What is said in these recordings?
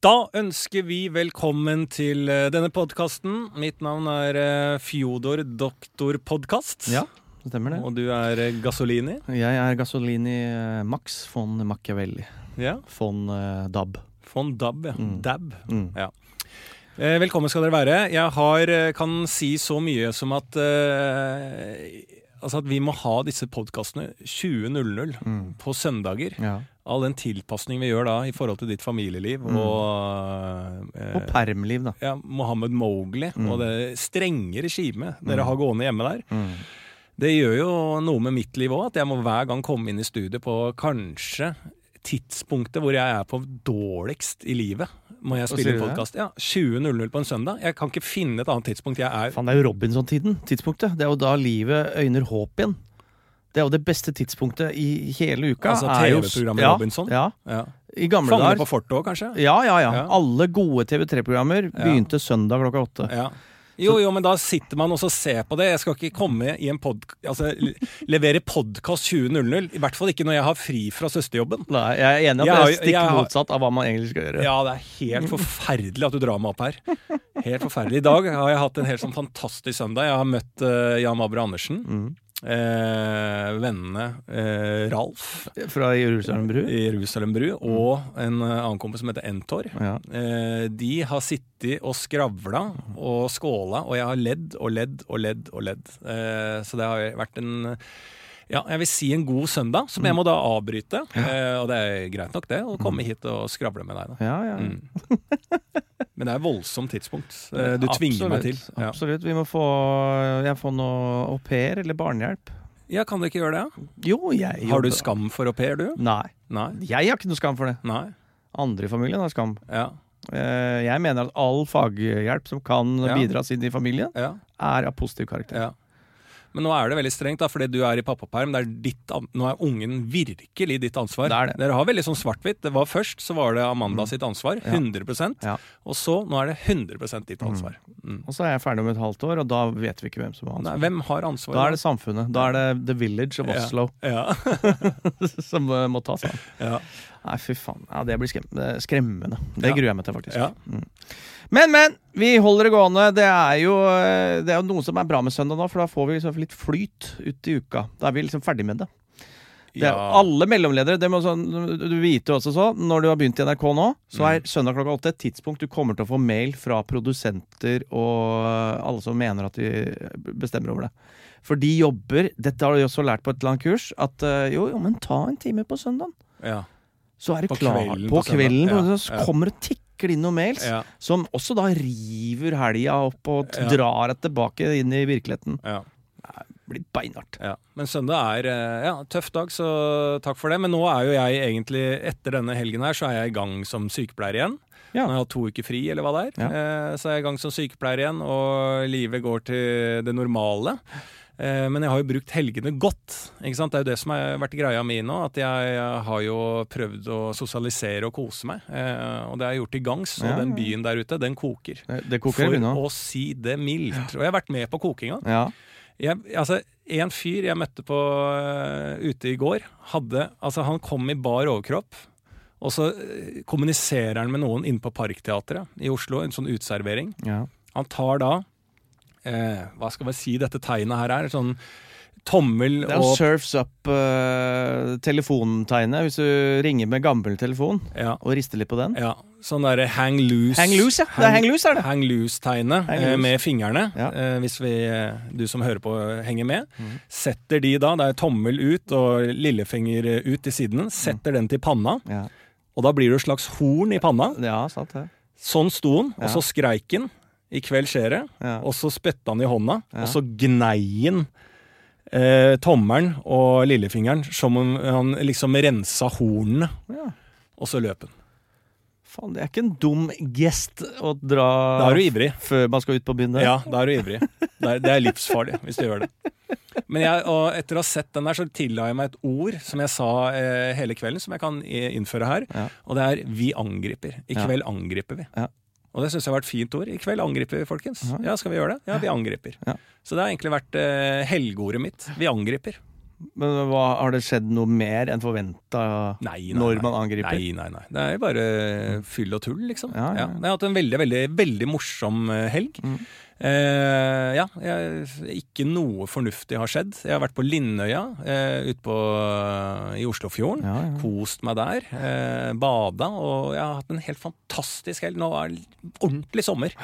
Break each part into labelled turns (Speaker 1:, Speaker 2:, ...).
Speaker 1: Da ønsker vi velkommen til eh, denne podkasten. Mitt navn er eh, Fjodor Doktor Podkast.
Speaker 2: Ja, det stemmer det.
Speaker 1: Og du er eh, Gasolini.
Speaker 2: Jeg er Gasolini eh, Max von Machiavelli.
Speaker 1: Ja.
Speaker 2: Von eh, Dab.
Speaker 1: Von Dab. Ja.
Speaker 2: Mm.
Speaker 1: Dab.
Speaker 2: Mm.
Speaker 1: Eh, velkommen skal dere være. Jeg har, eh, kan si så mye som at eh, Altså at vi må ha disse podkastene 20.00
Speaker 2: Mm.
Speaker 1: på søndager.
Speaker 2: Ja.
Speaker 1: All den tilpasning vi gjør da i forhold til ditt familieliv
Speaker 2: Mm.
Speaker 1: og eh,
Speaker 2: Og permliv, da.
Speaker 1: ja, Mohammed Mowgli
Speaker 2: Mm.
Speaker 1: og det strenge regimet dere
Speaker 2: Mm.
Speaker 1: har gående hjemme der.
Speaker 2: Mm.
Speaker 1: Det gjør jo noe med mitt liv òg, at jeg må hver gang komme inn i studiet på kanskje tidspunktet hvor jeg er på dårligst i livet. Må jeg
Speaker 2: Hva
Speaker 1: spille
Speaker 2: sier du det?
Speaker 1: podkast? Ja, 20.00 på en søndag. Jeg kan ikke finne et annet tidspunkt jeg er
Speaker 2: Faen, det er jo Robinson-tiden. tidspunktet. Det er jo da livet øyner håp igjen. Det er jo det beste tidspunktet i hele uka.
Speaker 1: Altså
Speaker 2: er jo-
Speaker 1: TV-programmet
Speaker 2: ja,
Speaker 1: Robinson?
Speaker 2: Ja.
Speaker 1: ja.
Speaker 2: I gamle
Speaker 1: Fangene på
Speaker 2: dager.
Speaker 1: fortet òg, kanskje?
Speaker 2: Ja, ja, ja,
Speaker 1: Ja.
Speaker 2: Alle gode TV3-programmer
Speaker 1: Ja.
Speaker 2: begynte søndag klokka åtte.
Speaker 1: Ja. Jo, jo, men da sitter man også og ser på det. Jeg skal ikke komme i en pod... Altså, le- levere podkast 20.00. I hvert fall ikke når jeg har fri fra søsterjobben.
Speaker 2: Nei, jeg er enig i
Speaker 1: Jeg
Speaker 2: at
Speaker 1: har
Speaker 2: det er
Speaker 1: jo-
Speaker 2: stikk
Speaker 1: jeg har-
Speaker 2: motsatt av hva man egentlig skal gjøre.
Speaker 1: Ja, det er helt forferdelig at du drar meg opp her. Helt forferdelig. I dag har jeg hatt en helt sånn fantastisk søndag. Jeg har møtt eh, Jan Abra Andersen.
Speaker 2: Mm.
Speaker 1: Eh, vennene eh, Ralf
Speaker 2: Fra Jerusalem bru.
Speaker 1: i Jerusalem Bru og en eh, annen kompis som heter Entor.
Speaker 2: Ja.
Speaker 1: Eh, de har sittet og skravla og skåla, og jeg har ledd og ledd og ledd og ledd. Eh, så det har vært en ja, jeg vil si en god søndag, som jeg må da avbryte. Eh, og det er greit nok, det, å komme hit og skravle med deg. da
Speaker 2: Ja, ja.
Speaker 1: Mm. Men det er et voldsomt tidspunkt. Eh, Du tvinger meg til.
Speaker 2: Absolutt,
Speaker 1: Ja.
Speaker 2: Absolutt. Vi må få Jeg får noe au pair eller barnehjelp.
Speaker 1: ja, kan du ikke gjøre det?
Speaker 2: Jo, jeg
Speaker 1: Har du
Speaker 2: jobber-
Speaker 1: skam for au pair, du?
Speaker 2: Nei.
Speaker 1: Nei.
Speaker 2: Jeg har ikke noe skam for det.
Speaker 1: Nei.
Speaker 2: Andre i familien har skam.
Speaker 1: Ja.
Speaker 2: Eh, Jeg mener at all faghjelp som kan
Speaker 1: Ja.
Speaker 2: bidras inn i familien,
Speaker 1: ja.
Speaker 2: er av positiv karakter.
Speaker 1: ja. Men nå er det veldig strengt, da, fordi du er i pappaperm. Det er ditt, an- nå er ungen virkelig ditt ansvar.
Speaker 2: Det er det. Mm.
Speaker 1: Dere har veldig sånn svart-hvitt. Det var Først så var det Amanda sitt ansvar, 100
Speaker 2: Ja.
Speaker 1: Og så, nå er det 100 ditt ansvar. Mm.
Speaker 2: Og så er jeg ferdig om et halvt år, og da vet vi ikke hvem som har
Speaker 1: Nei,
Speaker 2: ansvaret.
Speaker 1: hvem har ansvaret?
Speaker 2: Da er det samfunnet. Da er det The Village of
Speaker 1: Ja.
Speaker 2: Oslo
Speaker 1: Ja.
Speaker 2: som eh, må tas. Da.
Speaker 1: ja.
Speaker 2: Nei, fy faen. Ja, det blir skrem det er skremmende. Det
Speaker 1: Ja.
Speaker 2: gruer jeg meg til, faktisk.
Speaker 1: Ja.
Speaker 2: Mm. Men, men! Vi holder det gående. Det er, jo, eh, det er jo noe som er bra med søndag nå, for da får vi liksom litt flyt ut i uka. Da er vi liksom ferdig med det. det er,
Speaker 1: Ja.
Speaker 2: Alle mellomledere det må sånn, Du vite også så, når du har begynt i NRK nå, så
Speaker 1: Mm.
Speaker 2: er søndag klokka åtte et tidspunkt du kommer til å få mail fra produsenter og eh, alle som mener at de bestemmer over det. For de jobber Dette har de også lært på et eller annet kurs. At eh, jo, jo, men ta en time på søndag
Speaker 1: Ja.
Speaker 2: så er det
Speaker 1: På
Speaker 2: klart
Speaker 1: kvelden
Speaker 2: på
Speaker 1: på søndag.
Speaker 2: kvelden.
Speaker 1: Ja,
Speaker 2: Så
Speaker 1: ja.
Speaker 2: kommer det tikker inn noen mails,
Speaker 1: Ja.
Speaker 2: som også da river helga opp og t-
Speaker 1: Ja.
Speaker 2: drar deg tilbake inn i virkeligheten.
Speaker 1: ja.
Speaker 2: Blir beinhardt.
Speaker 1: Ja, Men søndag er eh, ja, tøff dag, så takk for det. Men nå er jo jeg egentlig, etter denne helgen her, så er jeg i gang som sykepleier igjen.
Speaker 2: Ja.
Speaker 1: Nå har jeg hatt to uker fri, eller hva det er.
Speaker 2: Ja.
Speaker 1: Eh, Så er jeg i gang som sykepleier igjen, og livet går til det normale. Eh, Men jeg har jo brukt helgene godt. ikke sant? Det er jo det som har vært greia mi nå. At jeg har jo prøvd å sosialisere og kose meg. Eh, Og det har jeg gjort til gangs. Og
Speaker 2: Ja,
Speaker 1: den
Speaker 2: ja.
Speaker 1: byen der ute, den koker.
Speaker 2: Det det koker
Speaker 1: For
Speaker 2: unna.
Speaker 1: å si det mildt. Og jeg har vært med på kokinga.
Speaker 2: Ja.
Speaker 1: Jeg, altså, en fyr jeg møtte på øh, ute i går, hadde, altså, han kom i bar overkropp. Og så øh, kommuniserer han med noen inne på Parkteatret i Oslo, en sånn uteservering.
Speaker 2: Ja.
Speaker 1: Han tar da eh, Hva skal vi si dette tegnet her er? Sånn tommel
Speaker 2: Det er jo
Speaker 1: og
Speaker 2: surfs up-telefontegnet, hvis du ringer med gammel telefon
Speaker 1: ja,
Speaker 2: og rister litt på den.
Speaker 1: ja, Sånn derre hang loose.
Speaker 2: Hang loose, ja! Det er hang loose, er det!
Speaker 1: Hang loose-tegnet
Speaker 2: Hang
Speaker 1: eh,
Speaker 2: loose.
Speaker 1: med fingrene,
Speaker 2: Ja. Mhm.
Speaker 1: eh, hvis vi, eh, du som hører på, eh, henger med. Setter de da, det er tommel ut og lillefinger eh, ut til sidene,
Speaker 2: Mhm.
Speaker 1: setter den til panna,
Speaker 2: Ja,
Speaker 1: og da blir det et slags horn i panna.
Speaker 2: ja sant det.
Speaker 1: Sånn sto han, og
Speaker 2: Ja.
Speaker 1: så skreik han. I kveld skjer det.
Speaker 2: Ja.
Speaker 1: Og så spytta han i hånda,
Speaker 2: Ja.
Speaker 1: og så gnei han eh, tommelen og lillefingeren som om han liksom rensa hornene,
Speaker 2: Ja.
Speaker 1: og så løp han.
Speaker 2: Faen, det er ikke en dum gest å dra
Speaker 1: Da er du ivrig.
Speaker 2: før man skal ut på byen. der.
Speaker 1: Ja, da er du ivrig. Det er, det er livsfarlig hvis du gjør det. Men jeg, og etter å ha sett den der, så tilla jeg meg et ord som jeg sa eh, hele kvelden, som jeg kan eh, innføre her.
Speaker 2: Ja.
Speaker 1: Og det er 'vi angriper'. I
Speaker 2: Ja.
Speaker 1: kveld angriper vi.
Speaker 2: Ja.
Speaker 1: Og det syns jeg har vært et fint ord. I kveld angriper vi, folkens.
Speaker 2: Ja.
Speaker 1: Ja, skal vi gjøre det? Ja, vi angriper.
Speaker 2: Ja.
Speaker 1: Så det har egentlig vært eh, helgeordet mitt. Vi angriper.
Speaker 2: Men hva, har det skjedd noe mer enn forventa
Speaker 1: Nei, nei,
Speaker 2: når
Speaker 1: nei.
Speaker 2: man angriper?
Speaker 1: Nei, nei, nei. Det er jo bare fyll og tull, liksom. Ja,
Speaker 2: Ja, ja.
Speaker 1: Jeg har hatt en veldig, veldig, veldig morsom eh, helg.
Speaker 2: Mm.
Speaker 1: Eh, ja, jeg, ikke noe fornuftig har skjedd. Jeg har vært på Linnøya eh, ute på, eh, i Oslofjorden.
Speaker 2: Ja, ja.
Speaker 1: Kost meg der. Eh, bada. Og jeg har hatt en helt fantastisk helg. Nå er det ordentlig sommer.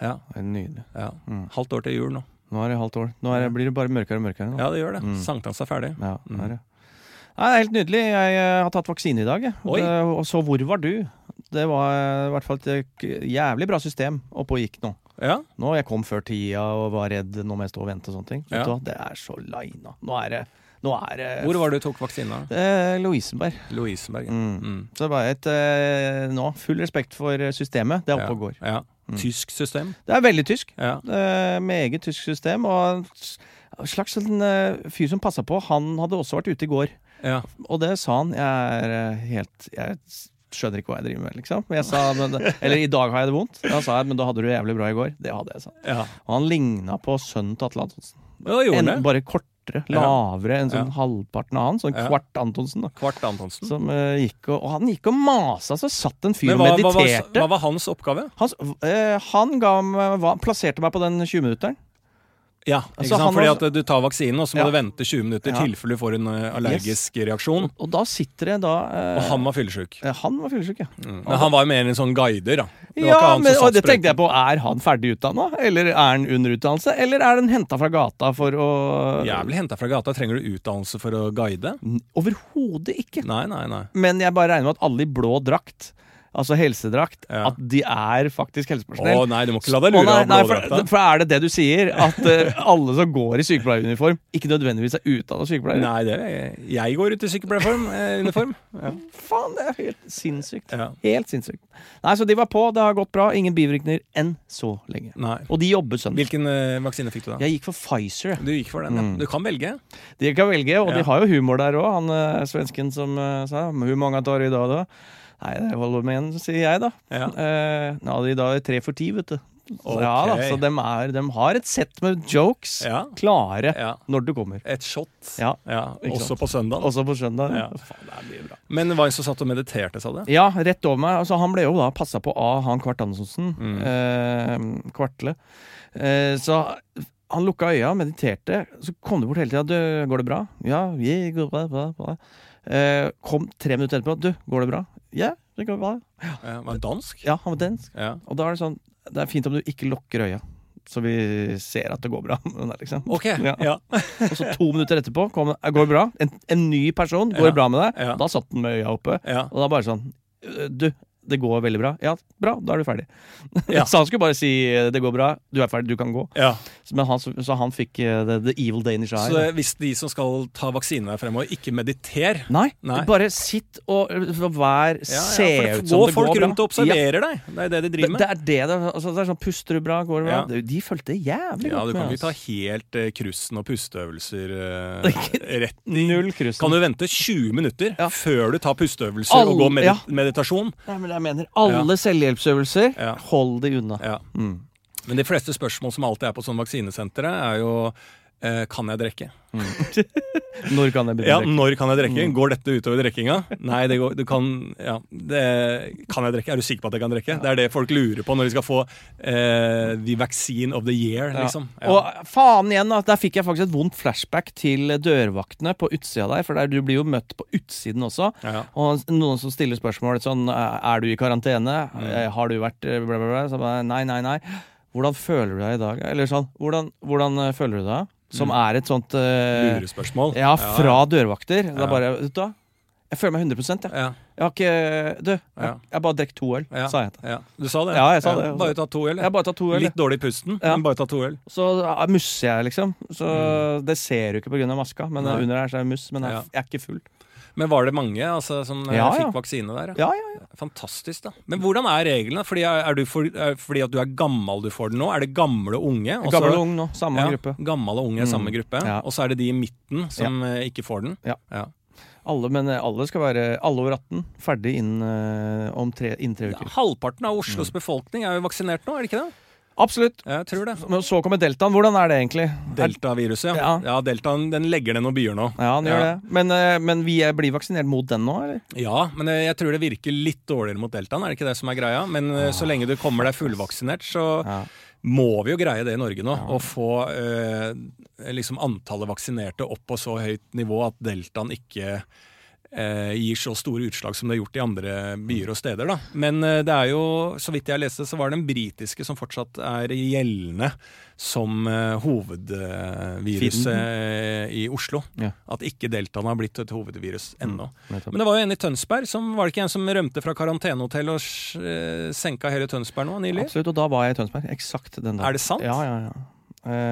Speaker 1: Ja,
Speaker 2: Det er Nydelig.
Speaker 1: ja.
Speaker 2: Mm.
Speaker 1: Halvt år til jul nå.
Speaker 2: Nå er det halvt år. Nå er det, blir det bare mørkere og mørkere. Nå.
Speaker 1: Ja, det gjør det. Sankthans er ferdig.
Speaker 2: Ja, det er det. Nei, det er helt nydelig. Jeg eh, har tatt vaksine i dag. jeg.
Speaker 1: Oi.
Speaker 2: Det, og så hvor var du? Det var eh, i hvert fall et eh, jævlig bra system oppe og gikk nå.
Speaker 1: Ja,
Speaker 2: Nå, Jeg kom før tida og var redd nå må jeg stå og vente og sånne ting.
Speaker 1: Ja.
Speaker 2: Vet du hva? det er så lina. Nå er det, nå er det
Speaker 1: Hvor var det du tok vaksina?
Speaker 2: Eh, Lovisenberg.
Speaker 1: Lovisenberg.
Speaker 2: Mm.
Speaker 1: Mm.
Speaker 2: Så det var et eh, Nå, full respekt for eh, systemet. Det er oppe og går. Mm.
Speaker 1: Ja. Tysk system.
Speaker 2: Det er veldig tysk.
Speaker 1: Ja.
Speaker 2: Eh, med eget tysk system. Og en s- slags sånn, eh, fyr som passa på, han hadde også vært ute i går.
Speaker 1: Ja.
Speaker 2: Og det sa han. Jeg er eh, helt Jeg s- skjønner ikke hva jeg driver med, liksom. Men Jeg sa, men, eller i dag har jeg det vondt. Da sa jeg, men da hadde du det jævlig bra i går. Det hadde jeg, sa han.
Speaker 1: ja.
Speaker 2: Og han ligna på sønnen til Atle Antonsen.
Speaker 1: Ja, gjorde
Speaker 2: En,
Speaker 1: det.
Speaker 2: bare kortere, lavere enn sånn halvparten av han. Sånn
Speaker 1: Ja.
Speaker 2: kvart Antonsen, da.
Speaker 1: Kvart Antonsen.
Speaker 2: Som eh, gikk og, og han gikk og masa, så satt en fyr
Speaker 1: Men
Speaker 2: og
Speaker 1: hva, hva, var-
Speaker 2: mediterte.
Speaker 1: hva var hans oppgave?
Speaker 2: Hans- eh, han ga meg, hva, plasserte meg på den 20-minutteren.
Speaker 1: Ja,
Speaker 2: Altså,
Speaker 1: ikke sant?
Speaker 2: han
Speaker 1: Fordi
Speaker 2: var-
Speaker 1: at du tar vaksinen, og så må
Speaker 2: Ja.
Speaker 1: du vente 20 minutter i
Speaker 2: Ja.
Speaker 1: tilfelle du får en eh, allergisk reaksjon.
Speaker 2: Og da sitter det da eh,
Speaker 1: Og han var fyllesyk.
Speaker 2: eh, han var fyllesyk, ja.
Speaker 1: Men han var jo mer en sånn guider, da. Det var
Speaker 2: ja
Speaker 1: ikke han som
Speaker 2: men, og
Speaker 1: satt
Speaker 2: det tenkte
Speaker 1: sprøyten.
Speaker 2: jeg på. Er han ferdig utdanna, eller er han under utdannelse? Eller er den henta fra gata for å
Speaker 1: Jævlig henta fra gata. Trenger du utdannelse for å guide?
Speaker 2: N- Overhodet ikke.
Speaker 1: Nei, nei, nei.
Speaker 2: Men jeg bare regner med at alle i blå drakt, altså helsedrakt,
Speaker 1: Ja.
Speaker 2: at de er faktisk
Speaker 1: Å
Speaker 2: helsepersonell.
Speaker 1: nei, du må ikke la deg lure
Speaker 2: Å,
Speaker 1: av
Speaker 2: nei, nei,
Speaker 1: blådrakta.
Speaker 2: for, for er det det du sier? At eh, alle som går i sykepleieruniform, ikke nødvendigvis er utdanna sykepleiere?
Speaker 1: Nei, det er, jeg går ut i sykepleieruniform. Ja.
Speaker 2: Faen, det er helt sinnssykt.
Speaker 1: Ja.
Speaker 2: Helt sinnssykt. Nei, så de var på, det har gått bra. Ingen bivirkninger enn så lenge.
Speaker 1: Nei.
Speaker 2: Og de jobber søndag.
Speaker 1: Hvilken eh, vaksine fikk du, da?
Speaker 2: Jeg Mm. gikk for Pfizer. jeg.
Speaker 1: Du gikk for den, ja. Du kan velge.
Speaker 2: De kan velge, og
Speaker 1: Ja.
Speaker 2: de har jo humor der òg. Han eh, svensken som eh, sa 'Hvor mange tar du i dag, da?' Nei, det holder med én, sier jeg, da.
Speaker 1: Ja.
Speaker 2: Eh, ja, de da er tre for ti, vet du. Så, ja da,
Speaker 1: Ok.
Speaker 2: så dem, er, dem har et sett med jokes
Speaker 1: Ja.
Speaker 2: klare
Speaker 1: Ja.
Speaker 2: når du kommer.
Speaker 1: Et shot.
Speaker 2: Ja, ikke
Speaker 1: Også
Speaker 2: sant.
Speaker 1: på søndag.
Speaker 2: Også på søndag.
Speaker 1: Ja.
Speaker 2: Faen, det er mye bra.
Speaker 1: Men hva som satt og mediterte, sa du?
Speaker 2: Ja, rett over meg. Altså, han ble jo da passa på av han Kvart Andersen.
Speaker 1: Mm.
Speaker 2: Eh, kvartle. Eh, så han lukka øya, mediterte. Så kom du bort hele tida. 'Du, går det bra?' 'Ja, jeg går bra, bra, bra.' Eh, kom tre minutter etterpå. 'Du, går det bra?' 'Ja, det går bra.'
Speaker 1: Ja, var det dansk?
Speaker 2: Ja, han var dansk.
Speaker 1: Ja.
Speaker 2: Og da er det sånn Det er fint om du ikke lukker øya, så vi ser at det går bra. med deg, liksom.
Speaker 1: Ok.
Speaker 2: Ja.
Speaker 1: Ja.
Speaker 2: Og så to minutter etterpå kom, det, går det bra. En, en ny person, går
Speaker 1: Ja,
Speaker 2: det bra med deg?
Speaker 1: ja.
Speaker 2: Da satt den med øya oppe.
Speaker 1: Ja.
Speaker 2: Og da bare sånn «Øh, Du, det går veldig bra. Ja, bra, da er du ferdig.
Speaker 1: Ja.
Speaker 2: så han skulle bare si eh, 'det går bra, du er ferdig, du kan gå'.
Speaker 1: ja.
Speaker 2: Så- Men han, så så han fikk eh, the, the evil Danish eye.
Speaker 1: Så eh, hvis de som skal ta vaksine fremover, ikke mediter
Speaker 2: Nei,
Speaker 1: Nei.
Speaker 2: bare sitt og øh, vær
Speaker 1: ja,
Speaker 2: Se
Speaker 1: ja, for
Speaker 2: ut
Speaker 1: det
Speaker 2: som
Speaker 1: går
Speaker 2: det går
Speaker 1: folk
Speaker 2: bra.
Speaker 1: rundt og observerer deg. Det er det de
Speaker 2: Ja,
Speaker 1: driver
Speaker 2: det
Speaker 1: med.
Speaker 2: er det det altså, det er. sånn, Puster du bra, går det bra?
Speaker 1: Ja.
Speaker 2: De- De fulgte jævlig
Speaker 1: Ja, du
Speaker 2: godt
Speaker 1: kan
Speaker 2: med.
Speaker 1: ikke ta
Speaker 2: altså.
Speaker 1: helt eh, krussen og pusteøvelser eh, rett
Speaker 2: Null
Speaker 1: Kan
Speaker 2: krusen.
Speaker 1: du vente 20 minutter
Speaker 2: Ja.
Speaker 1: før du tar pusteøvelser
Speaker 2: Alle-
Speaker 1: og går med
Speaker 2: ja.
Speaker 1: meditasjon?
Speaker 2: Nei, men jeg mener, alle selvhjelpsøvelser,
Speaker 1: Ja.
Speaker 2: hold de unna.
Speaker 1: Ja.
Speaker 2: Mm.
Speaker 1: Men de fleste spørsmål som alltid er på sånne vaksinesentre, er jo eh, kan jeg drikke?
Speaker 2: Når kan jeg begynne?
Speaker 1: Ja,
Speaker 2: å drikke?
Speaker 1: når kan jeg
Speaker 2: Mm.
Speaker 1: drikke? Går dette utover drikkinga? Nei, det går, du kan ja, det, Kan jeg drikke? Er du sikker på at jeg kan drikke? Det er det folk lurer på når de skal få eh, the vaccine of the year, liksom. Ja.
Speaker 2: Og faen igjen, da, der fikk jeg faktisk et vondt flashback til dørvaktene på utsida der. For der du blir jo møtt på utsiden også.
Speaker 1: Ja.
Speaker 2: Og noen som stiller spørsmål sånn Er du i karantene?
Speaker 1: Mm.
Speaker 2: Eh, Har du vært eh, bla, bla, bla? Så bare, nei, nei, nei. Hvordan føler du deg i dag? Eller sånn Hvordan, hvordan eh, føler du deg? Som
Speaker 1: Mm.
Speaker 2: er et sånt eh,
Speaker 1: Lurespørsmål.
Speaker 2: Ja, fra dørvakter. Det
Speaker 1: Ja.
Speaker 2: er bare Vet du hva? Jeg føler meg 100 jeg.
Speaker 1: Ja,
Speaker 2: Jeg har ikke Du,
Speaker 1: Ja.
Speaker 2: jeg, jeg bare drekk to øl,
Speaker 1: ja,
Speaker 2: sa jeg. til
Speaker 1: ja. Du sa det?
Speaker 2: Ja, jeg sa det.
Speaker 1: Bare ta to øl.
Speaker 2: Jeg har bare tatt to øl. jeg.
Speaker 1: Litt dårlig i pusten,
Speaker 2: Ja.
Speaker 1: men bare ta to øl.
Speaker 2: Så ah, musser jeg, liksom. Så Det ser du ikke pga. maska, men
Speaker 1: Mm. Nei.
Speaker 2: under her så er jeg muss. Men jeg,
Speaker 1: Ja.
Speaker 2: jeg er ikke full.
Speaker 1: Men var det mange altså, som eh,
Speaker 2: Ja, ja.
Speaker 1: fikk vaksine der?
Speaker 2: Ja, ja, ja.
Speaker 1: Fantastisk, da. Men hvordan er reglene? Fordi, er er du for, er, fordi at du er gammel du får den nå? Er det gamle og unge? Og så-
Speaker 2: Gammel og ung nå. Samme
Speaker 1: ja,
Speaker 2: gruppe. Mm.
Speaker 1: Gammel og unge i samme gruppe.
Speaker 2: Ja.
Speaker 1: Og så er det de i midten som eh, ikke får den.
Speaker 2: Ja. Alle, men eh, alle skal være alle over 18. Ferdig innen eh, om tre, innen tre uker. Mm.
Speaker 1: Halvparten av Oslos befolkning er jo vaksinert nå, er det ikke det?
Speaker 2: Absolutt.
Speaker 1: Jeg tror det.
Speaker 2: Men så kommer deltaen. Hvordan er det egentlig? Er-
Speaker 1: Deltaviruset, ja.
Speaker 2: Ja.
Speaker 1: ja. Deltaen den legger ned noen byer nå.
Speaker 2: Ja, den gjør
Speaker 1: Ja.
Speaker 2: det. Men, eh, men vi eh, blir vaksinert mot den nå, eller?
Speaker 1: Ja, men eh, jeg tror det virker litt dårligere mot deltaen, er det ikke det som er greia? Men eh, så lenge du kommer deg fullvaksinert, så
Speaker 2: Ja.
Speaker 1: må vi jo greie det i Norge nå. Å få eh, liksom antallet vaksinerte opp på så høyt nivå at deltaen ikke eh, gir så store utslag som det har gjort i andre byer og steder. Da. Men eh, det er jo, så vidt jeg leste, så var det den britiske som fortsatt er gjeldende som eh, hovedviruset eh, i Oslo.
Speaker 2: Ja.
Speaker 1: At ikke deltaen har blitt et hovedvirus ennå.
Speaker 2: nettopp.
Speaker 1: Men det var jo en i Tønsberg som var det ikke en som rømte fra karantenehotell og eh, senka hele Tønsberg nå nylig?
Speaker 2: Absolutt. Og da var jeg i Tønsberg. Eksakt den dagen.
Speaker 1: Er det sant?
Speaker 2: Ja, ja, ja.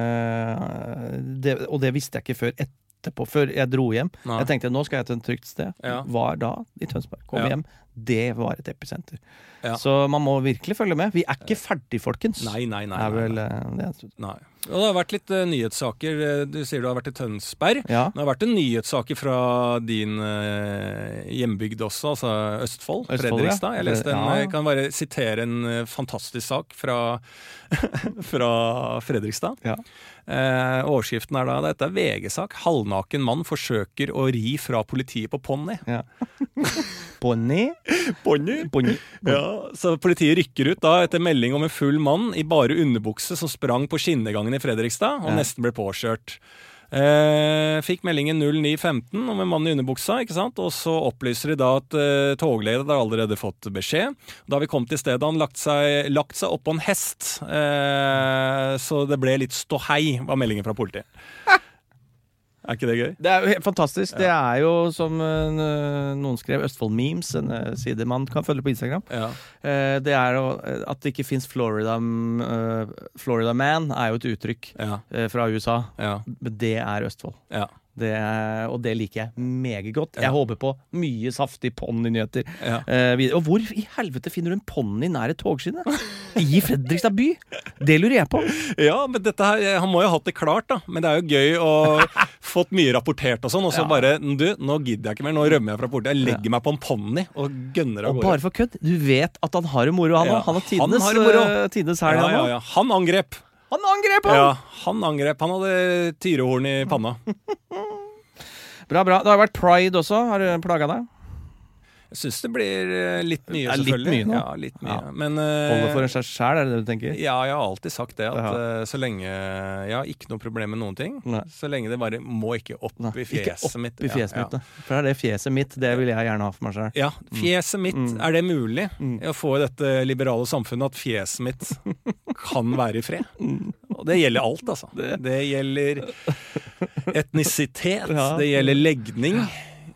Speaker 2: Eh, det, og det visste jeg ikke før etterpå. Før jeg dro hjem.
Speaker 1: Nei.
Speaker 2: Jeg tenkte nå skal jeg til et trygt sted.
Speaker 1: Ja.
Speaker 2: Var da i Tønsberg. Kom
Speaker 1: Ja.
Speaker 2: hjem. Det var et episenter.
Speaker 1: Ja.
Speaker 2: Så man må virkelig følge med. Vi er ikke ferdig, folkens.
Speaker 1: Nei, nei, nei.
Speaker 2: er
Speaker 1: nei,
Speaker 2: vel
Speaker 1: nei.
Speaker 2: eh, det eneste.
Speaker 1: nei. Og det har vært litt eh, nyhetssaker. Eh, Du sier du har vært i Tønsberg.
Speaker 2: Ja.
Speaker 1: Det har vært en nyhetssaker fra din eh, hjembygd også, altså Østfold.
Speaker 2: Østfold,
Speaker 1: Fredrikstad. Jeg
Speaker 2: ja.
Speaker 1: leste en,
Speaker 2: Ja, ja.
Speaker 1: jeg kan bare sitere en eh, fantastisk sak fra, fra Fredrikstad.
Speaker 2: Ja.
Speaker 1: Eh, overskriften er da dette er VG-sak. 'Halvnaken mann forsøker å ri fra politiet på ponni'.
Speaker 2: ja. Bonnie.
Speaker 1: Ponni?
Speaker 2: Bonnie.
Speaker 1: Ja, så politiet rykker ut da etter melding om en full mann i bare underbukse som sprang på skinnegangen i Fredrikstad og
Speaker 2: Ja.
Speaker 1: nesten ble påkjørt. Eh, fikk meldingen 09.15 om en mann i underbuksa, ikke sant? og så opplyser de da at eh, togleder har allerede fått beskjed. Da vi kom til stedet, har han lagt seg, lagt seg oppå en hest, eh, så det ble litt ståhei, var meldingen fra politiet. Er ikke det gøy?
Speaker 2: Det er jo helt fantastisk. Det er jo som eh, noen skrev, Østfold Memes, en eh, side man kan følge på Instagram.
Speaker 1: Ja.
Speaker 2: Eh, Det er jo eh, at det ikke fins Florida, mm, eh, Florida Man, er jo et uttrykk
Speaker 1: Ja,
Speaker 2: eh, fra USA.
Speaker 1: ja,
Speaker 2: Men det er Østfold.
Speaker 1: ja.
Speaker 2: Det er, og det liker jeg meget godt. Jeg
Speaker 1: Ja.
Speaker 2: håper på mye saftig ponninyheter.
Speaker 1: ja.
Speaker 2: Eh, videre. og hvor i helvete finner du en ponni nær et togskinne? I Fredrikstad by? Det lurer jeg på.
Speaker 1: Ja, men dette her, eh, han må jo ha hatt det klart, da. Men det er jo gøy å fått mye rapportert og sånn, og så
Speaker 2: Ja.
Speaker 1: bare Du, nå gidder jeg ikke mer. Nå rømmer jeg fra politiet. Jeg legger meg på en ponni og gønner av
Speaker 2: Og
Speaker 1: gårde.
Speaker 2: bare for kødd, du vet at han har det moro, han òg.
Speaker 1: Ja,
Speaker 2: Han har
Speaker 1: han
Speaker 2: tidenes,
Speaker 1: har det moro.
Speaker 2: eh, tidenes helg,
Speaker 1: Ja,
Speaker 2: han
Speaker 1: ja,
Speaker 2: også.
Speaker 1: ja. Han angrep.
Speaker 2: Han angrep han!
Speaker 1: Ja, han angrep. Han hadde tyrehorn i panna.
Speaker 2: Bra, bra. Det har vært pride også. Har du plaga deg?
Speaker 1: Jeg syns det blir eh, litt mye,
Speaker 2: er litt
Speaker 1: selvfølgelig.
Speaker 2: mye nå.
Speaker 1: Ja, litt mye.
Speaker 2: Ja.
Speaker 1: Men
Speaker 2: Holde for
Speaker 1: eh,
Speaker 2: en seg sjæl, er det det du tenker?
Speaker 1: ja, jeg har alltid sagt det, at
Speaker 2: Ja.
Speaker 1: eh, så lenge Jeg har ikke noe problem med noen ting.
Speaker 2: Nei.
Speaker 1: Så lenge det bare må ikke opp
Speaker 2: Nei,
Speaker 1: i
Speaker 2: ikke
Speaker 1: fjeset
Speaker 2: opp
Speaker 1: mitt.
Speaker 2: i
Speaker 1: Ja,
Speaker 2: fjeset
Speaker 1: ja.
Speaker 2: mitt, da. For det er det fjeset mitt, det vil jeg gjerne ha for meg sjøl.
Speaker 1: Ja, fjeset mitt,
Speaker 2: Mm.
Speaker 1: er det mulig? Jeg får i dette liberale samfunnet at fjeset mitt kan være i fred.
Speaker 2: Mm.
Speaker 1: Og det gjelder alt, altså. Det gjelder etnisitet,
Speaker 2: Ja.
Speaker 1: det gjelder legning.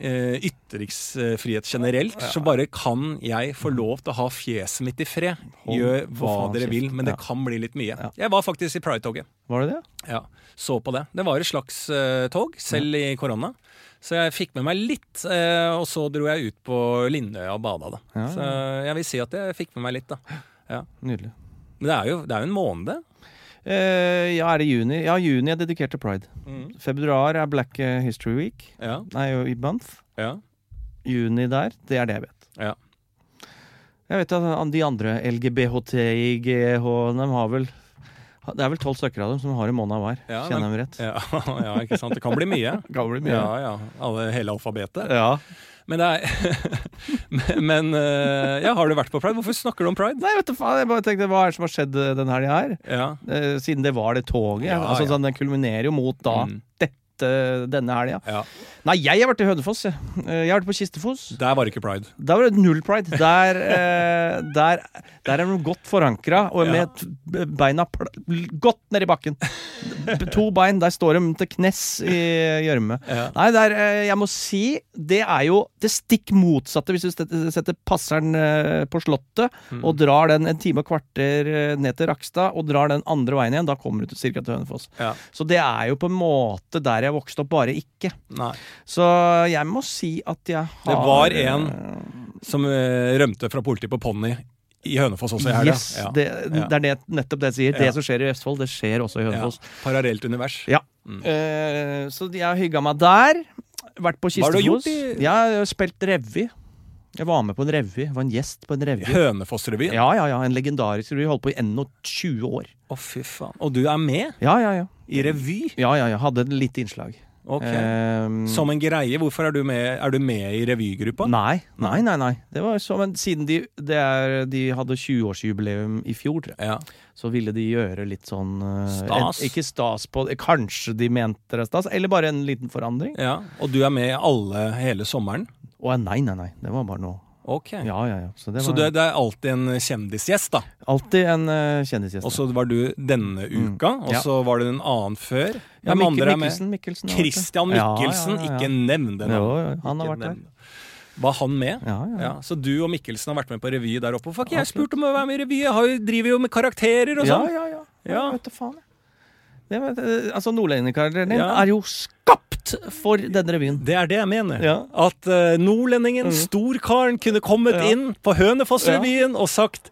Speaker 1: eh, Ytringsfrihet generelt. Så bare kan jeg få lov til å ha fjeset mitt i fred.
Speaker 2: Mm. Hold
Speaker 1: Gjør
Speaker 2: for
Speaker 1: hva
Speaker 2: faen
Speaker 1: dere vil,
Speaker 2: kjeft.
Speaker 1: men det
Speaker 2: Ja.
Speaker 1: kan bli litt mye. Jeg var faktisk i Pride-toget.
Speaker 2: Var det det?
Speaker 1: Ja, så på det. Det var et slags eh, tog, selv i korona. Så jeg fikk med meg litt, eh, og så dro jeg ut på Lindøya og bada. Da.
Speaker 2: Ja,
Speaker 1: Så jeg vil si at jeg fikk med meg litt, da.
Speaker 2: Nydelig.
Speaker 1: Men det er jo, det er jo en måned.
Speaker 2: Eh, ja, er det juni? Ja, juni er dedikert til pride. Februar er Black eh, History Week.
Speaker 1: Ja,
Speaker 2: Nei, jo, i month.
Speaker 1: ja,
Speaker 2: Juni der, det er det jeg vet.
Speaker 1: ja.
Speaker 2: Jeg vet at an- de andre LGBHTIGH, de har vel Det er vel tolv stykker av dem som har en måned hver.
Speaker 1: Ja,
Speaker 2: Kjenner
Speaker 1: men-
Speaker 2: jeg meg rett?
Speaker 1: Ja, ja, ikke sant. Det kan bli mye. Ja, ja. Alle, hele alfabetet.
Speaker 2: Ja.
Speaker 1: Men det er Men eh, ja, har du vært på pride? Hvorfor snakker du om pride?
Speaker 2: Nei, vet du faen, jeg bare tenkte hva er det som har skjedd eh, den helga her?
Speaker 1: Ja,
Speaker 2: Eh, siden det var det toget.
Speaker 1: Ja,
Speaker 2: altså,
Speaker 1: ja.
Speaker 2: Sånn, den kulminerer jo mot da
Speaker 1: Mm.
Speaker 2: dette, denne helga.
Speaker 1: ja.
Speaker 2: Nei, jeg har vært i Hønefoss. Jeg, Eh, jeg har vært på Kistefos.
Speaker 1: Der var det ikke pride.
Speaker 2: Der var det null pride. Der, eh, der, der er de godt forankra og
Speaker 1: Ja.
Speaker 2: med t- beina pl godt nedi bakken. B- To bein, der står de til knes i gjørme.
Speaker 1: Ja.
Speaker 2: Nei, der, eh, jeg må si Det er jo det stikk motsatte hvis du setter setter passeren eh, på Slottet
Speaker 1: Mm.
Speaker 2: og drar den en time og kvarter eh, ned til Rakstad og drar den andre veien igjen. Da kommer du til cirka til Hønefoss.
Speaker 1: Ja.
Speaker 2: Så det er jo på en måte der jeg vokste opp, bare ikke.
Speaker 1: Nei.
Speaker 2: Så jeg må si at jeg har
Speaker 1: Det var en som eh, rømte fra politiet på ponni i Hønefoss også i helga.
Speaker 2: Yes,
Speaker 1: Ja.
Speaker 2: det,
Speaker 1: Ja.
Speaker 2: det er det, nettopp det jeg sier.
Speaker 1: Ja.
Speaker 2: Det som skjer i Østfold, det skjer også i Hønefoss.
Speaker 1: Ja, parallelt univers.
Speaker 2: Ja. Eh, så jeg har hygga meg der. Vært på
Speaker 1: Hva har du gjort
Speaker 2: Kistefos.
Speaker 1: i-
Speaker 2: Jeg har spilt revy. Jeg var med på en revy. Var en gjest på en revy.
Speaker 1: Hønefoss-revyen. Å,
Speaker 2: Ja, ja, ja. En legendarisk revy. Holdt på i ennå 20 år.
Speaker 1: fy faen. Og du er med
Speaker 2: Ja, ja, ja.
Speaker 1: i revy?
Speaker 2: Ja, ja, ja. Hadde et lite innslag.
Speaker 1: Ok.
Speaker 2: Ehm,
Speaker 1: Som en greie. Hvorfor er du med, er du med i revygruppa?
Speaker 2: Nei, nei, nei. nei. Det var som en, siden de, det er, de hadde 20-årsjubileum i fjor, tror jeg,
Speaker 1: Ja.
Speaker 2: så ville de gjøre litt sånn eh,
Speaker 1: Stas?
Speaker 2: En, ikke stas på Kanskje de mente det er stas, eller bare en liten forandring.
Speaker 1: ja. Og du er med i alle hele sommeren?
Speaker 2: Å nei, nei, nei. Det var bare noe.
Speaker 1: Ok.
Speaker 2: Ja, ja, ja. Så det
Speaker 1: Så
Speaker 2: var
Speaker 1: det, det er alltid en kjendisgjest, da.
Speaker 2: alltid en eh, kjendisgjest.
Speaker 1: Og så var du denne uka, og
Speaker 2: Mm. Ja.
Speaker 1: så var det en annen før.
Speaker 2: Ja,
Speaker 1: Hvem
Speaker 2: Mikkel-
Speaker 1: andre er med?
Speaker 2: Mikkelsen, Mikkelsen har vært det.
Speaker 1: Christian Mikkelsen.
Speaker 2: Ja, ja, ja, ja.
Speaker 1: Ikke nevn det
Speaker 2: Jo,
Speaker 1: navnet.
Speaker 2: jo, han har
Speaker 1: Ikke
Speaker 2: vært der.
Speaker 1: nevn det. Var han med?
Speaker 2: Ja, ja.
Speaker 1: Ja, Så du og Mikkelsen har vært med på revy der oppe? Fuck, jeg spurte om å være med i revy! Jeg har jo, driver jo med karakterer og
Speaker 2: Ja,
Speaker 1: sånn!
Speaker 2: ja, ja.
Speaker 1: Ja.
Speaker 2: Jeg vet da faen, jeg. Det var, det- altså, Nordlendingkarakteren din
Speaker 1: Ja.
Speaker 2: er jo skapt for denne revyen.
Speaker 1: Det er det jeg mener.
Speaker 2: Ja. Mm.
Speaker 1: At eh, nordlendingen, storkaren, kunne kommet
Speaker 2: Ja.
Speaker 1: inn på Hønefoss-revyen og sagt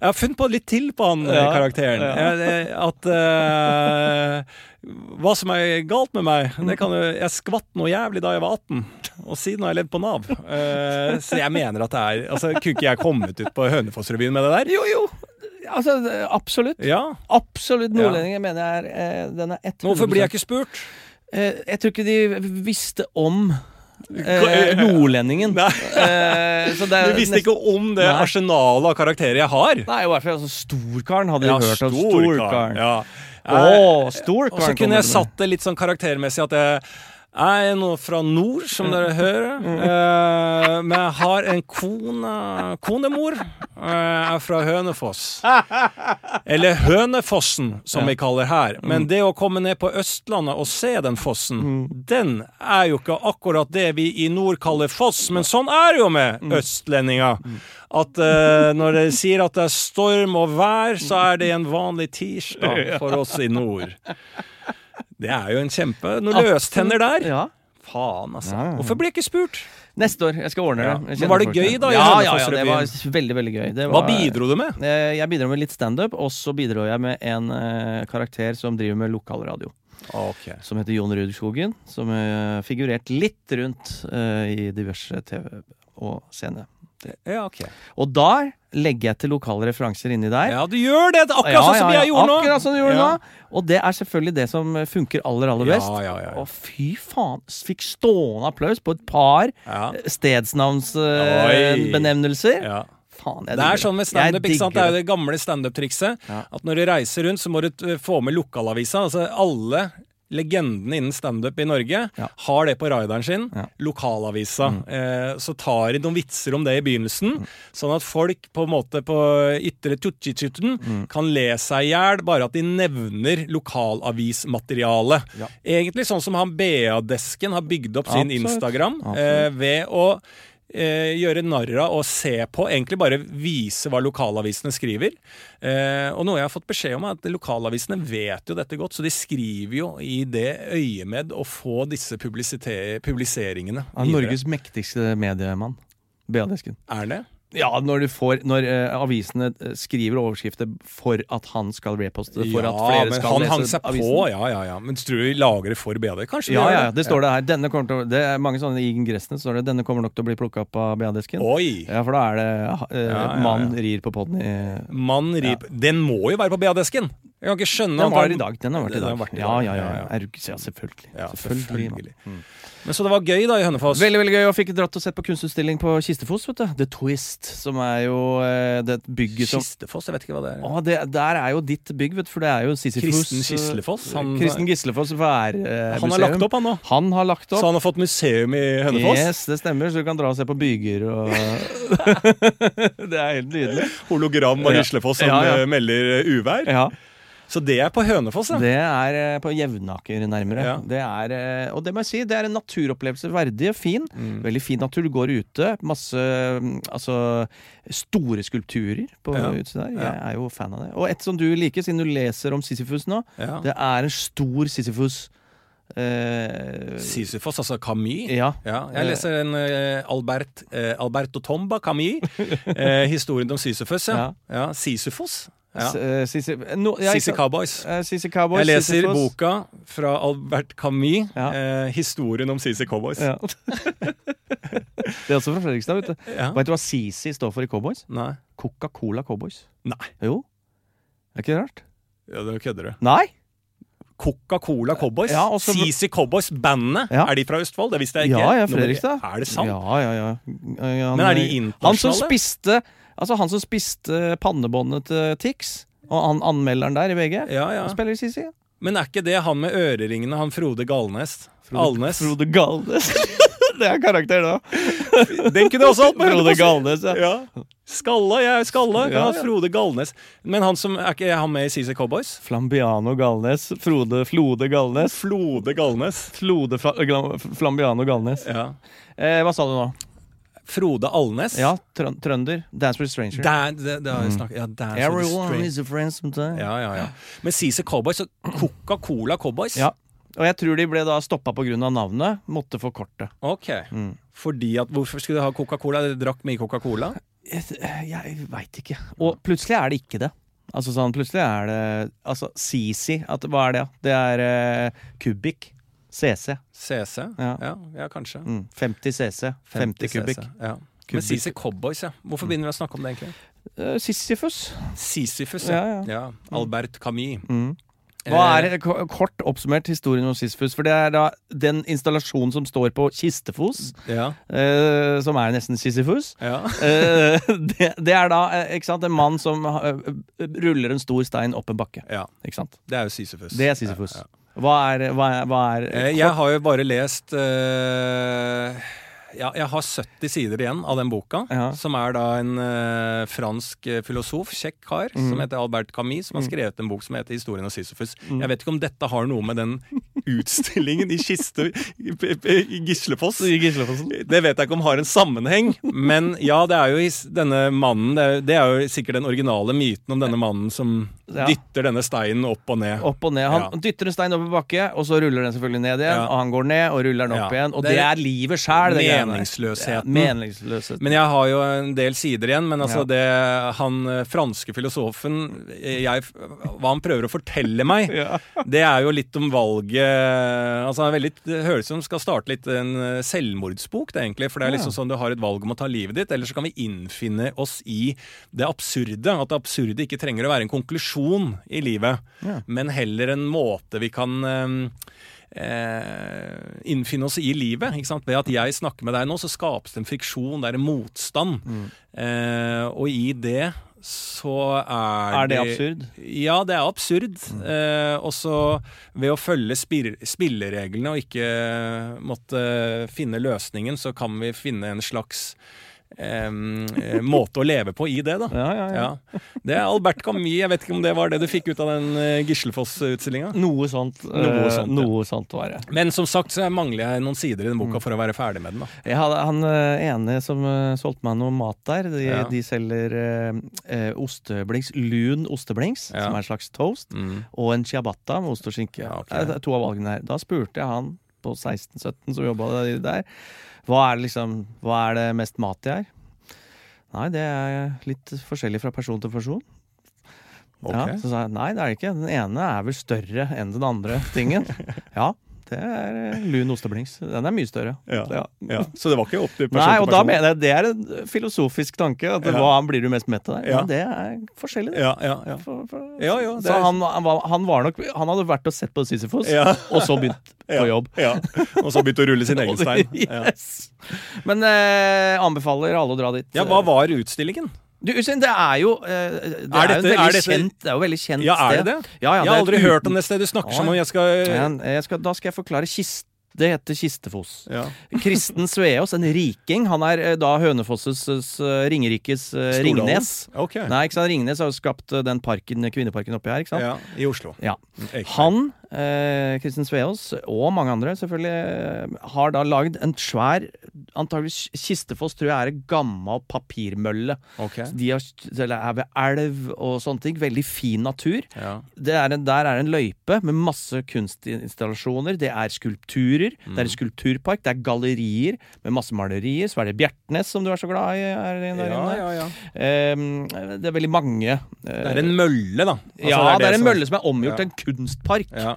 Speaker 1: Jeg har funnet på litt til på han eh,
Speaker 2: Ja.
Speaker 1: karakteren.
Speaker 2: Ja.
Speaker 1: Jeg, jeg- at eh, Hva som er galt med meg det kan jo, Jeg skvatt noe jævlig da jeg var 18, og siden har jeg levd på Nav. Eh, så jeg mener at det er altså, Kunne ikke jeg kommet ut på Hønefoss-revyen med det der?
Speaker 2: Jo, jo! Altså, det- absolutt.
Speaker 1: Ja.
Speaker 2: Absolutt nordlendinger mener jeg er eh, Den er 100
Speaker 1: Hvorfor blir jeg ikke spurt?
Speaker 2: eh, Jeg tror ikke de visste om eh, nordlendingen.
Speaker 1: Nei.
Speaker 2: Eh, så det
Speaker 1: Du
Speaker 2: er
Speaker 1: visste ikke om det
Speaker 2: Nei.
Speaker 1: arsenalet av karakterer jeg har.
Speaker 2: Nei, i hvert fall altså, Storkaren hadde de hørt om.
Speaker 1: storkaren,
Speaker 2: Storkaren.
Speaker 1: Ja. Eh,
Speaker 2: Å,
Speaker 1: Og så kunne
Speaker 2: storkaren
Speaker 1: jeg
Speaker 2: kommer det med.
Speaker 1: satt det litt sånn karaktermessig at jeg jeg er nå fra nord,
Speaker 2: Mm.
Speaker 1: som dere hører, eh, men jeg har en kone konemor. eh, Jeg er fra Hønefoss. Eller Hønefossen, som vi kaller her. Men
Speaker 2: Mm.
Speaker 1: det å komme ned på Østlandet og se den fossen, den er jo ikke akkurat det vi i nord kaller foss, men sånn er det jo med
Speaker 2: Mm.
Speaker 1: østlendinger. At eh, når de sier at det er storm og vær, så er det en vanlig tirsdag for oss i nord. Det er jo en kjempe Noen løstenner der.
Speaker 2: Ja.
Speaker 1: Faen, altså.
Speaker 2: Ja, ja, ja.
Speaker 1: Hvorfor blir jeg ikke spurt?
Speaker 2: Neste år. Jeg skal ordne det.
Speaker 1: Ja.
Speaker 2: Jeg
Speaker 1: Men
Speaker 2: kjenner
Speaker 1: var det
Speaker 2: folk
Speaker 1: gøy
Speaker 2: der.
Speaker 1: da i
Speaker 2: Ja, ja, ja, det var
Speaker 1: Hønefoss-revyen?
Speaker 2: veldig, veldig gøy. Det
Speaker 1: Hva
Speaker 2: var-
Speaker 1: bidro du med?
Speaker 2: Eh, Jeg bidro med litt standup, og så bidro jeg med en eh, karakter som driver med lokalradio.
Speaker 1: Ok.
Speaker 2: Som heter Jon Rudskogen. Som har figurert litt rundt eh, i diverse TV og scene.
Speaker 1: Ja, ok.
Speaker 2: Og der legger jeg til lokale referanser inni der.
Speaker 1: Ja, du gjør det! det er Akkurat
Speaker 2: Ja,
Speaker 1: sånn som
Speaker 2: ja, ja,
Speaker 1: jeg gjorde nå!
Speaker 2: Akkurat som du gjorde
Speaker 1: Ja.
Speaker 2: nå. Og det er selvfølgelig det som funker aller, aller best.
Speaker 1: Ja, ja, ja, ja.
Speaker 2: Og fy faen, fikk stående applaus på et par
Speaker 1: Ja. Oi.
Speaker 2: stedsnavnsbenevnelser.
Speaker 1: Ja.
Speaker 2: Faen, jeg
Speaker 1: Det
Speaker 2: digger
Speaker 1: er sånn med
Speaker 2: Jeg
Speaker 1: standup. ikke sant? Det er
Speaker 2: digger
Speaker 1: jo det gamle standup-trikset.
Speaker 2: Ja.
Speaker 1: At når du reiser rundt, så må du eh, få med lokalavisa. Altså alle legendene innen standup i Norge
Speaker 2: Ja.
Speaker 1: har det på raideren sin.
Speaker 2: Ja. Mm.
Speaker 1: Lokalavisa. Eh, så tar de noen vitser om det i begynnelsen, sånn at folk på en måte på ytre tutjitsjutten
Speaker 2: Mm.
Speaker 1: kan le seg i hjel, bare at de nevner lokalavismateriale.
Speaker 2: Ja.
Speaker 1: Egentlig sånn som han BA-desken har bygd opp sin
Speaker 2: Absolutt.
Speaker 1: Instagram eh,
Speaker 2: Absolutt.
Speaker 1: ved å eh, gjøre narr av og se på, egentlig bare vise hva lokalavisene skriver. Eh, og noe jeg har fått beskjed om, er at lokalavisene vet jo dette godt, så de skriver jo i det øyemed å få disse publisite- publiseringene.
Speaker 2: Han er
Speaker 1: videre.
Speaker 2: Norges mektigste mediemann. BA-desken.
Speaker 1: Er det?
Speaker 2: Ja, når, du får, når eh, avisene eh, skriver overskrifter for at han skal reposte, for at flere
Speaker 1: men
Speaker 2: skal
Speaker 1: han
Speaker 2: lese
Speaker 1: hang seg
Speaker 2: avisen.
Speaker 1: på, ja, ja, ja. Men tror du de lagrer for BD? E? Kanskje de
Speaker 2: Ja,
Speaker 1: gjør
Speaker 2: ja, ja, det står det her. Denne kommer til å, det er mange sånne I ingressene står det 'Denne kommer nok til å bli plukka opp av BA-desken'.
Speaker 1: Oi!
Speaker 2: Ja, for da er det
Speaker 1: ja,
Speaker 2: eh,
Speaker 1: ja.
Speaker 2: mann rir på podden i
Speaker 1: Mann rip. Den må jo være på BA-desken! Jeg kan ikke skjønne
Speaker 2: Den
Speaker 1: at
Speaker 2: var
Speaker 1: han-
Speaker 2: i dag. Den har vært i
Speaker 1: Den har
Speaker 2: dag.
Speaker 1: vært i dag.
Speaker 2: Ja, ja, ja.
Speaker 1: Ja, ja.
Speaker 2: Er du ikke- ja selvfølgelig.
Speaker 1: Ja,
Speaker 2: selvfølgelig.
Speaker 1: selvfølgelig.
Speaker 2: mann. Mm.
Speaker 1: Men Så det var gøy, da, i Hønefoss.
Speaker 2: Veldig veldig gøy. Og fikk dratt og sett på kunstutstilling på Kistefos. vet du The Twist, som er jo eh, det bygget som
Speaker 1: Kistefoss, jeg vet ikke hva det er.
Speaker 2: Å, det, Der er jo ditt bygg, vet du, for det er jo Sisyfos. eh,
Speaker 1: Kristen Kislefoss. Han,
Speaker 2: Kristen Gislefoss værmuseum.
Speaker 1: han har lagt opp, han nå.
Speaker 2: Han har lagt
Speaker 1: Så
Speaker 2: opp.
Speaker 1: han har fått museum i Hønefoss?
Speaker 2: Yes, det stemmer. Så du kan dra og se på byger og Det er helt nydelig.
Speaker 1: Hologram av
Speaker 2: Ja.
Speaker 1: Gislefoss som
Speaker 2: Ja, ja.
Speaker 1: eh, melder eh, uvær.
Speaker 2: Ja
Speaker 1: Så det er på Hønefoss, ja.
Speaker 2: Det er eh, på Jevnaker nærmere.
Speaker 1: Ja.
Speaker 2: Det er, eh, og det må jeg si, det er en naturopplevelse verdig og fin.
Speaker 1: Mm.
Speaker 2: Veldig fin natur. Du går ute. Masse mm, altså, store skulpturer på
Speaker 1: Ja.
Speaker 2: utsiden der. Jeg
Speaker 1: Ja.
Speaker 2: er jo fan av det. Og et som du liker, siden du leser om Sisyfus nå.
Speaker 1: ja.
Speaker 2: Det er en stor Sisyfus. Eh,
Speaker 1: Sisyfos, altså Camus.
Speaker 2: ja.
Speaker 1: Ja, jeg leser en eh, Albert, eh, Alberto Tomba, Camus. eh, historien om Sisyfos, ja.
Speaker 2: Ja.
Speaker 1: ja. Sisyfos. Ja.
Speaker 2: S- eh, Sisy- no, ja,
Speaker 1: Sissy
Speaker 2: ikke-
Speaker 1: Cowboys.
Speaker 2: eh, Sissy Cowboys.
Speaker 1: Jeg leser
Speaker 2: Sisyfus.
Speaker 1: boka fra Albert Camus,
Speaker 2: Ja.
Speaker 1: eh, 'Historien om Sissy Cowboys'.
Speaker 2: Ja. Det er også fra Fredrikstad, vet du.
Speaker 1: Ja.
Speaker 2: Vet du hva CC står for i Cowboys?
Speaker 1: Nei.
Speaker 2: Coca-Cola Cowboys.
Speaker 1: Nei.
Speaker 2: Jo. Er ikke det rart?
Speaker 1: Ja, det kødder du.
Speaker 2: Nei!
Speaker 1: Coca-Cola Cowboys.
Speaker 2: Ja, og så-
Speaker 1: CC Cowboys, bandet.
Speaker 2: Ja.
Speaker 1: Er de fra Østfold? Det visste jeg ikke.
Speaker 2: Ja, ja,
Speaker 1: Nå må jeg-
Speaker 2: Fredrikstad.
Speaker 1: Er det sant?
Speaker 2: Ja, ja, ja. Ja, han-
Speaker 1: Men er de
Speaker 2: Han som
Speaker 1: internasjonale?
Speaker 2: spiste Altså han som spiste pannebåndet til Tix, og han anmelderen der i VG,
Speaker 1: Ja, ja.
Speaker 2: han spiller i CC.
Speaker 1: Men er ikke det han med øreringene, han Frode Galnes? Alnes?
Speaker 2: Frode Galnes. det er karakter, da.
Speaker 1: Den kunne jeg også hatt med!
Speaker 2: Frode Galnes, ja.
Speaker 1: Ja. Skalla, jeg er skalla. Kan
Speaker 2: Ja,
Speaker 1: ha
Speaker 2: ja.
Speaker 1: Frode Galnes. Men han som, er ikke han med i CC Cowboys?
Speaker 2: Flambiano Galnes. Frode Flode Galnes.
Speaker 1: Flode Galnes.
Speaker 2: Flode Fla Gla- Flambiano Galnes.
Speaker 1: Ja.
Speaker 2: Eh, hva sa du nå?
Speaker 1: Frode Alnes.
Speaker 2: Ja, trøn trønder. Dance with Stranger.
Speaker 1: Der, det, det har jeg snakket Ja, der så det
Speaker 2: Everyone
Speaker 1: straight.
Speaker 2: is a friend sometimes.
Speaker 1: Ja, ja, ja. Men CC Cowboys og Coca-Cola Cowboys?
Speaker 2: Ja. Og jeg tror de ble da stoppa pga. navnet. Måtte Mm. forkorte.
Speaker 1: Ok. Fordi at, hvorfor skulle de ha Coca-Cola? De drakk mye Coca-Cola?
Speaker 2: Jeg, eh, jeg veit ikke. Og plutselig er det ikke det. Altså sånn, Plutselig er det Altså CC. At, hva er det? da? Det er eh, kubikk. CC.
Speaker 1: CC? Ja,
Speaker 2: Ja.
Speaker 1: ja, kanskje.
Speaker 2: Mm. 50 CC. 50, kubikk.
Speaker 1: CC, Ja. Men
Speaker 2: Kubikk.
Speaker 1: CC Cowboys, ja. Hvorfor begynner vi å snakke om det, egentlig?
Speaker 2: Uh, Sisyfus.
Speaker 1: Sisyfus,
Speaker 2: Ja, ja. Mm.
Speaker 1: Albert Camus. Eh,
Speaker 2: Hva er ko- kort oppsummert historien om Sisyfus? For det er da den installasjonen som står på Kistefos,
Speaker 1: Ja.
Speaker 2: eh, som er nesten Sisyfus.
Speaker 1: ja.
Speaker 2: Eh, det, det er da eh, ikke sant, en mann som eh, ruller en stor stein opp en bakke.
Speaker 1: Ja,
Speaker 2: Ikke sant?
Speaker 1: det er jo Sisyfus.
Speaker 2: Det er Sisyfus.
Speaker 1: Ja, ja.
Speaker 2: Hva er, hva er, hva er
Speaker 1: Eh, Jeg har jo bare lest eh, ja, Jeg har 70 sider igjen av den boka,
Speaker 2: Ja.
Speaker 1: som er da en eh, fransk eh, filosof, kjekk kar,
Speaker 2: Mm.
Speaker 1: som heter Albert Camus, som har skrevet en bok som heter 'Historien om Sisyfus'. Jeg vet ikke om dette har noe med den utstillingen i kiste i i Gislefoss
Speaker 2: Gislefossen.
Speaker 1: det vet jeg ikke om har en sammenheng, men ja, det er jo his- denne mannen Det er, jo- det er jo sikkert den originale myten om denne mannen som
Speaker 2: Ja.
Speaker 1: dytter denne steinen opp og ned.
Speaker 2: Opp og ned. Han
Speaker 1: Ja.
Speaker 2: dytter en stein opp en bakke, og så ruller den selvfølgelig ned igjen.
Speaker 1: Ja.
Speaker 2: Og han går ned, og ruller den opp
Speaker 1: Ja.
Speaker 2: igjen. Og
Speaker 1: Det
Speaker 2: det,
Speaker 1: er
Speaker 2: er livet sjæl. det greiene der.
Speaker 1: Meningsløsheten.
Speaker 2: Ja, meningsløsheten.
Speaker 1: Men jeg har jo en del sider igjen. Men altså
Speaker 2: Ja.
Speaker 1: det han eh, franske filosofen eh, jeg, Hva han prøver å fortelle meg,
Speaker 2: Ja.
Speaker 1: det er jo litt om valget Altså det er veldig, Det høres ut som skal starte litt en eh, selvmordsbok, det egentlig. For det er liksom sånn du har et valg om å ta livet ditt, eller så kan vi innfinne oss i det absurde. At det absurde ikke trenger å være en konklusjon i livet,
Speaker 2: Ja.
Speaker 1: men heller en måte vi kan eh, eh, innfinne oss i livet. Ikke sant? Ved at jeg snakker med deg nå, så skapes det en friksjon, det er en motstand.
Speaker 2: Mm.
Speaker 1: Eh, og i det så er,
Speaker 2: Er det absurd?
Speaker 1: Ja, det er absurd. Eh, også ved å følge spir spillereglene og ikke eh, måtte finne løsningen, så kan vi finne en slags eh, eh, måte å leve på i det, da.
Speaker 2: Ja, ja, ja.
Speaker 1: Ja. Det er Albert Camus. Jeg vet ikke om det var det du fikk ut av den eh, Gislefoss-utstillinga?
Speaker 2: Noe sånt. eh,
Speaker 1: Noe sånt, ja.
Speaker 2: noe sånt var det.
Speaker 1: Men som sagt så mangler jeg noen sider i den boka for å være ferdig med den. da.
Speaker 2: Jeg hadde han eh, ene som eh, solgte meg noe mat der. De,
Speaker 1: Ja.
Speaker 2: de selger eh, eh, osteblinks, lun osteblings,
Speaker 1: Ja.
Speaker 2: som er en slags toast,
Speaker 1: Mm.
Speaker 2: og en ciabatta med ost og skinke.
Speaker 1: Ja, ok.
Speaker 2: Eh, Det er to av valgene her. Da spurte jeg han på 16-17 som jobba der, hva er, det liksom, hva er det mest mat i her? Nei, det er litt forskjellig fra person til person.
Speaker 1: Ok.
Speaker 2: Ja, så sa jeg nei, det er det ikke. Den ene er vel større enn den andre tingen. ja, det er eh, lun osteblings. Den er mye større.
Speaker 1: Ja.
Speaker 2: Ja.
Speaker 1: Ja, Så det var ikke opp til person
Speaker 2: Nei,
Speaker 1: til
Speaker 2: og da
Speaker 1: person.
Speaker 2: mener jeg det er en filosofisk tanke. At
Speaker 1: Ja.
Speaker 2: Hva blir du mest mett av?
Speaker 1: Ja.
Speaker 2: Ja. det er forskjellig. det.
Speaker 1: Ja, ja, ja.
Speaker 2: For, for,
Speaker 1: Ja, ja, det
Speaker 2: så
Speaker 1: er-
Speaker 2: han, han, var, han var nok Han hadde vært og sett på Sisyfos,
Speaker 1: Ja.
Speaker 2: og så begynt på jobb.
Speaker 1: Ja. Og så begynte å rulle sin egen stein. Ja.
Speaker 2: Yes. Men eh, anbefaler alle å dra dit.
Speaker 1: ja, hva var utstillingen?
Speaker 2: Du, Usain, det er jo eh, Det er,
Speaker 1: Er dette-
Speaker 2: jo
Speaker 1: er
Speaker 2: en veldig
Speaker 1: dette-
Speaker 2: kjent Det er jo et veldig kjent
Speaker 1: Ja, er det det?
Speaker 2: sted. Ja, ja,
Speaker 1: Jeg har aldri hørt om
Speaker 2: det.
Speaker 1: det stedet du snakker som om.
Speaker 2: Nei.
Speaker 1: Jeg skal
Speaker 2: er et uten- Men jeg skal, da skal jeg forklare kist, Det heter Kistefos.
Speaker 1: ja.
Speaker 2: Kristen Sveaas, en riking. Han er eh, da Hønefosses eh, Ringerikes eh,
Speaker 1: Stordalen.
Speaker 2: Ringnes.
Speaker 1: Ok.
Speaker 2: Nei, ikke sant? Ringnes har jo skapt eh, den parken, kvinneparken oppi her. ikke sant?
Speaker 1: Ja, I Oslo. Mm,
Speaker 2: Ja.
Speaker 1: Ekeberg.
Speaker 2: Han, eh, Kristin Sveaas, og mange andre selvfølgelig, eh, har da lagd en svær antageligvis Kistefoss tror jeg er en gammel papirmølle.
Speaker 1: Ok.
Speaker 2: De har, eller er ved elv og sånne ting. Veldig fin natur.
Speaker 1: Ja.
Speaker 2: Det er en, der er en løype med masse kunstinstallasjoner. Det er skulpturer. Det
Speaker 1: Mm.
Speaker 2: er en skulpturpark. Det er gallerier med masse malerier. Så er det Bjertnæs, som du er så glad i. Er det, der
Speaker 1: Ja,
Speaker 2: inne.
Speaker 1: ja, ja.
Speaker 2: Eh, det er veldig mange eh,
Speaker 1: Det er en mølle, da. Altså,
Speaker 2: ja, det er, en
Speaker 1: som-
Speaker 2: mølle som er omgjort til en kunstpark.
Speaker 1: Ja.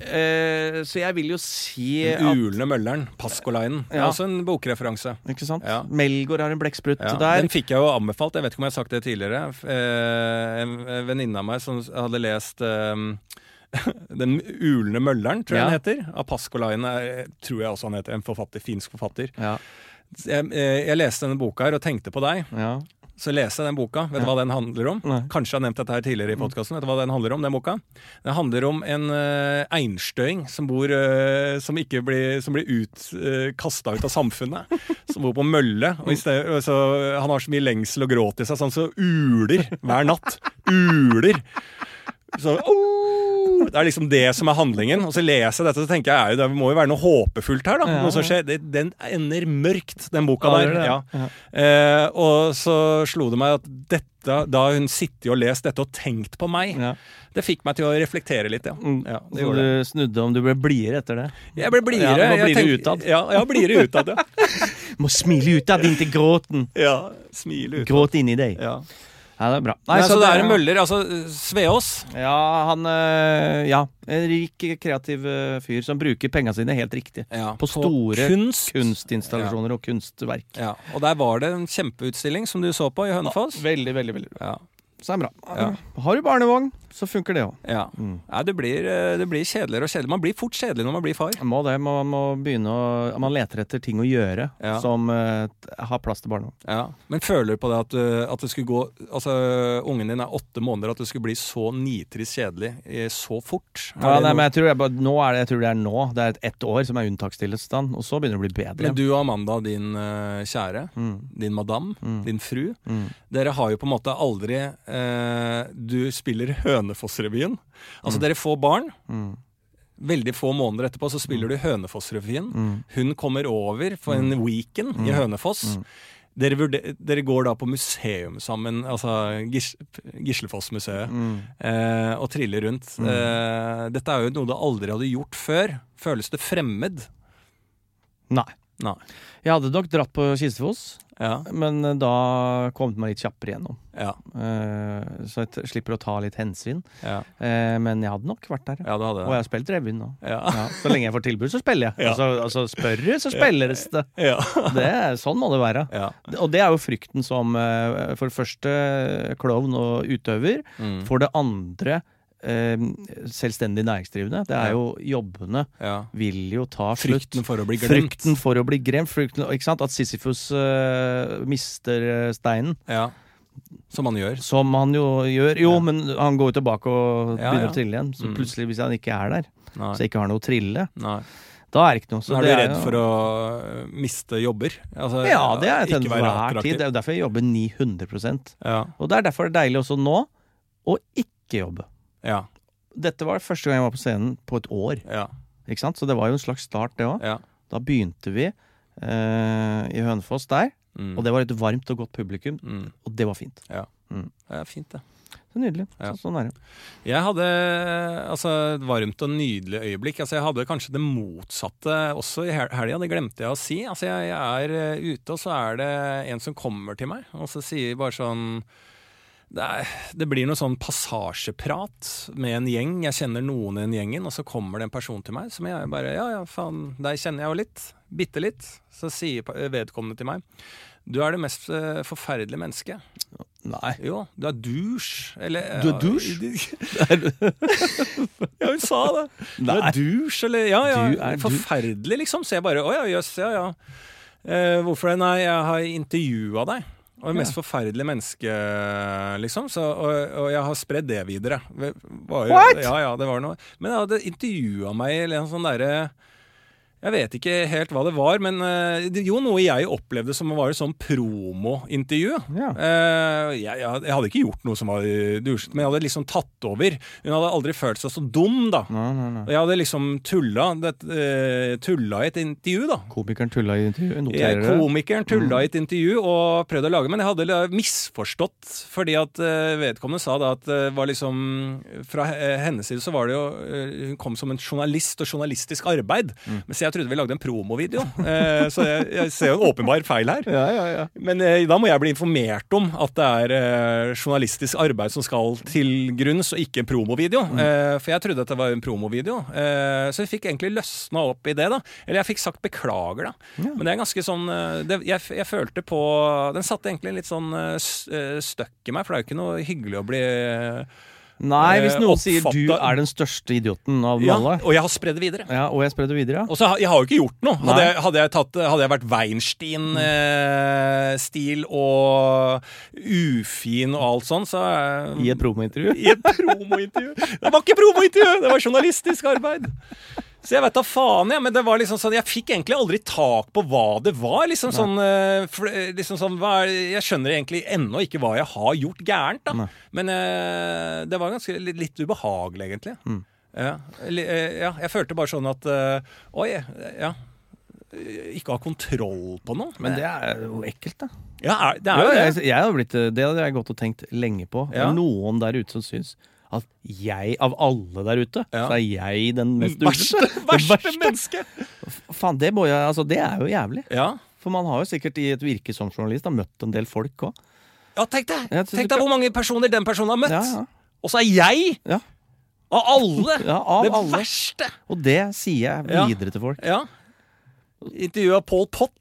Speaker 2: Eh, så jeg vil jo si
Speaker 1: Den
Speaker 2: at
Speaker 1: ulne mølleren, Pascolainen. Det er
Speaker 2: Ja.
Speaker 1: også en bokreferanse.
Speaker 2: Ikke sant?
Speaker 1: Ja.
Speaker 2: Melgaard har en blekksprut
Speaker 1: Ja,
Speaker 2: der.
Speaker 1: Den fikk jeg jo anbefalt. Jeg vet ikke om jeg har sagt det tidligere. F- Eh, en en venninne av meg som hadde lest eh, Den ulne mølleren, tror jeg
Speaker 2: Ja.
Speaker 1: den heter. Av Pascolainen er- tror jeg også han heter. En forfatter, finsk forfatter.
Speaker 2: Ja,
Speaker 1: Jeg, eh, jeg leste denne boka her og tenkte på deg.
Speaker 2: ja.
Speaker 1: Så leste jeg den boka. Vet du hva den handler om?
Speaker 2: Nei. Mm.
Speaker 1: Kanskje jeg har nevnt dette her tidligere i podkasten. Vet du hva den handler om, den boka? Den handler om en eh, einstøing som bor eh, Som ikke blir, som blir ut, uh, kasta ut av samfunnet. som bor på mølle. Og i sted, og så, han har så mye lengsel og gråt i seg, så han så uler hver natt. Uler! Så, «Åh!» det er liksom det som er handlingen. Og så leser jeg dette, så tenker jeg «Au, det må jo være noe håpefullt her. da
Speaker 2: Ja.
Speaker 1: Noe som skjer, det, Den ender mørkt, den boka
Speaker 2: Ja, det
Speaker 1: der.
Speaker 2: gjør det.
Speaker 1: Ja. Eh, og så slo det meg at dette, da har hun sittet og lest dette og tenkt på meg,
Speaker 2: ja.
Speaker 1: det fikk meg til å reflektere litt, ja.
Speaker 2: Mm.
Speaker 1: ja det
Speaker 2: Så
Speaker 1: gjorde
Speaker 2: du
Speaker 1: det.
Speaker 2: snudde om du ble blidere etter det?
Speaker 1: Jeg ble blidere.
Speaker 2: Ja, du var
Speaker 1: jeg
Speaker 2: blidere
Speaker 1: tenkte-
Speaker 2: utad.
Speaker 1: Ja, ja, blidere utad, ja.
Speaker 2: Må smile utad, inntil gråten.
Speaker 1: ja. Smile ut.
Speaker 2: Gråt inni deg.
Speaker 1: Ja.
Speaker 2: Ja, det er bra.
Speaker 1: Nei, så, det er en
Speaker 2: mølle
Speaker 1: møller. Altså, Sveås.
Speaker 2: Ja, han øh, Ja. En rik, kreativ øh, fyr som bruker penga sine helt riktig.
Speaker 1: Ja,
Speaker 2: På store
Speaker 1: kunst.
Speaker 2: Kunstinstallasjoner og kunstverk.
Speaker 1: Ja, og der var det en kjempeutstilling som du så på i Hønefoss.
Speaker 2: Veldig, veldig, veldig bra.
Speaker 1: Ja.
Speaker 2: Så er det bra.
Speaker 1: Ja.
Speaker 2: Har du barnevogn, så funker det òg.
Speaker 1: ja. Nei, det, blir, eh, det blir kjedeligere og kjedeligere. Man blir fort kjedelig når man blir far.
Speaker 2: Må det, må, må begynne å Man leter etter ting å gjøre
Speaker 1: Ja.
Speaker 2: som øh, t- har plass til barnevogn.
Speaker 1: Ja. Men føler du på det at, uh, at det skulle gå Altså, ungen din er åtte måneder, at det skulle bli så nitrist kjedelig eh, så fort? Er det
Speaker 2: Ja, nei,
Speaker 1: noe-
Speaker 2: men jeg tror, jeg, bare- nå er det, jeg tror det er nå. Det er et- ett år som er unntakstilstand, og så begynner det å bli bedre. Mm,
Speaker 1: men du og Amanda, din eh, kjære, din madam, din fru, dere har jo på en måte aldri eh, Du spiller Hønefoss-revyen.
Speaker 2: Mm.
Speaker 1: Altså, dere får barn. Veldig få måneder etterpå så
Speaker 2: Mm.
Speaker 1: spiller du Hønefoss-revyen. Hun kommer over for en weekend
Speaker 2: Mm.
Speaker 1: i Hønefoss. Dere, vurder, dere går da på museum sammen, altså Gis Gislefoss-museet,
Speaker 2: mm.
Speaker 1: eh, og triller rundt. Eh, dette er jo noe du aldri hadde gjort før. Føles det fremmed?
Speaker 2: Nei.
Speaker 1: Nei.
Speaker 2: Jeg hadde nok dratt på Kistefos,
Speaker 1: Ja.
Speaker 2: men eh, da kom det meg litt kjappere gjennom.
Speaker 1: Ja,
Speaker 2: Eh, så jeg t- slipper å ta litt hensyn.
Speaker 1: ja,
Speaker 2: Eh, men jeg hadde nok vært der.
Speaker 1: ja du hadde
Speaker 2: Og jeg
Speaker 1: det.
Speaker 2: har spilt revyen nå.
Speaker 1: Ja.
Speaker 2: Ja, så lenge jeg får tilbud, så spiller jeg.
Speaker 1: Ja.
Speaker 2: Altså, altså spør du, så spilles det.
Speaker 1: Ja.
Speaker 2: det. er- Sånn må det være.
Speaker 1: Ja.
Speaker 2: Og det er jo frykten som eh, for det første klovn og utøver.
Speaker 1: Mm.
Speaker 2: For det andre eh, selvstendig næringsdrivende. Det
Speaker 1: Ja.
Speaker 2: er jo jobbene
Speaker 1: ja.
Speaker 2: vil jo ta slutt.
Speaker 1: Frykten for å bli glemt.
Speaker 2: Frykten for å bli glemt. Frykten, ikke sant? At Sisyfos eh, mister eh, steinen.
Speaker 1: Ja. Som man gjør.
Speaker 2: Som han jo gjør. Jo,
Speaker 1: Ja.
Speaker 2: men han går jo tilbake og
Speaker 1: Ja,
Speaker 2: begynner
Speaker 1: ja.
Speaker 2: å trille igjen. Så
Speaker 1: Mm.
Speaker 2: plutselig, hvis han ikke er der, så
Speaker 1: Nei.
Speaker 2: jeg ikke har noe å trille,
Speaker 1: Nei.
Speaker 2: da er det ikke noe.
Speaker 1: Så er du redd for å eh, miste jobber? Altså,
Speaker 2: ja, det er
Speaker 1: ikke
Speaker 2: til
Speaker 1: være
Speaker 2: enhver tid. Det er jo derfor jeg jobber 900
Speaker 1: Ja.
Speaker 2: Og det er derfor det er deilig også nå å ikke jobbe.
Speaker 1: Ja.
Speaker 2: Dette var første gang jeg var på scenen på et år.
Speaker 1: Ja.
Speaker 2: Ikke sant? Så det var jo en slags start, det òg.
Speaker 1: ja.
Speaker 2: Da begynte vi eh, i Hønefoss der,
Speaker 1: Mm.
Speaker 2: og det var et varmt og godt publikum,
Speaker 1: mm.
Speaker 2: og det var fint.
Speaker 1: Det er fint, det.
Speaker 2: Så nydelig.
Speaker 1: Ja.
Speaker 2: Så, sånn er det.
Speaker 1: Jeg hadde altså, et varmt og nydelig øyeblikk. Altså, jeg hadde kanskje det motsatte også i hel- helga, det glemte jeg å si. Altså, jeg, jeg er eh, ute, og så er det en som kommer til meg, og så sier bare sånn det, er, det blir noe sånn passasjeprat med en gjeng. Jeg kjenner noen i den gjengen, og så kommer det en person til meg som jeg bare Ja, ja, faen, deg kjenner jeg jo litt. Bitte litt. Så sier pa- vedkommende til meg Du er det mest eh, forferdelige mennesket.
Speaker 2: Nei.
Speaker 1: Jo, du er douche. Eller eh,
Speaker 2: Du er douche?
Speaker 1: Ja, hun sa det. Du
Speaker 2: Nei.
Speaker 1: er douche, eller Ja, ja.
Speaker 2: Du er du-
Speaker 1: Forferdelig, liksom. Så jeg bare Å ja, jøss, ja, ja. Eh, hvorfor det? Nei, jeg har intervjua deg. Og det mest forferdelige menneske, liksom. Så, og, og jeg har spredd det videre. Det var jo-
Speaker 2: What?
Speaker 1: Ja, ja, det var noe. Men jeg hadde intervjua meg i en sånn derre jeg vet ikke helt hva det var, men eh, det- jo, noe jeg opplevde som var et sånn promointervju.
Speaker 2: Ja.
Speaker 1: Eh, jeg, jeg jeg hadde ikke gjort noe som var eh, dusjet, men jeg hadde liksom tatt over. Hun hadde aldri følt seg så dum, da.
Speaker 2: Nei, nei, nei.
Speaker 1: Og jeg hadde liksom tulla, det, eh, tulla i et intervju, da.
Speaker 2: Komikeren tulla i intervjuet.
Speaker 1: Jeg,
Speaker 2: Noterer det. Mm.
Speaker 1: komikeren tulla i et intervju og prøvde å lage, men jeg hadde da misforstått. Fordi at eh, vedkommende sa da at det var liksom eh,
Speaker 2: Mm.
Speaker 1: Fra eh, hennes side så var det jo eh, Hun kom som en journalist og journalistisk arbeid. Mens jeg jeg trodde vi lagde en promovideo. Eh, så jeg, jeg ser jo en åpenbar feil her.
Speaker 2: Ja, ja, ja.
Speaker 1: Men eh, da må jeg bli informert om at det er eh, journalistisk arbeid som skal til grunns, og ikke en promovideo. Eh, for jeg trodde at det var en promovideo. Eh, så jeg fikk egentlig løsna opp i det, da. Eller jeg fikk sagt beklager, da. Men det er ganske sånn eh, det, jeg, f- jeg følte på Den satte egentlig litt sånn eh, s- eh, støkk i meg, for det er jo ikke noe hyggelig å bli eh,
Speaker 2: Nei, hvis
Speaker 1: Eh,
Speaker 2: noen sier
Speaker 1: oppfatta-
Speaker 2: du er den største idioten av
Speaker 1: ja,
Speaker 2: alle,
Speaker 1: Og jeg har spredd det videre.
Speaker 2: ja, og jeg sprer det videre, ja.
Speaker 1: Og så har- Jeg har jo ikke gjort noe. Hadde
Speaker 2: Nei.
Speaker 1: jeg, hadde jeg, tatt, hadde jeg vært Weinstein-stil og ufin og alt sånn, så eh,
Speaker 2: I et promointervju.
Speaker 1: I et promointervju! Det var ikke promointervju, det var journalistisk arbeid! Så jeg vet da faen, jeg. Men det var liksom sånn, jeg fikk egentlig aldri tak på hva det var. liksom sånn, eh, for, eh, liksom sånn hva, er- Jeg skjønner egentlig ennå ikke hva jeg har gjort gærent, da.
Speaker 2: Nei.
Speaker 1: Men eh, det var ganske litt, litt ubehagelig, egentlig.
Speaker 2: Mm.
Speaker 1: Ja, li- eh, ja, jeg følte bare sånn at eh, Oi, ja. Ikke ha kontroll på noe.
Speaker 2: Men det er jo ekkelt, da.
Speaker 1: ja, er, det er
Speaker 2: Ja,
Speaker 1: jo det.
Speaker 2: jeg, jeg hadde blitt, eh, det hadde jeg gått og tenkt lenge på. Det
Speaker 1: Ja.
Speaker 2: er noen der ute som syns at jeg, av alle der ute,
Speaker 1: Ja. Mm,
Speaker 2: så er jeg den mest
Speaker 1: Verste,
Speaker 2: urtete.
Speaker 1: verste menneske!
Speaker 2: Faen, det, må jeg, altså, det er jo jævlig.
Speaker 1: Ja.
Speaker 2: For man har jo sikkert i et virke som journalist da, møtt en del folk òg.
Speaker 1: ja, tenk deg
Speaker 2: Jeg synes
Speaker 1: Tenk
Speaker 2: det-
Speaker 1: deg hvor mange personer den personen har møtt!
Speaker 2: Ja, ja.
Speaker 1: Og så er jeg,
Speaker 2: Ja.
Speaker 1: av alle,
Speaker 2: Ja, av
Speaker 1: det
Speaker 2: alle.
Speaker 1: verste!
Speaker 2: Og det sier jeg
Speaker 1: Ja.
Speaker 2: videre til folk.
Speaker 1: Ja. Intervjua Pol Pott.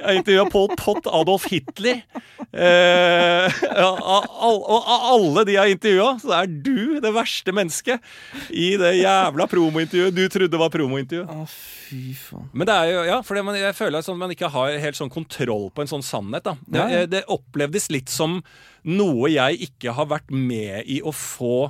Speaker 1: Jeg intervjua Pol Pott, Adolf Hitler. Eh, ja, av, all- og av alle de jeg har intervjua, så er du det verste mennesket i det jævla promointervjuet du trodde var promointervju.
Speaker 2: Å, fy faen.
Speaker 1: Men det er jo, ja, for det, man, jeg føler sånn at man ikke har helt sånn kontroll på en sånn sannhet. da. Det,
Speaker 2: Nei.
Speaker 1: det opplevdes litt som noe jeg ikke har vært med i å få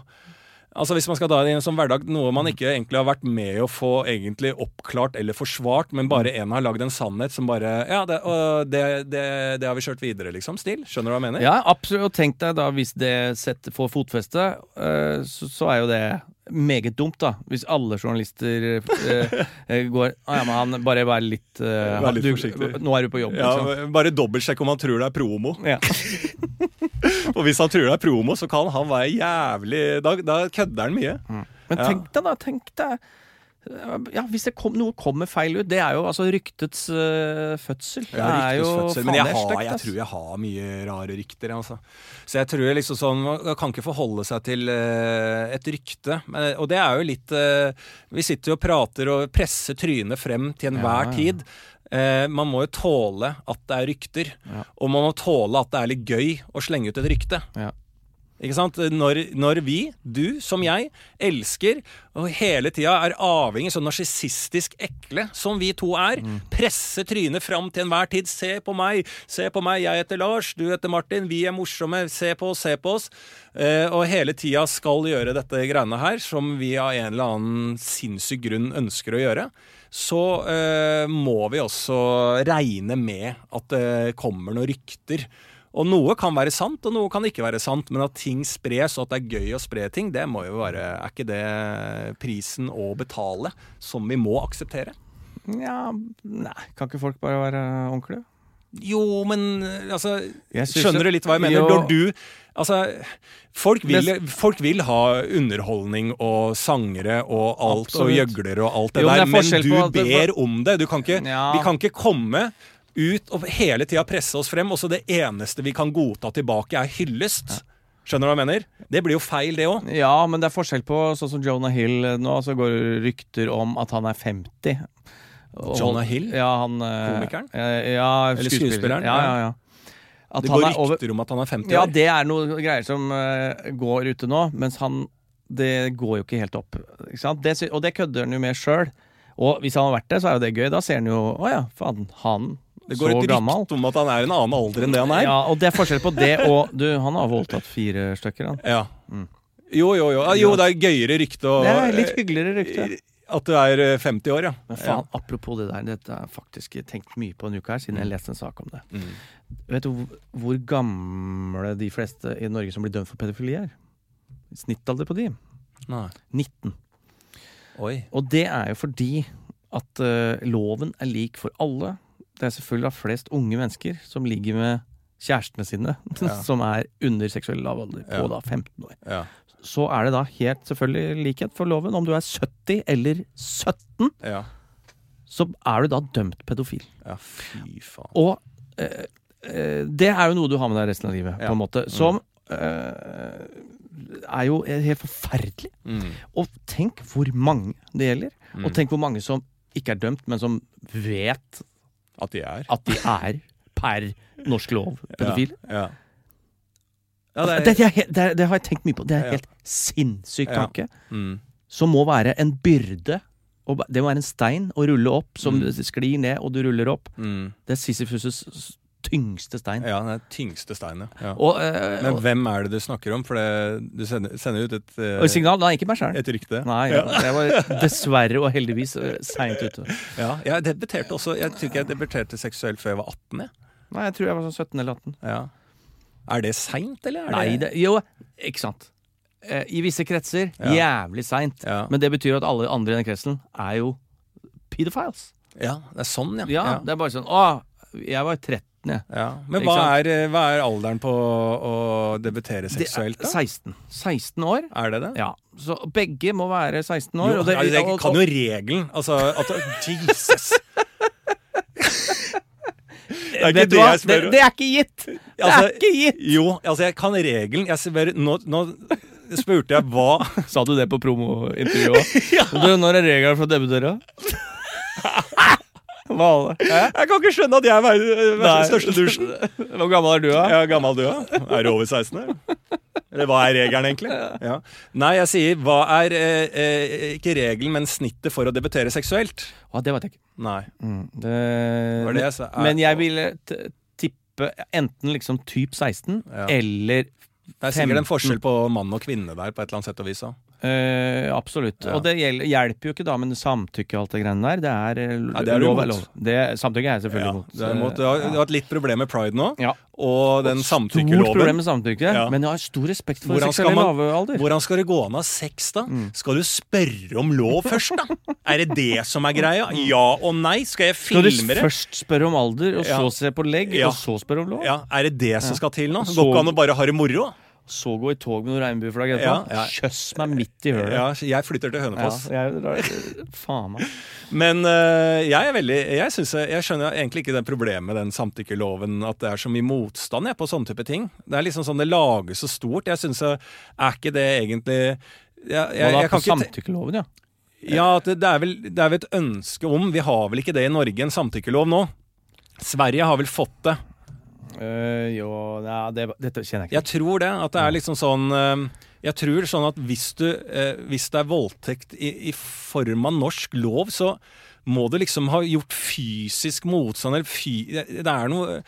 Speaker 1: Altså Hvis man skal ta det i en sånn hverdag, noe man ikke egentlig har vært med i å få egentlig oppklart eller forsvart, men bare
Speaker 2: Mm.
Speaker 1: en har lagd en sannhet som bare Ja, det, og det, det, det har vi kjørt videre, liksom. Stil. Skjønner du hva jeg mener?
Speaker 2: Ja, absolutt. Og tenk deg da, hvis det setter, får fotfeste, eh, så, så er jo det meget dumt, da. Hvis alle journalister eh, eh, går ah, ja, men han, Bare vær litt, eh,
Speaker 1: Vær litt
Speaker 2: du,
Speaker 1: forsiktig.
Speaker 2: Nå er du på jobb,
Speaker 1: Ja,
Speaker 2: liksom.
Speaker 1: bare dobbeltsjekk om han tror det er promo.
Speaker 2: Ja.
Speaker 1: Og hvis han tror det er promo, så kan han være jævlig Da, da kødder han mye.
Speaker 2: Men
Speaker 1: Ja.
Speaker 2: tenk deg, da. Tenk deg ja, Hvis det kom, noe kommer feil ut Det er jo altså ryktets eh, fødsel. Det
Speaker 1: Ja,
Speaker 2: er jo
Speaker 1: ryktesfødsel.
Speaker 2: faen,
Speaker 1: Men jeg,
Speaker 2: det er
Speaker 1: har,
Speaker 2: stygt,
Speaker 1: jeg
Speaker 2: ass.
Speaker 1: tror jeg har mye rare rykter. jeg, Altså. Så jeg tror liksom sånn Man kan ikke forholde seg til eh, et rykte. Men, og det er jo litt eh, Vi sitter jo og prater og presser trynet frem til enhver
Speaker 2: ja.
Speaker 1: tid. Eh, man må jo tåle at det er rykter.
Speaker 2: Ja.
Speaker 1: Og man må tåle at det er litt gøy å slenge ut et rykte.
Speaker 2: Ja.
Speaker 1: Ikke sant? Når, når vi, du som jeg, elsker og hele tida er avhengig, så narsissistisk ekle som vi to er, presser trynet fram til enhver tid. Se på meg, se på meg, jeg heter Lars, du heter Martin, vi er morsomme, se på oss, se på oss. Eh, og hele tida skal gjøre dette greiene her, som vi av en eller annen sinnssyk grunn ønsker å gjøre. Så eh, må vi også regne med at det kommer noen rykter. Og noe kan være sant, og noe kan ikke være sant, men at ting spres, og at det er gøy å spre ting, det må jo være Er ikke det prisen å betale som vi må akseptere?
Speaker 2: Ja, nei, kan ikke folk bare være ordentlige?
Speaker 1: Jo, men altså
Speaker 2: Jeg synes
Speaker 1: Skjønner du litt hva jeg mener?
Speaker 2: Jo.
Speaker 1: Når du Altså, folk vil, folk vil ha underholdning og sangere og alt, og
Speaker 2: Absolutt.
Speaker 1: gjøglere og alt det
Speaker 2: Jo, men det
Speaker 1: der,
Speaker 2: er
Speaker 1: men
Speaker 2: forskjell
Speaker 1: du
Speaker 2: på at det-
Speaker 1: ber om det. Du kan ikke,
Speaker 2: Ja.
Speaker 1: Vi kan ikke komme ut og hele tida presse oss frem, og så det eneste vi kan godta tilbake, er hyllest. Skjønner du hva jeg mener? Det blir jo feil, det òg.
Speaker 2: Ja, men det er forskjell på sånn som Jonah Hill eh, nå, så går det rykter om at han er 50. Og-
Speaker 1: Jonah Hill?
Speaker 2: Ja, han eh,
Speaker 1: Komikeren?
Speaker 2: eh, Ja,
Speaker 1: Eller
Speaker 2: skuespiller.
Speaker 1: skuespilleren,
Speaker 2: Ja, ja, ja. At
Speaker 1: Det
Speaker 2: han
Speaker 1: går
Speaker 2: er over-
Speaker 1: rykter om at han er 50
Speaker 2: Ja,
Speaker 1: år.
Speaker 2: det er noe greier som eh, går ute nå, mens han Det går jo ikke helt opp. Ikke sant? Det, sy- og det kødder han jo med sjøl. Og hvis han har vært det, så er jo det gøy. Da ser han jo Å ja, faen, han
Speaker 1: Det
Speaker 2: så
Speaker 1: går et
Speaker 2: gammel.
Speaker 1: rykte om at han er en annen alder enn det han er.
Speaker 2: Ja, og det er forskjell på det og Du, han har voldtatt fire stykker, han.
Speaker 1: Ja. Jo, jo, jo. Ah, Jo, det er gøyere rykte å
Speaker 2: Mm. Det er litt hyggeligere rykte.
Speaker 1: At du er eh, 50 år, ja.
Speaker 2: Men faen, apropos det der, dette har jeg faktisk tenkt mye på en uke her, siden jeg leste en sak om det.
Speaker 1: Mm.
Speaker 2: Vet du hvor- hvor gamle de fleste i Norge som blir dømt for pedofili er? Snittalder på de?
Speaker 1: Nei.
Speaker 2: 19.
Speaker 1: Oi.
Speaker 2: Og det er jo fordi at eh, loven er lik for alle. Det er selvfølgelig da flest unge mennesker som ligger med kjærestene sine,
Speaker 1: Ja.
Speaker 2: som er under seksuell lav alder, på
Speaker 1: Ja.
Speaker 2: da 15 år.
Speaker 1: Ja.
Speaker 2: Så er det da helt selvfølgelig likhet for loven om du er 70 eller 17.
Speaker 1: ja.
Speaker 2: så er du da dømt pedofil.
Speaker 1: Ja, fy faen.
Speaker 2: Og eh, eh, det er jo noe du har med deg resten av livet,
Speaker 1: Ja. Mm.
Speaker 2: på en måte. Som eh, er jo helt forferdelig.
Speaker 1: Mm.
Speaker 2: Og tenk hvor mange det gjelder. Og tenk hvor mange som ikke er dømt, men som vet
Speaker 1: At de er.
Speaker 2: at de er per norsk lov pedofile.
Speaker 1: Ja. ja.
Speaker 2: Altså,
Speaker 1: ja
Speaker 2: det, er helt- det, er- det har jeg tenkt mye på. Det er
Speaker 1: Ja.
Speaker 2: en helt sinnssyk
Speaker 1: Ja.
Speaker 2: tanke.
Speaker 1: mm.
Speaker 2: Som må være en byrde. Og ba- det må være en stein å rulle opp, som sklir ned, og du ruller opp.
Speaker 1: Mm.
Speaker 2: Det er Sisyfus' tyngste stein.
Speaker 1: ja, den er tyngste steinen. Ja.
Speaker 2: Og, eh,
Speaker 1: Men
Speaker 2: og,
Speaker 1: hvem er det du snakker om? For det, du sender, sender ut et, eh,
Speaker 2: og signal Nei, ikke meg sjæl.
Speaker 1: et rykte.
Speaker 2: Nei,
Speaker 1: ja.
Speaker 2: jeg var dessverre og heldigvis seint ute.
Speaker 1: Ja, jeg debuterte også Jeg tror ikke jeg debuterte seksuelt før jeg var 18. Jeg.
Speaker 2: Nei, jeg tror jeg var sånn 17 eller 18.
Speaker 1: Ja. Er det seint, eller? Er
Speaker 2: Nei, det, jo, ikke sant. Eh, I visse kretser jævlig seint.
Speaker 1: Ja.
Speaker 2: Men det betyr at alle andre i den kretsen er jo pedofiles.
Speaker 1: ja, det er sånn, ja.
Speaker 2: Ja, det er bare sånn Å, jeg var 13, jeg.
Speaker 1: Ja. Men
Speaker 2: Ikke
Speaker 1: hva
Speaker 2: sant?
Speaker 1: er, eh, hva er alderen på å debutere
Speaker 2: Det er
Speaker 1: seksuelt, da?
Speaker 2: 16. 16 år.
Speaker 1: Er det det?
Speaker 2: Ja. Så begge må være 16 år.
Speaker 1: Jo,
Speaker 2: og det-
Speaker 1: ja, jeg
Speaker 2: og-
Speaker 1: kan jo regelen. Altså at Jesus! Det er ikke
Speaker 2: Vet du
Speaker 1: det
Speaker 2: hva?
Speaker 1: jeg spør
Speaker 2: Det,
Speaker 1: om.
Speaker 2: det er ikke gitt! Det er
Speaker 1: Altså,
Speaker 2: ikke gitt!
Speaker 1: Jo, altså jeg kan regelen. Jeg spør, nå, nå spurte jeg hva
Speaker 2: Sa du det på promointervjuet? ja. Du, når er regelen for å debutere? Hva var det?
Speaker 1: Jeg kan ikke skjønne at jeg er den største dusjen.
Speaker 2: Hvor gammel er du, da?
Speaker 1: Ja, gammel du, ja. Er du over 16 år? Eller hva er regelen, egentlig? Ja. Nei, jeg sier hva er eh, eh, ikke regelen, men snittet for å debutere seksuelt?
Speaker 2: Å, det vet jeg ikke. Mm,
Speaker 1: Nei.
Speaker 2: Det,
Speaker 1: Var det jeg sa? Er-
Speaker 2: men jeg ville t tippe enten liksom typ 16
Speaker 1: Ja.
Speaker 2: eller
Speaker 1: Det er sikkert en forskjell
Speaker 2: Mm.
Speaker 1: på mann og kvinne der, på et eller annet sett og vis. også.
Speaker 2: eh, Absolutt.
Speaker 1: Ja.
Speaker 2: Og det gjel- hjelper jo ikke da med samtykke og alt det greiene der. Det er, eh,
Speaker 1: Nei, det er du
Speaker 2: lov,
Speaker 1: imot.
Speaker 2: lov. Det, samtykke er jeg selvfølgelig
Speaker 1: Ja,
Speaker 2: imot.
Speaker 1: du, er imot, du, har, du har hatt litt problem med pride nå,
Speaker 2: Ja.
Speaker 1: og den
Speaker 2: Stort problem
Speaker 1: samtykkeloven.
Speaker 2: med samtykke,
Speaker 1: Ja.
Speaker 2: men jeg har stor respekt for
Speaker 1: Hvordan skal
Speaker 2: seksuell
Speaker 1: man-
Speaker 2: lavalder.
Speaker 1: Hvordan skal det gå an av sex, da?
Speaker 2: Mm.
Speaker 1: Skal du spørre om lov først, da? Er det det som er greia? Ja og nei? Skal jeg
Speaker 2: Mm. Skal du
Speaker 1: filme det?
Speaker 2: først spørre om alder, og så
Speaker 1: Ja.
Speaker 2: se på legg,
Speaker 1: Ja.
Speaker 2: og så spørre om lov?
Speaker 1: Ja, Er det det som skal til nå?
Speaker 2: Så-
Speaker 1: Går ikke an å bare ha det moro?
Speaker 2: Så gå i tog med noen regnbueflagg
Speaker 1: Ja,
Speaker 2: etterpå?
Speaker 1: ja.
Speaker 2: Kjøss meg midt i hølet.
Speaker 1: Ja, jeg flytter til Hønefoss.
Speaker 2: Ja, jeg drar, faen meg.
Speaker 1: Men øh, jeg er veldig jeg, synes, jeg skjønner egentlig ikke det problemet med den samtykkeloven, at det er så mye motstand jeg, på sånne type ting. Det er liksom sånn det lages så stort. Jeg syns øh, Er ikke det egentlig jeg, jeg,
Speaker 2: Og da
Speaker 1: jeg
Speaker 2: på
Speaker 1: kan ikke te-
Speaker 2: samtykkeloven, ja.
Speaker 1: Ja, at det, det, er vel, det er vel et ønske om Vi har vel ikke det i Norge, en samtykkelov nå? Sverige har vel fått det.
Speaker 2: Eh,
Speaker 1: Øh,
Speaker 2: jo, nei, det, dette kjenner jeg ikke.
Speaker 1: Jeg tror det. At det er liksom sånn eh, Jeg tror sånn at hvis du eh, Hvis det er voldtekt i, i form av norsk lov, så må du liksom ha gjort fysisk motstand eller fy... Det er noe,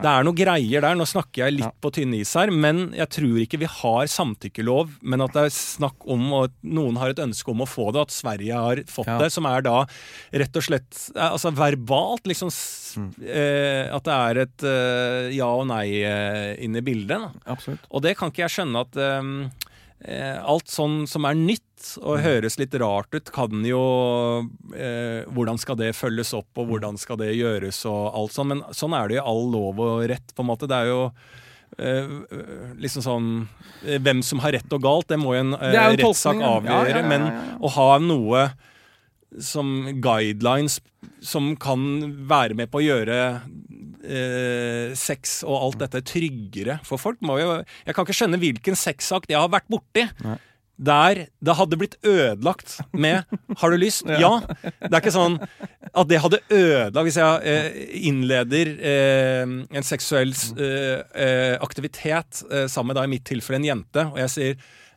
Speaker 1: det er noe greier der. Nå snakker jeg litt
Speaker 2: Ja.
Speaker 1: på tynn is her, men jeg tror ikke vi har samtykkelov. Men at det er snakk om, og at noen har et ønske om å få det, at Sverige har fått
Speaker 2: Ja.
Speaker 1: det, som er da rett og slett eh, Altså verbalt, liksom s-
Speaker 2: Mm.
Speaker 1: eh, At det er et eh, ja og nei eh, inn i bildet. Da.
Speaker 2: Absolutt.
Speaker 1: Og det kan ikke jeg skjønne at ehm, eh, alt sånn som er nytt og
Speaker 2: Mm.
Speaker 1: høres litt rart ut, kan jo eh, Hvordan skal det følges opp,
Speaker 2: Mm.
Speaker 1: og hvordan skal det gjøres, og alt sånn. Men sånn er det jo i all lov og rett, på en måte. Det er jo eh, liksom sånn eh, Hvem som har rett og galt, det må jo en eh,
Speaker 2: Det er jo en
Speaker 1: rettssak
Speaker 2: tolkning, ja. Ja,
Speaker 1: avgjøre.
Speaker 2: ja, ja, ja,
Speaker 1: Men
Speaker 2: ja.
Speaker 1: å ha noe som guidelines som kan være med på å gjøre eh, sex og alt dette tryggere for folk. Må jo, jeg kan ikke skjønne hvilken sexsak jeg har vært borti. Der det hadde blitt ødelagt med 'har du lyst'? Ja. Det er ikke sånn at det hadde ødelagt Hvis jeg eh, innleder eh, en seksuell eh, eh, aktivitet eh, sammen med da i mitt tilfelle en jente, og jeg sier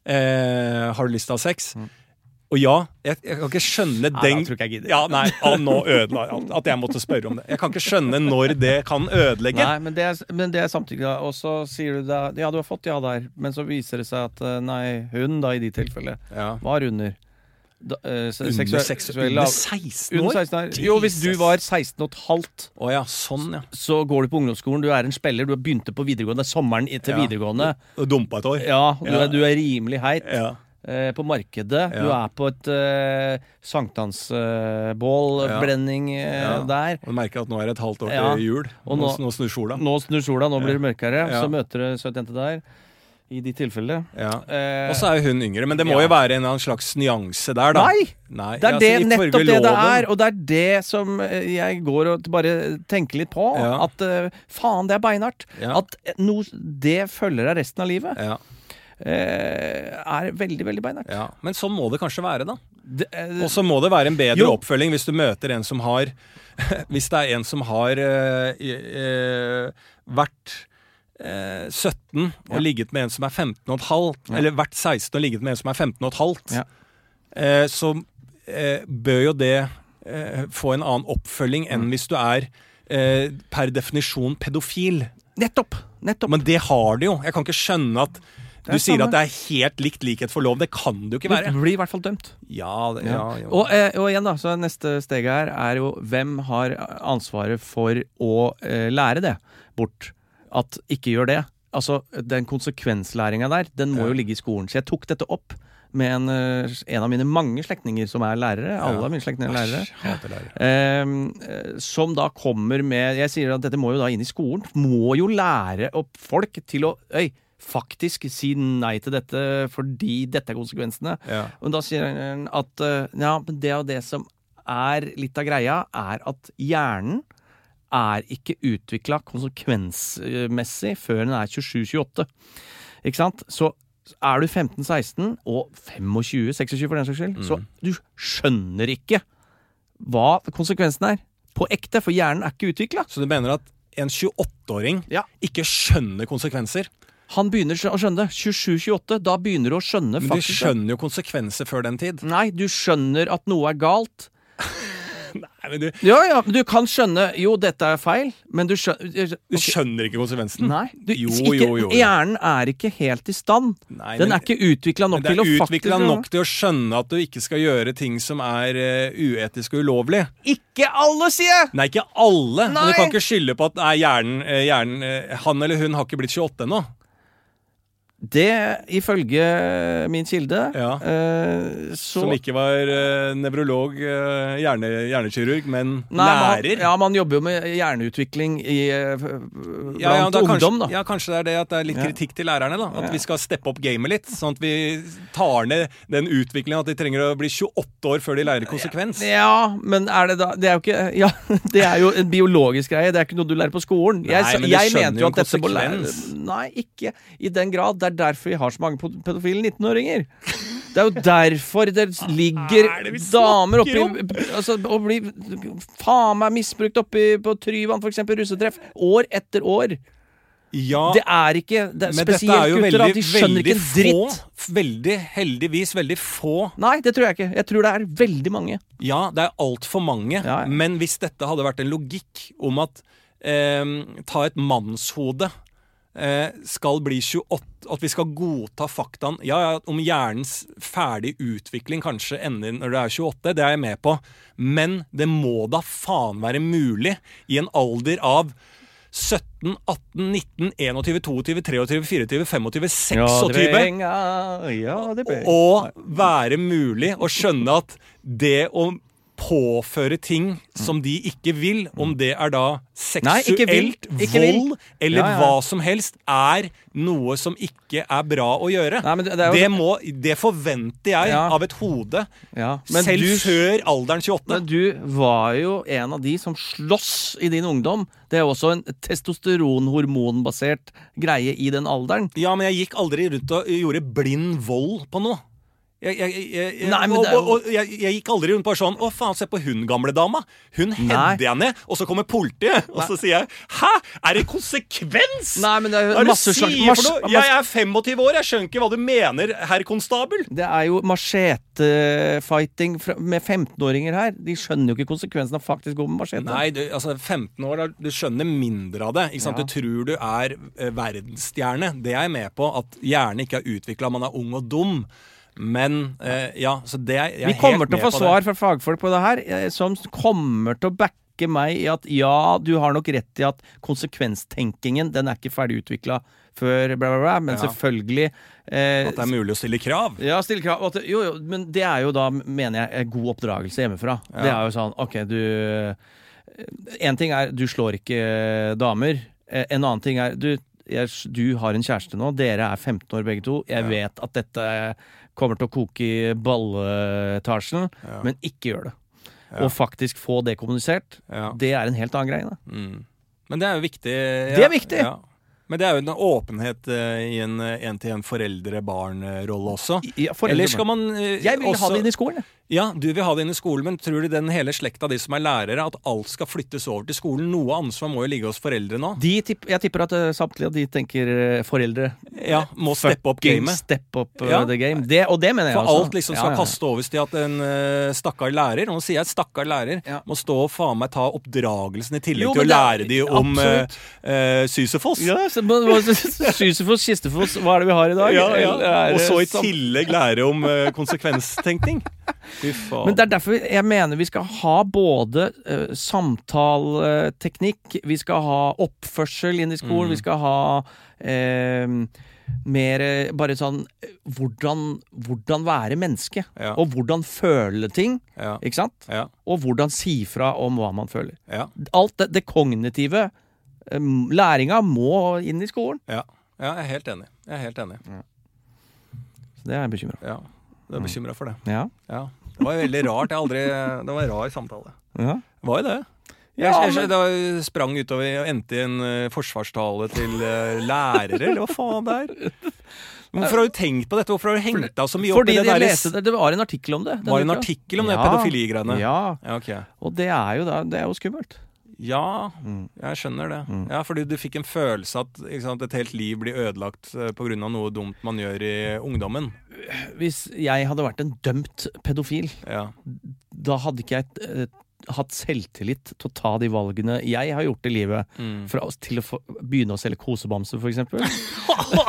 Speaker 1: eh, 'har du lyst til å ha sex'? Og ja, jeg, jeg kan ikke skjønne
Speaker 2: Mm. Nei,
Speaker 1: den
Speaker 2: da tror ikke jeg gidder.
Speaker 1: Ja, nei, å, nå ødela jeg alt. At jeg måtte spørre om det. Jeg kan ikke skjønne når det kan ødelegge.
Speaker 2: Nei, men det, er, men det er samtykke, da. Og så sier du da Ja, du har fått ja der, men så viser det seg at eh, nei, hun, da, i de tilfellene,
Speaker 1: Ja.
Speaker 2: var under. Da, eh, se-
Speaker 1: Under,
Speaker 2: seksuell-
Speaker 1: seks,
Speaker 2: seksuell
Speaker 1: under
Speaker 2: lav-
Speaker 1: 16 år?
Speaker 2: under 16 år. Jo, hvis du
Speaker 1: Jesus.
Speaker 2: var 16 og et halvt,
Speaker 1: Å ja, sånn, ja.
Speaker 2: så går du på ungdomsskolen, du er en spiller, du har begynt på videregående, det er sommeren i- til
Speaker 1: Ja.
Speaker 2: videregående.
Speaker 1: Og Dumpa et år.
Speaker 2: Ja, du,
Speaker 1: Ja.
Speaker 2: Er, du er rimelig heit
Speaker 1: Ja.
Speaker 2: eh, på markedet. Du
Speaker 1: Ja.
Speaker 2: er på et eh,
Speaker 1: Ja.
Speaker 2: sankthansbålbrenning eh,
Speaker 1: Ja.
Speaker 2: der.
Speaker 1: Og du merker at nå er det et halvt år
Speaker 2: Ja.
Speaker 1: til jul.
Speaker 2: Og
Speaker 1: nå,
Speaker 2: nå-
Speaker 1: nå snur sola.
Speaker 2: Nå snur sola, nå blir det mørkere.
Speaker 1: Ja.
Speaker 2: Så møter du en søt jente der. I de tilfellene.
Speaker 1: Ja.
Speaker 2: Eh,
Speaker 1: Og så er jo hun yngre, men det må
Speaker 2: ja.
Speaker 1: jo være en eller annen slags nyanse der, da.
Speaker 2: Nei!
Speaker 1: Nei,
Speaker 2: Det er
Speaker 1: altså,
Speaker 2: det,
Speaker 1: ifølge
Speaker 2: nettopp det det
Speaker 1: loven.
Speaker 2: er, og det er det som eh, jeg går og bare tenker litt på.
Speaker 1: Ja.
Speaker 2: At eh, faen, det er beinhardt.
Speaker 1: Ja.
Speaker 2: At eh, noe- det følger deg resten av livet,
Speaker 1: Ja,
Speaker 2: eh, er veldig, veldig beinhardt.
Speaker 1: ja. Men sånn må det kanskje være, da.
Speaker 2: Det, eh,
Speaker 1: Og så må det være en bedre
Speaker 2: Jo.
Speaker 1: oppfølging hvis du møter en som har Hvis det er en som har eh, eh, vært eh, 17 og
Speaker 2: Ja.
Speaker 1: ligget med en som er 15 og et halvt,
Speaker 2: Ja.
Speaker 1: eller vært 16 og ligget med en som er 15 og et halvt,
Speaker 2: Ja.
Speaker 1: eh, så eh, bør jo det eh, få en annen oppfølging
Speaker 2: Mm.
Speaker 1: enn hvis du er eh, per definisjon pedofil.
Speaker 2: nettopp! Nettopp.
Speaker 1: Men det har det jo. Jeg kan ikke skjønne at
Speaker 2: er
Speaker 1: du sier
Speaker 2: samme.
Speaker 1: at det er helt likt likhet for lov. Det kan det jo ikke
Speaker 2: Du
Speaker 1: være.
Speaker 2: blir i hvert fall dømt.
Speaker 1: Ja, det, ja, jo.
Speaker 2: Og, eh, og igjen, da, så neste steget her er jo hvem har ansvaret for å eh, lære det bort? At ikke gjør det. Altså, den konsekvenslæringa der, den må
Speaker 1: Ja.
Speaker 2: jo ligge i skolen. Så jeg tok dette opp med en, eh, en av mine mange slektninger som er lærere. Alle mine slektninger er lærere.
Speaker 1: Æsj, hater lærere.
Speaker 2: Ehm, eh, som da kommer med Jeg sier at dette må jo da inn i skolen. Må jo lære opp folk til å Øy, faktisk si nei til dette fordi dette er konsekvensene.
Speaker 1: Ja.
Speaker 2: Og da sier han at eh, ja, men det og det som er litt av greia, er at hjernen er ikke utvikla konsekvensmessig før den er 27-28. Ikke sant? Så er du 15-16 og 25-26 for den saks skyld, så du skjønner ikke hva konsekvensen er. På ekte, for hjernen er ikke utvikla.
Speaker 1: Så du mener at en 28-åring
Speaker 2: Ja.
Speaker 1: ikke skjønner konsekvenser?
Speaker 2: Han begynner å skjønne. 27-28, da begynner du å skjønne
Speaker 1: Men de
Speaker 2: faktisk
Speaker 1: skjønner jo konsekvenser før den tid.
Speaker 2: Nei, du skjønner at noe er galt.
Speaker 1: Nei, men Du,
Speaker 2: Ja, ja, men du kan skjønne Jo, dette er feil, men du skjønner
Speaker 1: du skjønner ikke konsekvensen.
Speaker 2: Nei. Du,
Speaker 1: Jo,
Speaker 2: ikke,
Speaker 1: jo, jo, jo.
Speaker 2: Hjernen er ikke helt i stand.
Speaker 1: Nei,
Speaker 2: Den
Speaker 1: men-
Speaker 2: er ikke utvikla
Speaker 1: Men
Speaker 2: nok
Speaker 1: Det
Speaker 2: til å
Speaker 1: er
Speaker 2: faktisk
Speaker 1: utvikla nok til å skjønne at du ikke skal gjøre ting som er eh, uetisk og ulovlig.
Speaker 2: Ikke alle, sier jeg!
Speaker 1: Nei, ikke alle. Men
Speaker 2: Nei.
Speaker 1: du kan ikke skylde på at nei, hjernen, eh, hjernen eh, Han eller hun har ikke blitt 28 ennå.
Speaker 2: Det, ifølge min kilde
Speaker 1: Ja.
Speaker 2: eh, så
Speaker 1: Som ikke var eh, nevrolog, eh, hjerne, hjernekirurg, men
Speaker 2: Nei, man-
Speaker 1: lærer.
Speaker 2: Ja, man jobber jo med hjerneutvikling i, eh, f- blant
Speaker 1: Ja, ja, det er
Speaker 2: ungdom,
Speaker 1: kanskje,
Speaker 2: da.
Speaker 1: ja, kanskje det er det at det er litt
Speaker 2: Ja.
Speaker 1: kritikk til lærerne. da At
Speaker 2: Ja.
Speaker 1: vi skal steppe opp gamet litt. Sånn at vi tar ned den utviklingen at de trenger å bli 28 år før de lærer konsekvens.
Speaker 2: Ja, men er det da Det er jo ikke Ja, det er jo en biologisk greie. Det er ikke noe du lærer på skolen.
Speaker 1: Nei, men du skjønner jo en konsekvens.
Speaker 2: Nei, ikke i den grad. Det er derfor vi har så mange pod- pedofile 19-åringer. Det er jo derfor det ligger
Speaker 1: er det vi
Speaker 2: damer oppi
Speaker 1: snakker
Speaker 2: altså, og blir faen meg misbrukt oppi på Tryvann, f.eks. russetreff. År etter år.
Speaker 1: Ja,
Speaker 2: Det er ikke det er
Speaker 1: men dette
Speaker 2: Spesielt
Speaker 1: er jo
Speaker 2: gutter,
Speaker 1: veldig,
Speaker 2: at de skjønner
Speaker 1: veldig
Speaker 2: ikke en
Speaker 1: få.
Speaker 2: dritt.
Speaker 1: Veldig, heldigvis veldig få.
Speaker 2: Nei, det tror jeg ikke. Jeg tror det er veldig mange.
Speaker 1: Ja, det er altfor mange.
Speaker 2: Ja, ja.
Speaker 1: Men hvis dette hadde vært en logikk om at eh, ta et mannshode eh, skal bli 28 At vi skal godta faktaen Ja, ja, om hjernens ferdig utvikling kanskje ender når du er 28, det er jeg med på. Men det må da faen være mulig i en alder av 17, 18, 19, 21, 22, 23, 24, 25, 26
Speaker 2: Ja, det brenga.
Speaker 1: å være mulig å skjønne at det å påføre ting som de ikke vil, om det er da
Speaker 2: Nei, ikke vil.
Speaker 1: seksuelt,
Speaker 2: Ikke vil.
Speaker 1: vold eller
Speaker 2: Ja, ja.
Speaker 1: hva som helst, er noe som ikke er bra å gjøre.
Speaker 2: Nei, men det- det
Speaker 1: det,
Speaker 2: er jo-
Speaker 1: må, det forventer jeg
Speaker 2: Ja.
Speaker 1: av et hode,
Speaker 2: Ja, men
Speaker 1: selv
Speaker 2: du,
Speaker 1: før alderen 28.
Speaker 2: men du var jo en av de som sloss i din ungdom. Det er jo også en testosteron-hormonbasert greie i den alderen.
Speaker 1: Ja, men jeg gikk aldri rundt og gjorde blind vold på noe. Jeg, jeg, jeg, jeg,
Speaker 2: Nei, men
Speaker 1: og,
Speaker 2: det er jo-
Speaker 1: og, og jeg, jeg gikk aldri rundt bare sånn Å, faen, se på hun gamle dama. Hun
Speaker 2: Nei.
Speaker 1: hedder jeg ned, og så kommer politiet, og så sier jeg Hæ? Er det konsekvens?!
Speaker 2: Nei, men det er jo
Speaker 1: Hva er det
Speaker 2: masse
Speaker 1: du
Speaker 2: slags-
Speaker 1: sier
Speaker 2: mas-
Speaker 1: for noe?
Speaker 2: mas-
Speaker 1: Jeg er 25 år, jeg skjønner ikke hva du mener, herr konstabel.
Speaker 2: Det er jo machetefighting fra- med 15-åringer her. De skjønner jo ikke konsekvensen av faktisk å gå med machete.
Speaker 1: Nei, du, altså 15 år, da- du skjønner mindre av det. Ikke sant?
Speaker 2: Ja.
Speaker 1: Du tror du er eh, verdensstjerne. Det er jeg med på, at hjernen ikke er utvikla, man er ung og dum. Men eh, ja, så det er jeg er
Speaker 2: Vi kommer
Speaker 1: helt
Speaker 2: til å
Speaker 1: med
Speaker 2: få
Speaker 1: på det.
Speaker 2: svar fra fagfolk på det her, eh, som kommer til å backe meg i at ja, du har nok rett i at konsekvenstenkingen den er ikke ferdig utvikla før bla, bla, bla, men
Speaker 1: Ja.
Speaker 2: selvfølgelig eh,
Speaker 1: At det er mulig å stille krav.
Speaker 2: Ja, stille krav. Og At, jo, jo, men det er jo da, mener jeg, god oppdragelse hjemmefra. Det er jo sånn, ok, du En ting er du slår ikke damer. Eh, En annen ting er du jeg, du har en kjæreste nå, dere er 15 år begge to. Jeg
Speaker 1: Ja.
Speaker 2: vet at dette kommer til å koke i balletasjen,
Speaker 1: Ja.
Speaker 2: men ikke gjør det.
Speaker 1: Ja.
Speaker 2: Og faktisk få det kommunisert,
Speaker 1: Ja.
Speaker 2: det er en helt annen greie. Da.
Speaker 1: Mm. Men det er jo viktig. Ja.
Speaker 2: Det er viktig!
Speaker 1: Ja. Men det er jo en åpenhet eh, i en én-til-én-foreldre-barn-rolle også.
Speaker 2: Ja, foreldre-
Speaker 1: Eller skal man eh,
Speaker 2: jeg vil ha
Speaker 1: også-
Speaker 2: det inn i skolen. jeg.
Speaker 1: Ja, du vil ha det inn i skolen, men tror du den hele slekta de som er lærere, at alt skal flyttes over til skolen? Noe ansvar må jo ligge hos foreldre nå.
Speaker 2: De tipp, jeg tipper at eh, samtlige av de tenker eh, foreldre.
Speaker 1: Ja, Må steppe opp
Speaker 2: Fucking
Speaker 1: gamet.
Speaker 2: Step up eh,
Speaker 1: Ja.
Speaker 2: the game. Det, og det mener jeg
Speaker 1: For
Speaker 2: også.
Speaker 1: alt liksom
Speaker 2: Ja,
Speaker 1: skal
Speaker 2: ja, ja.
Speaker 1: kaste over til at en eh, stakkar lærer, og nå sier jeg stakkar lærer,
Speaker 2: Ja.
Speaker 1: må stå og faen meg ta oppdragelsen i tillegg
Speaker 2: Jo,
Speaker 1: til å
Speaker 2: men
Speaker 1: lære
Speaker 2: det
Speaker 1: de
Speaker 2: er-
Speaker 1: om uh,
Speaker 2: absolutt.
Speaker 1: Sysefoss.
Speaker 2: Ja, så- men hva- Sisyfos, kistefoss, hva er det vi har i dag?
Speaker 1: Ja, ja.
Speaker 2: Er
Speaker 1: Og
Speaker 2: det
Speaker 1: så i
Speaker 2: sam-
Speaker 1: tillegg lære om eh, konsekvenstenkning. Fy faen.
Speaker 2: Men det er derfor jeg mener vi skal ha både uh, samtaleteknikk, vi skal ha oppførsel inn i skolen,
Speaker 1: Mm.
Speaker 2: vi skal ha eh, mer eh, bare sånn eh, hvordan, hvordan være menneske,
Speaker 1: Ja.
Speaker 2: og hvordan føle ting,
Speaker 1: ja,
Speaker 2: ikke sant?
Speaker 1: ja,
Speaker 2: Og hvordan si fra om hva man føler.
Speaker 1: ja,
Speaker 2: Alt det, det kognitive, eh, læringa, må inn i skolen.
Speaker 1: ja. ja, jeg er helt enig. Jeg er helt enig.
Speaker 2: Så det er jeg bekymra for.
Speaker 1: Ja. Du er bekymra for det.
Speaker 2: Ja.
Speaker 1: Ja. Det var veldig rart. Jeg har aldri Det var en rar samtale.
Speaker 2: Ja.
Speaker 1: Det var jo det. Jeg,
Speaker 2: Ja,
Speaker 1: jeg, jeg, da sprang utover og endte i en eh, forsvarstale til eh, lærere, eller hva faen det er? Hvorfor har du tenkt på dette? Hvorfor har du hengt deg så mye opp
Speaker 2: Fordi
Speaker 1: i det
Speaker 2: jeg
Speaker 1: der?
Speaker 2: leste det, det var en artikkel om det. denne
Speaker 1: Var det en
Speaker 2: uka.
Speaker 1: artikkel om det
Speaker 2: Ja.
Speaker 1: pedofiligreiene?
Speaker 2: Ja,
Speaker 1: Ja, ok.
Speaker 2: og det er jo, da, det er jo skummelt.
Speaker 1: Ja,
Speaker 2: Mm.
Speaker 1: jeg skjønner det. Ja, Fordi du fikk en følelse at ikke sant, et helt liv blir ødelagt eh, pga. noe dumt man gjør i ungdommen.
Speaker 2: Hvis jeg hadde vært en dømt pedofil,
Speaker 1: Ja,
Speaker 2: da hadde ikke jeg eh, hatt selvtillit til å ta de valgene jeg har gjort i livet.
Speaker 1: Mm.
Speaker 2: Fra å- til å få, begynne å selge kosebamse, for eksempel.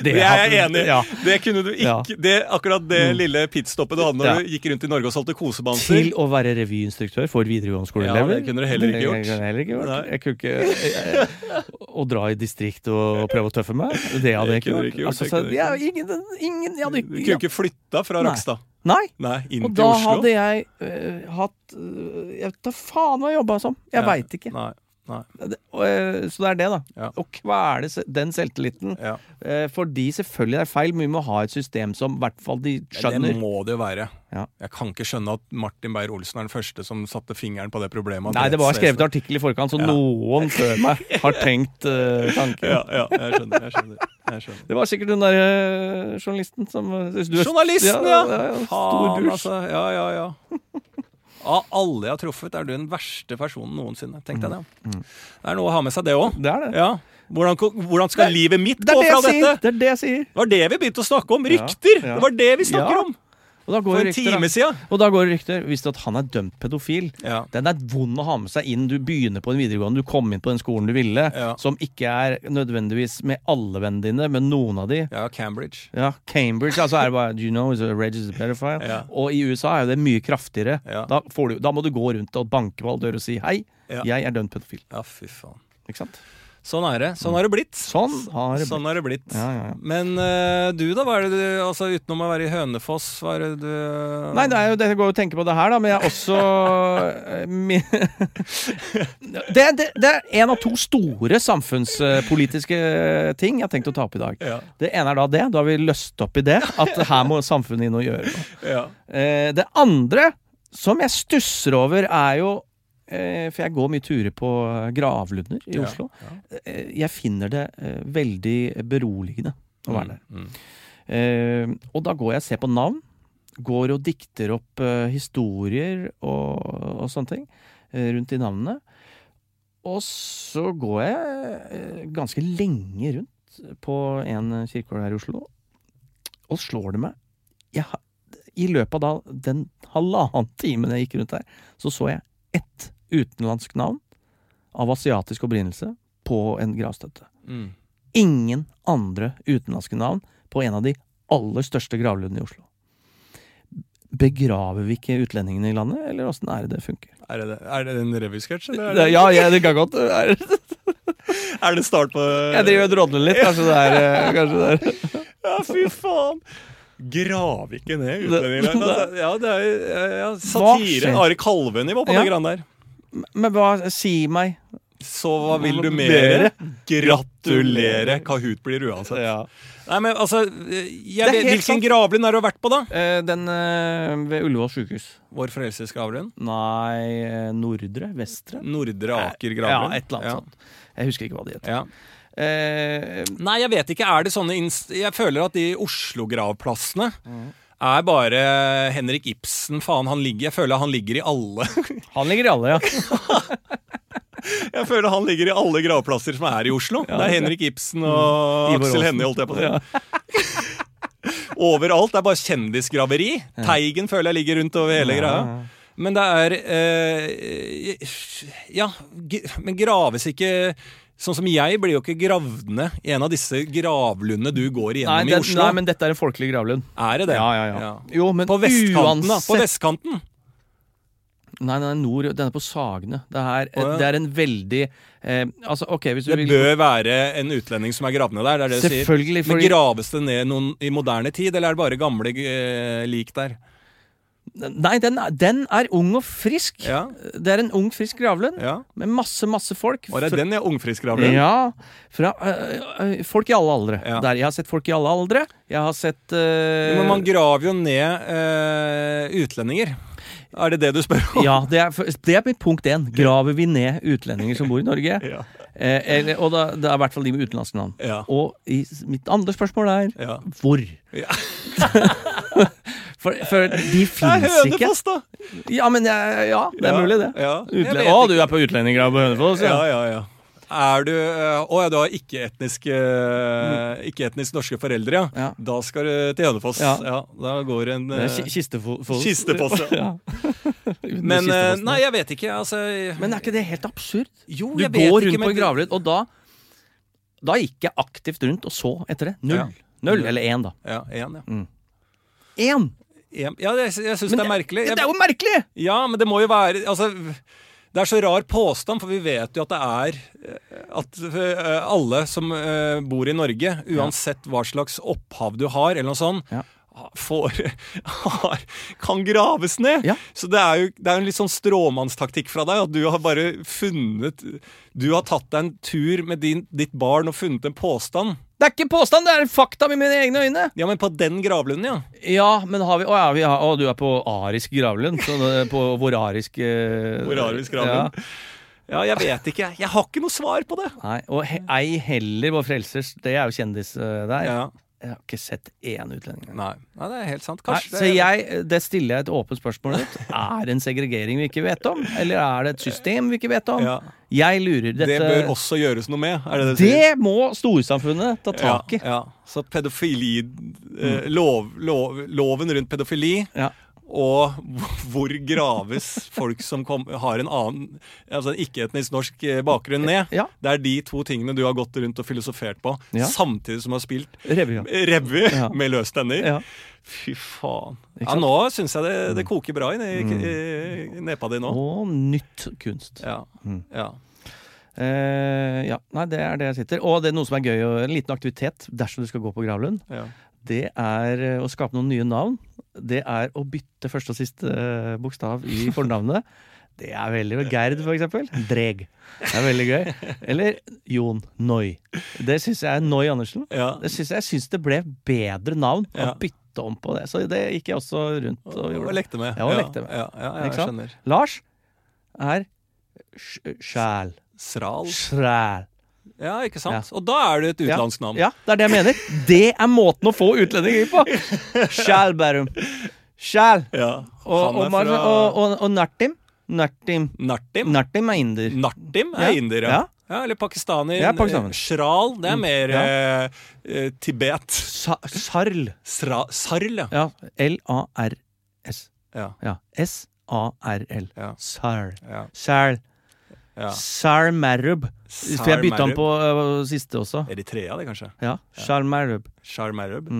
Speaker 2: det hadde- Ja.
Speaker 1: Det kunne du
Speaker 2: Ja. Mm.
Speaker 1: det- Akkurat det lille pitstoppet du hadde
Speaker 2: Ja.
Speaker 1: gikk rundt i Norge og solgte kosebamser.
Speaker 2: Til å være revyinstruktør for videregående skoleelever.
Speaker 1: Ja, det kunne du heller ikke gjort.
Speaker 2: Det kunne jeg heller ikke gjort.
Speaker 1: Nei.
Speaker 2: Jeg kunne ikke eh, Å dra i distrikt og prøve å tøffe meg, det hadde jeg ikke
Speaker 1: kunne du
Speaker 2: gjort.
Speaker 1: ikke gjort,
Speaker 2: Altså,
Speaker 1: det
Speaker 2: så,
Speaker 1: kunne du
Speaker 2: ja, ingen, ingen jeg hadde,
Speaker 1: Du kunne ikke flytta fra
Speaker 2: Nei.
Speaker 1: Rakstad.
Speaker 2: Nei!
Speaker 1: Nei, inn
Speaker 2: Og
Speaker 1: til
Speaker 2: da
Speaker 1: Oslo.
Speaker 2: hadde jeg eh, hatt eh, Jeg vet da faen hva jeg jobba som. Jeg
Speaker 1: Ja.
Speaker 2: veit ikke.
Speaker 1: Nei.
Speaker 2: Det- og, eh, så det er det, da.
Speaker 1: Ja.
Speaker 2: Å kvele se- den selvtilliten.
Speaker 1: Ja.
Speaker 2: Eh, fordi selvfølgelig er det feil, men vi må ha et system som i hvert fall de
Speaker 1: Det
Speaker 2: skjønner.
Speaker 1: må det jo være.
Speaker 2: Ja.
Speaker 1: Jeg kan ikke skjønne at Martin Beyer-Olsen er den første som satte fingeren på det problemet.
Speaker 2: Nei, det var skrevet en artikkel i forkant, så
Speaker 1: Ja.
Speaker 2: noen før meg har tenkt eh, tanken.
Speaker 1: Ja, ja, jeg skjønner. Jeg skjønner. Jeg skjønner.
Speaker 2: Det var sikkert den derre journalisten som eh, synes du er-
Speaker 1: Journalisten, ja!
Speaker 2: ja, ja, stor
Speaker 1: Faen,
Speaker 2: douche.
Speaker 1: altså. Ja, ja, ja. Av alle jeg har truffet, er du den verste personen noensinne. Tenkte jeg det. Det er noe å ha med seg, det òg.
Speaker 2: Mm. Det er det.
Speaker 1: Ja. Hvordan, ko- hvordan skal
Speaker 2: Det-
Speaker 1: livet mitt
Speaker 2: Det
Speaker 1: gå
Speaker 2: er det,
Speaker 1: fra
Speaker 2: jeg sier.
Speaker 1: dette?
Speaker 2: det er det jeg sier!
Speaker 1: Det var det vi begynte å snakke om.
Speaker 2: Ja,
Speaker 1: Rykter!
Speaker 2: ja.
Speaker 1: Det var det vi snakker
Speaker 2: Ja.
Speaker 1: om
Speaker 2: Og da går
Speaker 1: for
Speaker 2: det
Speaker 1: en
Speaker 2: rykter, da.
Speaker 1: time siden.
Speaker 2: Og da går det rykter. Visste du at han er dømt pedofil?
Speaker 1: Ja.
Speaker 2: Den er vond å ha med seg inn. Du begynner på en videregående, du kom inn på den skolen du ville,
Speaker 1: Ja.
Speaker 2: som ikke er nødvendigvis med alle vennene dine, men noen av de.
Speaker 1: ja, Cambridge.
Speaker 2: Ja, Cambridge, altså er det bare You know, is a registered pedophile.
Speaker 1: Ja.
Speaker 2: Og i USA er jo det mye kraftigere.
Speaker 1: Ja.
Speaker 2: Da, får du, da må du gå rundt og banke på alle dører og si hei,
Speaker 1: Ja.
Speaker 2: jeg er dømt pedofil.
Speaker 1: Ja, fy faen.
Speaker 2: Ikke sant?
Speaker 1: Sånn er det. Sånn har det blitt.
Speaker 2: Sånn har det blitt.
Speaker 1: Sånn har det blitt.
Speaker 2: Ja, ja, ja.
Speaker 1: Men eh, du, da? Hva er det du Altså utenom å være i Hønefoss, hva er det du eh,
Speaker 2: Nei, det er jo det jeg går og tenker på det her, da, men jeg er også eh, mi- det, er- det, det er en av to store samfunnspolitiske ting jeg har tenkt å ta opp i dag.
Speaker 1: Ja,
Speaker 2: Det ene er da det. Da har vi løst opp i det. At her må samfunnet inn og gjøre noe.
Speaker 1: ja.
Speaker 2: Eh, det andre som jeg stusser over, er jo eh, For jeg går mye turer på gravlunder i
Speaker 1: Ja,
Speaker 2: Oslo. Eh, jeg finner det eh, veldig beroligende å være der.
Speaker 1: Mm.
Speaker 2: Eh, og da går jeg og ser på navn. Går og dikter opp eh, historier og, og sånne ting eh, rundt de navnene. Og så går jeg eh, ganske lenge rundt på en kirkegård her i Oslo, og slår det meg jeg, har- I løpet av da, den halvannen timen jeg gikk rundt der, så så jeg ett utenlandsk navn av asiatisk opprinnelse på en gravstøtte
Speaker 1: Mm.
Speaker 2: ingen andre utenlandske navn på en av de aller største gravlundene i Oslo. Begraver vi ikke utlendingene i landet, eller åssen er det det funker?
Speaker 1: Er, det, er det en revysketsj, eller er det,
Speaker 2: Ja, ja, det kan godt være.
Speaker 1: er det start på
Speaker 2: Jeg driver og drodler litt, kanskje det er eh, kanskje det er.
Speaker 1: Ja, fy faen! Grav ikke ned utlendinger. Altså, ja, det er ja, ja,
Speaker 2: Hva
Speaker 1: satire.
Speaker 2: skjer?
Speaker 1: Are Kalve-nivå på
Speaker 2: Ja.
Speaker 1: det grann der.
Speaker 2: Men hva Si meg
Speaker 1: Så hva vil du mere? Gratulere! Kahoot blir uansett.
Speaker 2: Ja.
Speaker 1: Nei, men altså jeg,
Speaker 2: er
Speaker 1: vet-
Speaker 2: helt
Speaker 1: Hvilken
Speaker 2: sant.
Speaker 1: gravlund har du vært på, da?
Speaker 2: Eh, den eh, ved Ullevål sjukehus.
Speaker 1: Vår Frelses gravlund?
Speaker 2: Nei, eh, nordre? Vestre?
Speaker 1: Nordre Aker
Speaker 2: Eh, Ja,
Speaker 1: gravlund?
Speaker 2: et eller annet
Speaker 1: Ja.
Speaker 2: sånt. Jeg husker ikke hva det het.
Speaker 1: Ja.
Speaker 2: Eh,
Speaker 1: Nei, jeg vet ikke. Er det sånne inst Jeg føler at de Oslo-gravplassene
Speaker 2: Mm.
Speaker 1: er bare Henrik Ibsen. Faen, han ligger Jeg føler han ligger i alle
Speaker 2: han ligger i alle, ja.
Speaker 1: Jeg føler han ligger i alle gravplasser som er i Oslo. det er Henrik Ibsen og
Speaker 2: Ivar
Speaker 1: Aksel
Speaker 2: Aasen.
Speaker 1: Hennie, holdt jeg på å si. Overalt. Det er bare kjendisgraveri. Teigen føler jeg ligger rundt over hele greia. Men det er eh, Ja, g- men graves ikke Sånn som jeg blir jo ikke gravd ned i en av disse gravlundene du går
Speaker 2: Nei,
Speaker 1: igjennom i
Speaker 2: den,
Speaker 1: Oslo.
Speaker 2: nei, men dette er en folkelig gravlund.
Speaker 1: Er det det?
Speaker 2: Ja, ja, ja. Jo, men
Speaker 1: På vestkanten, da. På
Speaker 2: uansett
Speaker 1: vestkanten.
Speaker 2: Nei, nei, nord, den er på Sagene. Det er,
Speaker 1: Å, ja.
Speaker 2: det er en veldig eh, Altså, ok, hvis du
Speaker 1: Det
Speaker 2: vil
Speaker 1: bør være en utlending som er gravd ned der. Det er det du sier.
Speaker 2: Selvfølgelig,
Speaker 1: Men
Speaker 2: fordi
Speaker 1: graves det ned noen i moderne tid, eller er det bare gamle eh, lik der?
Speaker 2: Nei, den, er- den er ung og frisk.
Speaker 1: Ja,
Speaker 2: Det er en ung, frisk gravlund
Speaker 1: ja.
Speaker 2: med masse, masse folk.
Speaker 1: Var det
Speaker 2: Fra-
Speaker 1: den jeg ungfriskgravlund?
Speaker 2: Ja. Fra, øh, øh, folk i alle aldre.
Speaker 1: Ja.
Speaker 2: Der, jeg har sett folk i alle aldre. Jeg har sett øh,
Speaker 1: Men man graver jo ned eh, utlendinger. Er det det du spør om?
Speaker 2: ja, det er, det er mitt punkt én. Graver vi ned utlendinger som bor i Norge?
Speaker 1: Ja.
Speaker 2: Eh, eller, og da, det er i hvert fall de med utenlandske navn.
Speaker 1: Ja.
Speaker 2: Og i, mitt andre spørsmål er
Speaker 1: ja.
Speaker 2: hvor?
Speaker 1: Ja.
Speaker 2: for, for de fins ikke.
Speaker 1: da!
Speaker 2: Ja, men jeg, ja, det er mulig, det.
Speaker 1: Ja. Jeg
Speaker 2: Utle
Speaker 1: vet
Speaker 2: å,
Speaker 1: ikke.
Speaker 2: du er på utlendinggrad på Hønefoss?
Speaker 1: Ja,
Speaker 2: Ja.
Speaker 1: ja, ja. Er du eh, Å ja, du har ikke-etnisk ikke etnisk norske foreldre, ja.
Speaker 2: Ja.
Speaker 1: Da skal du til Hønefoss. Ja.
Speaker 2: Ja.
Speaker 1: da går en
Speaker 2: Det
Speaker 1: eh,
Speaker 2: er ki- Kistefoss.
Speaker 1: Kistefoss,
Speaker 2: ja.
Speaker 1: Men eh,
Speaker 2: Kistefossen.
Speaker 1: nei, jeg vet ikke. Altså,
Speaker 2: Men er ikke det helt absurd?
Speaker 1: jo,
Speaker 2: Du
Speaker 1: jeg vet
Speaker 2: går rundt
Speaker 1: ikke,
Speaker 2: på
Speaker 1: men-
Speaker 2: en gravlund, og da Da gikk jeg aktivt rundt og så etter det. Null.
Speaker 1: Ja.
Speaker 2: Null, Eller én, da.
Speaker 1: Ja, en, ja.
Speaker 2: Én!
Speaker 1: En, ja jeg, jeg syns
Speaker 2: Mm. Men
Speaker 1: det er merkelig.
Speaker 2: Det
Speaker 1: Jeg,
Speaker 2: er jo merkelig!
Speaker 1: ja, men det må jo være Altså, det er så rar påstand, for vi vet jo at det er eh, At eh, alle som eh, bor i Norge, uansett hva slags opphav du har, eller noe sånt,
Speaker 2: Ja.
Speaker 1: Får, har, kan graves ned!
Speaker 2: Ja.
Speaker 1: Så det er jo det er en litt sånn stråmannstaktikk fra deg. At du har bare funnet Du har tatt deg en tur med din, ditt barn og funnet en påstand.
Speaker 2: Det er ikke påstand, det er fakta med mine egne øyne!
Speaker 1: Ja, men på den gravlunden, ja.
Speaker 2: Ja, men har vi Å, ja, vi har, å du er på arisk gravlund. Så det er på vår arisk eh,
Speaker 1: Hvor har vi
Speaker 2: ja.
Speaker 1: skravlen? Ja. jeg vet ikke. Jeg har ikke noe svar på det.
Speaker 2: Nei, og he, ei heller Vår Frelsers. Det er jo kjendis eh, der.
Speaker 1: Ja.
Speaker 2: Jeg har ikke sett én utlending.
Speaker 1: Nei. Nei, det er helt sant.
Speaker 2: Nei,
Speaker 1: Kanskje
Speaker 2: så jeg, det stiller jeg et åpent spørsmål ut. Er det en segregering vi ikke vet om? Eller er det et system vi ikke vet om?
Speaker 1: Ja.
Speaker 2: Jeg lurer. Dette,
Speaker 1: Det bør også gjøres noe med, er det det du sier?
Speaker 2: Det må storsamfunnet ta tak i.
Speaker 1: Ja, ja. Så pedofili eh, lov, lov, Loven rundt pedofili
Speaker 2: Ja.
Speaker 1: og hvor graves folk som kom, har en annen altså en ikke-etnisk norsk eh, bakgrunn, ned.
Speaker 2: Ja.
Speaker 1: Det er de to tingene du har gått rundt og filosofert på,
Speaker 2: Ja.
Speaker 1: samtidig som du har spilt
Speaker 2: Revy, ja.
Speaker 1: revy
Speaker 2: Ja.
Speaker 1: med løstenner.
Speaker 2: Ja.
Speaker 1: Fy faen.
Speaker 2: Ikke
Speaker 1: Ja,
Speaker 2: sant? Mm.
Speaker 1: nå syns jeg det, det koker bra i, ne- i nepa di nå.
Speaker 2: Og nytt kunst.
Speaker 1: Ja.
Speaker 2: Mm.
Speaker 1: ja.
Speaker 2: Eh, ja, nei, det er det jeg sitter. Og det er noe som er gøy, og en liten aktivitet dersom du skal gå på gravlund,
Speaker 1: ja.
Speaker 2: det er eh, å skape noen nye navn. Det er å bytte første og siste eh, bokstav i fornavnet. Det er veldig gøy. Gerd, for eksempel. Dreg. Det er veldig gøy. Eller Jon Noi. Det syns jeg er Noi Andersen.
Speaker 1: ja.
Speaker 2: Det synes jeg, jeg syns det ble bedre navn
Speaker 1: Ja.
Speaker 2: å bytte om på det. Så det gikk jeg også rundt og
Speaker 1: Og
Speaker 2: gjorde.
Speaker 1: lekte med.
Speaker 2: Ja, og lekte med.
Speaker 1: Ja, ja, ja, jeg
Speaker 2: Ikke sant?
Speaker 1: skjønner.
Speaker 2: Lars er sj- Sjæl.
Speaker 1: Sral.
Speaker 2: Sjæl.
Speaker 1: Ja, ikke sant? Og da er det et utenlandsk navn.
Speaker 2: Ja, det er det jeg mener. Det er måten å få utlendinger på! Sjæl, Bærum. Sjæl.
Speaker 1: Ja.
Speaker 2: Og,
Speaker 1: Han
Speaker 2: og,
Speaker 1: er
Speaker 2: Mar-
Speaker 1: fra
Speaker 2: og, og, og Nartim. Nartim.
Speaker 1: Nartim.
Speaker 2: Nartim er inder.
Speaker 1: Nartim
Speaker 2: Ja.
Speaker 1: er inder, ja.
Speaker 2: Ja.
Speaker 1: ja. Eller pakistaner.
Speaker 2: Ja, pakistaner.
Speaker 1: Eh,
Speaker 2: Mm.
Speaker 1: Shral, det er mer
Speaker 2: Ja.
Speaker 1: eh, eh, Tibet.
Speaker 2: Sa sarl.
Speaker 1: Sra, sarl, ja.
Speaker 2: Ja, L-A-R-S.
Speaker 1: Ja.
Speaker 2: Ja. S-A-R-L.
Speaker 1: Ja.
Speaker 2: Sarl.
Speaker 1: ja,
Speaker 2: Sjæl.
Speaker 1: ja.
Speaker 2: Sarl Marub. For jeg bytta den på ø, siste også.
Speaker 1: Eritrea, det, kanskje?
Speaker 2: Ja. Sarl Marub.
Speaker 1: Sharm Arab.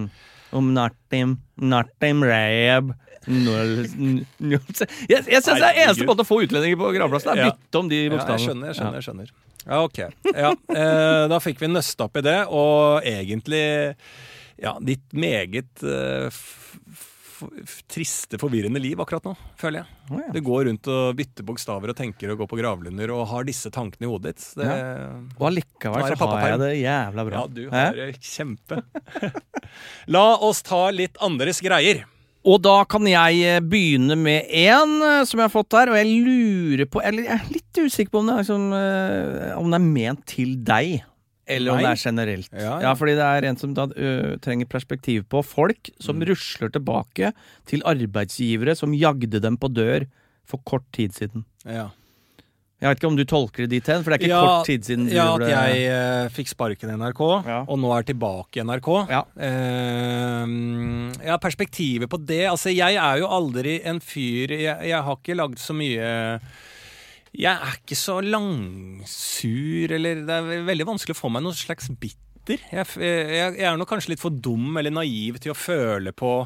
Speaker 2: Om Nartim. Nartim Rayab. Null, n- null. Jeg, jeg syns det er
Speaker 1: Herregud.
Speaker 2: eneste måten å få utlendinger på gravplassen. Det er
Speaker 1: Ja.
Speaker 2: bytte om de
Speaker 1: Ja, jeg
Speaker 2: bokstavene.
Speaker 1: skjønner, jeg skjønner. jeg skjønner. Ja, ok. Ja, eh, da fikk vi nøsta opp i det, og egentlig ja, ditt meget eh, f- f- for, triste, forvirrende liv akkurat nå, føler jeg.
Speaker 2: Å, ja.
Speaker 1: Du går rundt og bytter bokstaver og tenker og går på gravlunder og har disse tankene i hodet ditt. Det,
Speaker 2: Og allikevel
Speaker 1: Nå er det
Speaker 2: så har jeg
Speaker 1: pappaperm.
Speaker 2: det jævla bra.
Speaker 1: ja, du har eh, kjempe. La oss ta litt andres greier.
Speaker 2: Og da kan jeg eh, begynne med én som jeg har fått her, og jeg lurer på Eller jeg er litt usikker på om det er, liksom, eh, om det er ment til deg, eller om
Speaker 1: Meg?
Speaker 2: det er generelt.
Speaker 1: Ja, ja.
Speaker 2: fordi det er en som da ø, trenger perspektiv på folk som
Speaker 1: Mm.
Speaker 2: rusler tilbake til arbeidsgivere som jagde dem på dør for kort tid siden.
Speaker 1: Ja.
Speaker 2: Jeg vet ikke om du tolker det dit hen, for det er ikke
Speaker 1: Ja,
Speaker 2: kort tid siden du
Speaker 1: Ja, at
Speaker 2: ble
Speaker 1: jeg eh, fikk sparken i NRK,
Speaker 2: Ja.
Speaker 1: og nå er tilbake i NRK.
Speaker 2: Ja.
Speaker 1: Eh, ja, perspektivet på det Altså, jeg er jo aldri en fyr Jeg, jeg har ikke lagd så mye Jeg er ikke så langsur, eller Det er veldig vanskelig å få meg noen slags bitter. Jeg, f- eh, jeg, jeg er nok kanskje litt for dum eller naiv til å føle på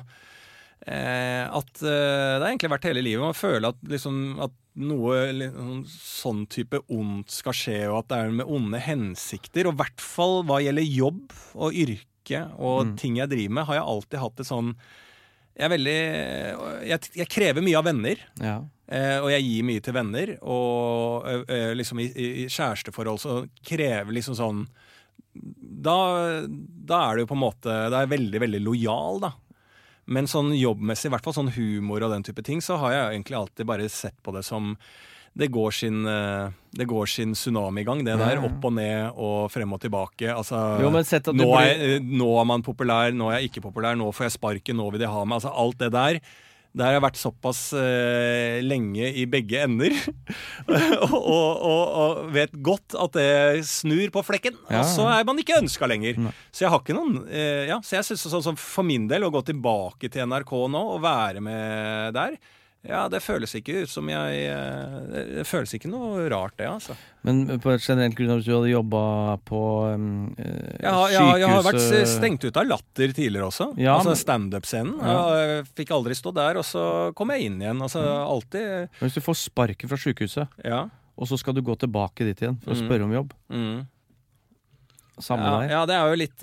Speaker 1: eh, at eh, Det har egentlig vært hele livet. Man føler at, liksom, at noe liksom, sånn type ondt skal skje, og at det er med onde hensikter. Og i hvert fall hva gjelder jobb og yrke og ting jeg driver med, har jeg alltid hatt et sånn Jeg er veldig Jeg, jeg krever mye av venner.
Speaker 2: ja.
Speaker 1: Eh, og jeg gir mye til venner, og eh, eh, liksom i, i i kjæresteforhold så krever liksom sånn da, da er det jo på en måte Da er jeg veldig, veldig lojal, da. Men sånn jobbmessig, i hvert fall sånn humor og den type ting, så har jeg egentlig alltid bare sett på det som det går sin, eh, det går sin tsunamigang, det der.
Speaker 2: Ja.
Speaker 1: Opp og ned og frem og tilbake. Altså,
Speaker 2: Jo, men sett at du
Speaker 1: nå,
Speaker 2: blir-
Speaker 1: er, Eh, Nå er man populær, nå er jeg ikke populær, nå får jeg sparken, nå vil de ha meg. Altså alt det der. Der har jeg vært såpass eh, lenge i begge ender og, og, og, og vet godt at det snur på flekken.
Speaker 2: Ja.
Speaker 1: Og så er man ikke ønska lenger. Så jeg har ikke noen eh, Ja, så jeg synes sånn som for min del å gå tilbake til NRK nå og være med der ja, Det føles ikke ut som jeg eh, Det det føles ikke noe rart, det, altså.
Speaker 2: Men på et generelt grunnlag, hvis du hadde jobba på um, eh,
Speaker 1: Jeg har, jeg, har- jeg har vært
Speaker 2: sykehuset-
Speaker 1: stengt ut av latter tidligere også.
Speaker 2: Ja, men-
Speaker 1: altså standup-scenen. Jeg Fikk aldri stå der, og så kom jeg inn igjen. Altså
Speaker 2: Mm.
Speaker 1: alltid
Speaker 2: Men Hvis du får sparken fra sykehuset
Speaker 1: Ja.
Speaker 2: og så skal du gå tilbake dit igjen for å
Speaker 1: Mm.
Speaker 2: spørre om jobb.
Speaker 1: Mm.
Speaker 2: Samme
Speaker 1: Ja,
Speaker 2: der.
Speaker 1: ja, det er jo litt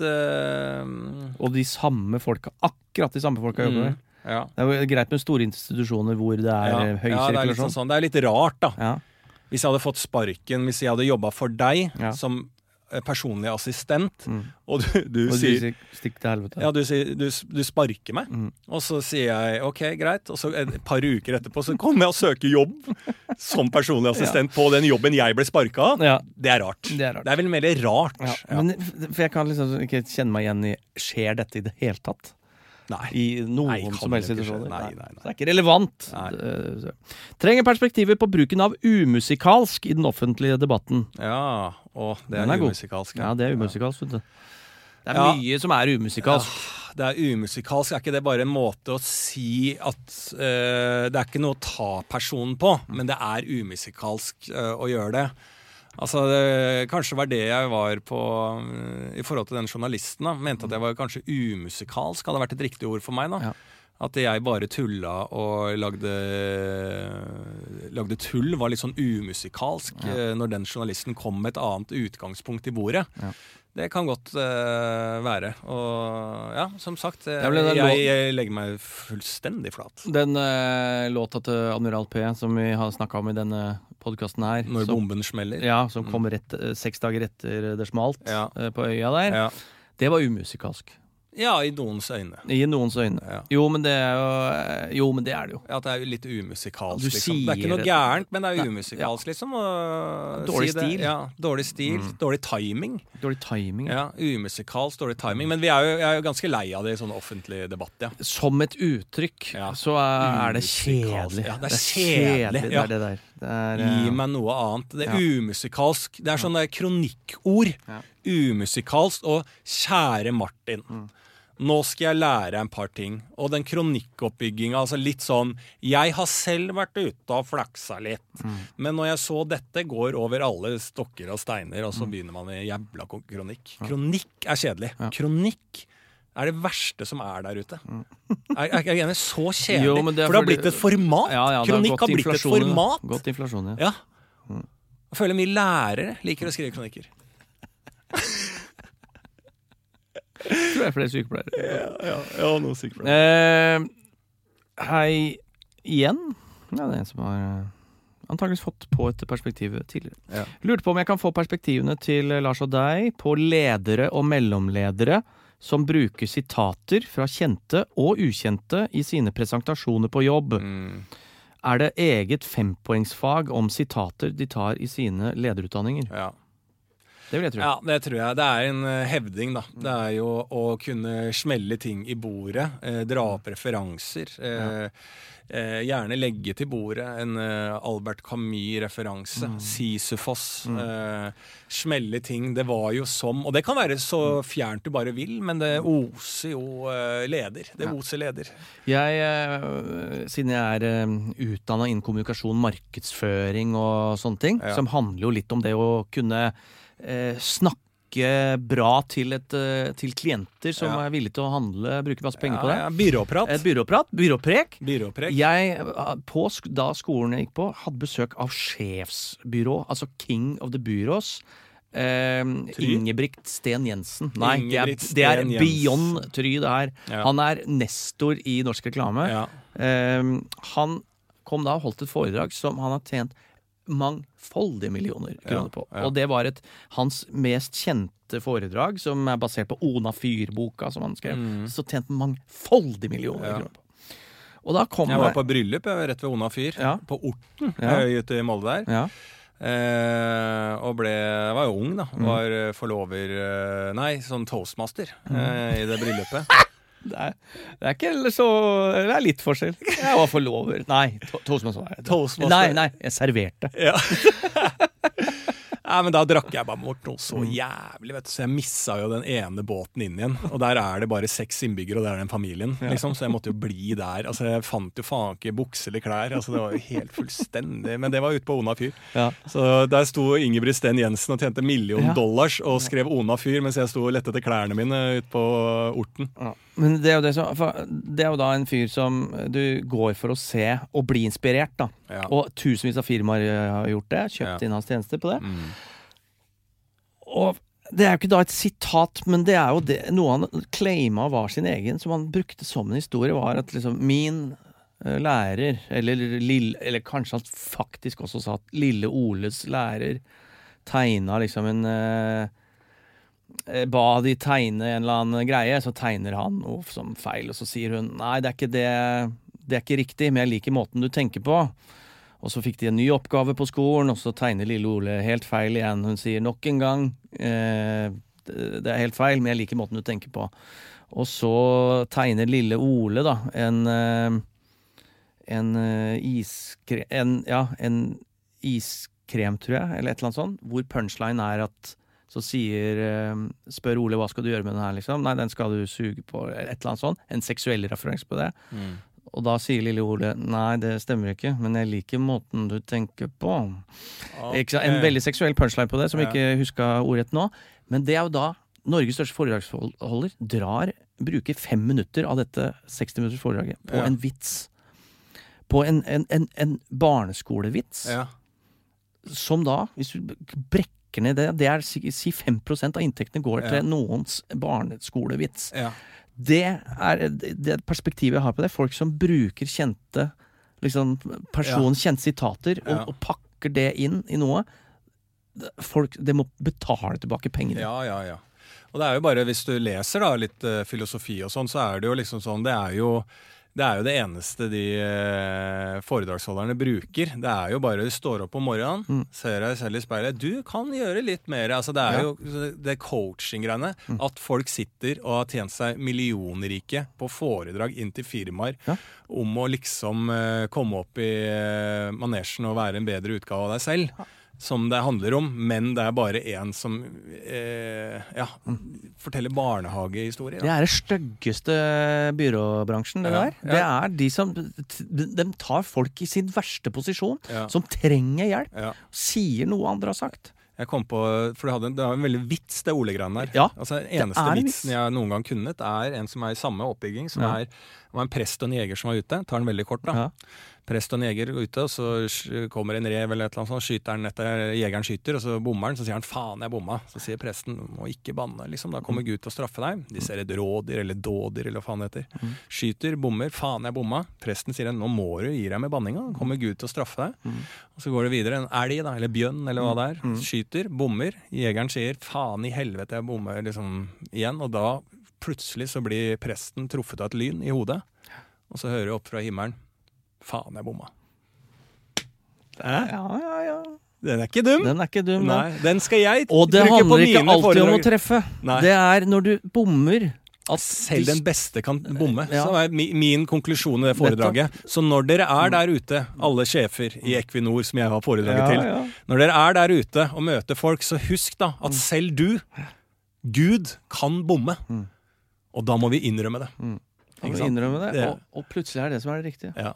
Speaker 1: eh,
Speaker 2: Og de samme folka, akkurat de samme folka jobber
Speaker 1: mm,
Speaker 2: der.
Speaker 1: ja.
Speaker 2: Det er jo greit med store institusjoner hvor det er
Speaker 1: Ja,
Speaker 2: eh,
Speaker 1: ja, det
Speaker 2: høy
Speaker 1: er litt
Speaker 2: sirkulasjon.
Speaker 1: sånn, sånn. Det er litt rart, da.
Speaker 2: Ja.
Speaker 1: Hvis jeg hadde fått sparken, hvis jeg hadde jobba for deg
Speaker 2: Ja.
Speaker 1: som eh, personlig assistent,
Speaker 2: Mm.
Speaker 1: og du, du
Speaker 2: Og de
Speaker 1: sier
Speaker 2: sier stikk til helvete.
Speaker 1: Ja, du, sier, du, du sparker meg,
Speaker 2: Mm.
Speaker 1: og så sier jeg ok, greit. Og så et par uker etterpå så kommer jeg og søker jobb som personlig assistent på den jobben jeg ble sparka av.
Speaker 2: Ja,
Speaker 1: Det er rart.
Speaker 2: Det er rart.
Speaker 1: vel mer rart.
Speaker 2: ja.
Speaker 1: Ja.
Speaker 2: Men, for jeg kan liksom ikke kjenne meg igjen i Skjer dette i det hele tatt?
Speaker 1: Nei.
Speaker 2: I noen
Speaker 1: Nei, kan
Speaker 2: som helst
Speaker 1: det ikke skje.
Speaker 2: situasjoner?
Speaker 1: Nei, nei, nei.
Speaker 2: Så Det er ikke relevant.
Speaker 1: Nei.
Speaker 2: Eh, så. Trenger perspektiver på bruken av umusikalsk i den offentlige debatten.
Speaker 1: Ja, og det
Speaker 2: Den er
Speaker 1: er
Speaker 2: god.
Speaker 1: umusikalsk.
Speaker 2: Ja, det er umusikalsk, vet du. Det er
Speaker 1: Ja.
Speaker 2: mye som er umusikalsk.
Speaker 1: Det er umusikalsk. Er ikke det bare en måte å si at eh, Det er ikke noe å ta personen på,
Speaker 2: Mm.
Speaker 1: men det er umusikalsk eh, å gjøre det. Altså, det, Kanskje var det jeg var på mm, i forhold til den journalisten. da, Mente at jeg var kanskje umusikalsk, hadde vært et riktig ord for meg. da.
Speaker 2: Ja.
Speaker 1: At jeg bare tulla og lagde, lagde tull, var litt sånn umusikalsk eh, når den journalisten kom med et annet utgangspunkt i bordet.
Speaker 2: Ja.
Speaker 1: Det kan godt eh, være. Og ja, som sagt, eh,
Speaker 2: Det ble den
Speaker 1: jeg,
Speaker 2: låten-
Speaker 1: jeg legger meg fullstendig flat.
Speaker 2: Den eh, låta til Admiral P som vi har snakka om i denne podkasten her,
Speaker 1: Når
Speaker 2: som,
Speaker 1: bomben smeller.
Speaker 2: ja, som kom rett, eh, seks dager etter det smalt
Speaker 1: Ja.
Speaker 2: eh, på øya der,
Speaker 1: Ja.
Speaker 2: det var umusikalsk.
Speaker 1: ja, i noens øyne.
Speaker 2: I noens øyne.
Speaker 1: Ja.
Speaker 2: Jo, men det er jo, eh, jo, men det, er det jo.
Speaker 1: At det er jo litt umusikalsk.
Speaker 2: Du
Speaker 1: liksom. Det er ikke
Speaker 2: sier-
Speaker 1: noe gærent, men det er
Speaker 2: Nei,
Speaker 1: umusikalsk, liksom. og- det.
Speaker 2: Dårlig stil. Mm.
Speaker 1: Ja, dårlig stil. Dårlig timing.
Speaker 2: Dårlig timing.
Speaker 1: Ja, Umusikalsk, dårlig timing. Men vi er jo, jeg er jo ganske lei av det i sånn offentlig debatt, ja.
Speaker 2: Som et uttrykk
Speaker 1: Ja.
Speaker 2: så er, er det
Speaker 1: Umusikalsk.
Speaker 2: kjedelig.
Speaker 1: Ja, det er kjedelig,
Speaker 2: Det
Speaker 1: ja.
Speaker 2: er det der. Det er,
Speaker 1: Gi
Speaker 2: eh,
Speaker 1: meg noe annet. Det er
Speaker 2: Ja.
Speaker 1: umusikalsk. Det er sånne kronikkord.
Speaker 2: Ja.
Speaker 1: Umusikalsk og 'kjære Martin'.
Speaker 2: Mm.
Speaker 1: Nå skal jeg lære et par ting. Og den kronikkoppbygginga, altså litt sånn Jeg har selv vært ute og flaksa litt,
Speaker 2: Mm.
Speaker 1: men når jeg så dette, går over alle stokker og steiner, og så
Speaker 2: Mm.
Speaker 1: begynner man i jævla ko- kronikk. Kronikk er kjedelig. Kronikk er det verste som er der ute. Er, er, er jeg enig? Så kjedelig.
Speaker 2: Mm. Jo, men det er
Speaker 1: For det har
Speaker 2: fordi-
Speaker 1: blitt et format.
Speaker 2: ja, ja, det
Speaker 1: Kronikk
Speaker 2: gått
Speaker 1: har blitt et
Speaker 2: inflasjon i det.
Speaker 1: format.
Speaker 2: Gått inflasjon, ja.
Speaker 1: Ja. Jeg føler mye lærere liker å skrive kronikker.
Speaker 2: Jeg tror det er flere sykepleiere.
Speaker 1: Ja, ja, ja noe sikkert.
Speaker 2: Eh, Hei igjen. Ja, det er en som har eh, antakeligvis fått på et perspektiv tidligere.
Speaker 1: Ja.
Speaker 2: Lurte på om jeg kan få perspektivene til Lars og deg på ledere og mellomledere som bruker sitater fra kjente og ukjente i sine presentasjoner på jobb.
Speaker 1: Mm.
Speaker 2: Er det eget fempoengsfag om sitater de tar i sine lederutdanninger?
Speaker 1: Ja.
Speaker 2: Det vil jeg tro.
Speaker 1: Ja, det tror jeg. Det er en eh, hevding, da. Det er jo å kunne smelle ting i bordet, eh, dra opp referanser. Eh, eh, gjerne legge til bordet en eh, Albert Camus-referanse.
Speaker 2: Mm.
Speaker 1: Sisyfos. Eh, smelle ting. Det var jo som Og det kan være
Speaker 2: Mm.
Speaker 1: så fjernt du bare vil, men det oser jo eh, leder. Det
Speaker 2: Ja.
Speaker 1: oser leder.
Speaker 2: Jeg, eh, siden jeg er utdanna innen kommunikasjon, markedsføring og sånne ting,
Speaker 1: Ja.
Speaker 2: som handler jo litt om det å kunne eh, snakke bra til, et, eh, til klienter som
Speaker 1: Ja.
Speaker 2: er villige til å handle, bruke masse penger på det.
Speaker 1: Ja, ja, byråprat.
Speaker 2: Et byråprat, byråprek.
Speaker 1: Byråprek.
Speaker 2: Jeg, eh, på, sk- da skolen jeg gikk på, hadde besøk av sjefsbyrå, altså King of the Bureaus. Eh, Ingebrigt Sten Jensen. Nei, det er,
Speaker 1: Ingebrigt
Speaker 2: det er
Speaker 1: Steen Jensen.
Speaker 2: beyond Try, det her.
Speaker 1: Ja.
Speaker 2: Han er nestor i norsk reklame.
Speaker 1: Ja.
Speaker 2: Ehm, han kom da og holdt et foredrag som han har tjent mangfoldige millioner kroner på.
Speaker 1: ja.
Speaker 2: Og det var et hans mest kjente foredrag, som er basert på Ona Fyr-boka som han skrev. Så tjent mangfoldige millioner
Speaker 1: Ja.
Speaker 2: kroner på. Og da kom
Speaker 1: Jeg var
Speaker 2: det
Speaker 1: på bryllup jeg, rett ved Ona fyr.
Speaker 2: Ja.
Speaker 1: På Orten
Speaker 2: Ja.
Speaker 1: eh, ute i Molde der.
Speaker 2: ja.
Speaker 1: Eh, og ble jeg Var jo ung, da. Var eh, forlover eh, Nei, sånn toastmaster eh, i det bryllupet.
Speaker 2: det, er, det er ikke så Det er litt forskjell. Jeg var forlover. Nei, to- toastmaster var jeg.
Speaker 1: Toastmaster.
Speaker 2: Nei, nei, jeg serverte.
Speaker 1: ja. Nei, men da drakk jeg bare bort noe så jævlig, vet du. Så jeg missa jo den ene båten inn igjen. Og der er det bare seks innbyggere, og der er den familien, liksom. Så jeg måtte jo bli der. Altså, jeg fant jo faen ikke bukse eller klær. Altså, det var jo helt fullstendig. Men det var ute på Ona fyr.
Speaker 2: Ja.
Speaker 1: Så der sto Ingebrigt Steen Jensen og tjente en million
Speaker 2: Ja.
Speaker 1: dollars og skrev Ona fyr mens jeg sto og lette etter klærne mine ute på Orten.
Speaker 2: Ja. Men det er, jo det, som, for det er jo da en fyr som du går for å se og bli inspirert, da.
Speaker 1: Ja.
Speaker 2: Og tusenvis av firmaer eh, har gjort det, kjøpt
Speaker 1: Ja.
Speaker 2: inn hans tjenester på det.
Speaker 1: Mm.
Speaker 2: Og det er jo ikke da et sitat, men det er jo det, noe han claima var sin egen, som han brukte som en historie, var at liksom min eh, lærer, eller, lill- eller kanskje han faktisk også sa at lille Oles lærer tegna liksom en eh, eh, Ba de tegne en eller annen greie, så tegner han noe som feil, og så sier hun nei, det er ikke det, det er ikke riktig, men jeg liker måten du tenker på. Og så fikk de en ny oppgave på skolen, og så tegner lille Ole helt feil igjen. Hun sier nok en gang eh, det er helt feil, men jeg liker måten du tenker på. Og så tegner lille Ole da en eh, en eh, iskre... En, ja, en iskrem, tror jeg, eller et eller annet sånt, hvor punchline er at så sier eh, Spør Ole hva skal du gjøre med den her, liksom. Nei, den skal du suge på, eller et eller annet sånt. En seksuell referanse på det. Og da sier lille Ole nei, det stemmer ikke, men jeg liker måten du tenker på. Ikke sant? En
Speaker 1: Ok.
Speaker 2: veldig seksuell punchline på det, som vi
Speaker 1: Ja.
Speaker 2: ikke huska ordrett nå. Men det er jo da Norges største foredragsholder drar, bruker fem minutter av dette 60 minutters foredraget på
Speaker 1: Ja.
Speaker 2: en vits. På en, en, en, en barneskolevits,
Speaker 1: Ja.
Speaker 2: som da, hvis du brekker ned det, det er si, si 5 av inntektene går
Speaker 1: Ja.
Speaker 2: til noens barneskolevits.
Speaker 1: Ja.
Speaker 2: Det er det det perspektivet jeg har på det. Folk som bruker kjente liksom, personens kjente sitater, og,
Speaker 1: Ja.
Speaker 2: og pakker det inn i noe. Folk, Det må betale tilbake penger.
Speaker 1: Ja, ja, ja. Og det er jo bare, hvis du leser da litt eh, filosofi og sånn, så er det jo liksom sånn Det er jo det, er jo det eneste de eh, foredragsholderne bruker. Det er jo bare du står opp om morgenen, ser deg selv i speilet Du kan gjøre litt mer. Altså, det er
Speaker 2: Mm. Ja. Mm.
Speaker 1: jo det coaching-greiene. At folk sitter og har tjent seg millionrike på foredrag inn til firmaer
Speaker 2: Ja.
Speaker 1: om å liksom eh, komme opp i eh, manesjen og være en bedre utgave av deg selv som det handler om, men det er bare én som eh, ja,
Speaker 2: Mm.
Speaker 1: forteller barnehagehistorier.
Speaker 2: Det
Speaker 1: da.
Speaker 2: er det styggeste byråbransjen, det
Speaker 1: Ja,
Speaker 2: der. Det er de som de, de tar folk i sin verste posisjon,
Speaker 1: Ja.
Speaker 2: som trenger hjelp.
Speaker 1: Ja.
Speaker 2: Sier noe andre har sagt.
Speaker 1: Jeg kom på, for det, hadde, en- det var en veldig vits, det Ole-greien der.
Speaker 2: Ja,
Speaker 1: altså, den eneste
Speaker 2: er en vits.
Speaker 1: vitsen jeg noen gang kunnet, er en som er i samme oppbygging. Som
Speaker 2: Ja.
Speaker 1: er, det var en prest og en jeger som var ute. Tar den veldig kort, da.
Speaker 2: Ja.
Speaker 1: Prest og en jeger går ute, og så sk- kommer en rev eller et eller annet sånt, skyter den etter jegeren skyter, og så bommer den, så sier han 'faen, jeg bomma'. Så sier presten 'du må ikke banne', liksom. Da
Speaker 2: Mm.
Speaker 1: kommer Gud til å straffe deg. De ser et rådyr eller dådyr eller hva faen det heter.
Speaker 2: Mm.
Speaker 1: Skyter, bommer, 'faen, jeg bomma'. Presten sier 'nå må du gi deg med banninga', kommer Gud til å straffe deg.
Speaker 2: Mm.
Speaker 1: Og så går det videre. En elg, da, eller bjønn, eller hva det er. Skyter, bommer. Jegeren sier 'faen i helvete, jeg bommer', liksom igjen. Og da plutselig så blir presten truffet av et lyn i hodet, og så hører du opp fra himmelen 'faen, jeg bomma'.
Speaker 2: Ja, ja, ja.
Speaker 1: Den er ikke dum.
Speaker 2: Den er ikke dum, den.
Speaker 1: Nei, den skal jeg t-
Speaker 2: Og det
Speaker 1: bruke på
Speaker 2: handler ikke
Speaker 1: mine
Speaker 2: alltid om å
Speaker 1: foredrag.
Speaker 2: treffe.
Speaker 1: Nei.
Speaker 2: Det er når du bommer at
Speaker 1: Selv den beste kan bomme.
Speaker 2: Ja.
Speaker 1: Så er mi- min konklusjon i det foredraget. Så når dere er der ute, alle sjefer i Equinor som jeg har foredraget
Speaker 2: Ja,
Speaker 1: til,
Speaker 2: ja.
Speaker 1: når dere er der ute og møter folk, så husk da at selv du, Gud, kan bomme. Og da må vi innrømme det.
Speaker 2: Kan
Speaker 1: Ikke
Speaker 2: du
Speaker 1: sant?
Speaker 2: innrømme det?
Speaker 1: Det-
Speaker 2: Og, og plutselig er det som er det riktige.
Speaker 1: Ja.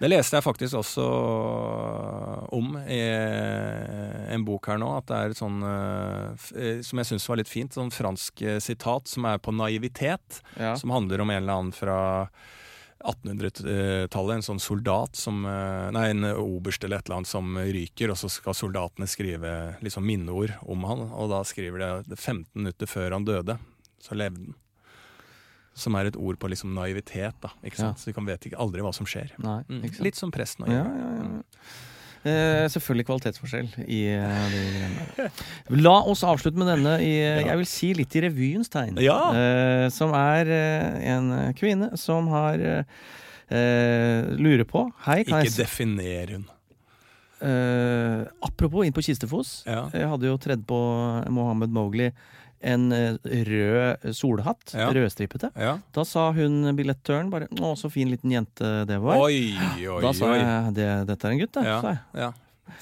Speaker 1: Det leste jeg faktisk også eh, om i eh, en bok her nå, at det er et sånn eh, f- eh, som jeg syns var litt fint, sånn fransk eh, sitat som er på naivitet,
Speaker 2: Ja.
Speaker 1: som handler om en eller annen fra 1800-tallet, en sånn soldat som eh, Nei, en oberst eller et eller annet som ryker, og så skal soldatene skrive liksom minneord om han, og da skriver de 15 minutter før han døde, så levde han. Som er et ord på liksom naivitet, da. Ikke sant?
Speaker 2: Ja.
Speaker 1: Så du kan vet ikke aldri hva som skjer.
Speaker 2: Nei,
Speaker 1: Mm.
Speaker 2: ikke sant?
Speaker 1: Litt som presten og
Speaker 2: Ja,
Speaker 1: jegeren.
Speaker 2: ja, ja. Eh, selvfølgelig kvalitetsforskjell i eh, de greiene der. La oss avslutte med denne i eh, jeg vil si litt i revyens tegn.
Speaker 1: Ja.
Speaker 2: Eh, som er eh, en kvinne som har eh, eh, lurer på Hei, kan
Speaker 1: Ikke
Speaker 2: jeg
Speaker 1: definer hun.
Speaker 2: Eh, apropos inn på Kistefos.
Speaker 1: Ja.
Speaker 2: Jeg hadde jo tredd på Mohammed Mowgli en eh, rød solhatt.
Speaker 1: Ja.
Speaker 2: Rødstripete.
Speaker 1: Ja.
Speaker 2: Da sa hun billettøren bare 'Å, så fin liten jente det var'.
Speaker 1: Oi, oi,
Speaker 2: da sa
Speaker 1: oi.
Speaker 2: jeg det, 'Dette er en gutt', det,
Speaker 1: Ja,
Speaker 2: sa jeg.
Speaker 1: ja.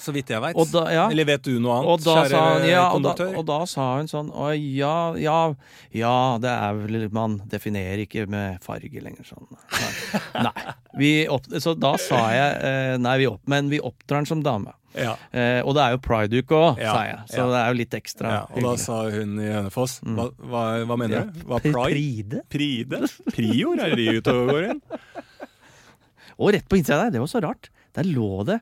Speaker 1: Så vidt jeg veit.
Speaker 2: Og da, ja.
Speaker 1: Eller vet du noe
Speaker 2: Og
Speaker 1: annet,
Speaker 2: da, sa
Speaker 1: kjære
Speaker 2: hun, ja, og, da,
Speaker 1: konduktør?
Speaker 2: og da sa hun sånn Å ja, ja, ja, det er vel Man definerer ikke med farge lenger sånn. Nei. nei. Vi opp, så da sa jeg eh, nei, vi opp, men vi oppdrar den som dame.
Speaker 1: ja.
Speaker 2: Eh, og det er jo prideuke òg,
Speaker 1: Ja,
Speaker 2: sa jeg. Så
Speaker 1: ja.
Speaker 2: det er jo litt ekstra.
Speaker 1: ja. Og da
Speaker 2: hyggelig. Mm.
Speaker 1: sa hun i Hønefoss hva, hva, hva mener
Speaker 2: Ja.
Speaker 1: du? Hva pride?
Speaker 2: Pride?
Speaker 1: Pride? Prior er de ute og går inn?
Speaker 2: Og rett på innsida der, det var så rart. Der lå det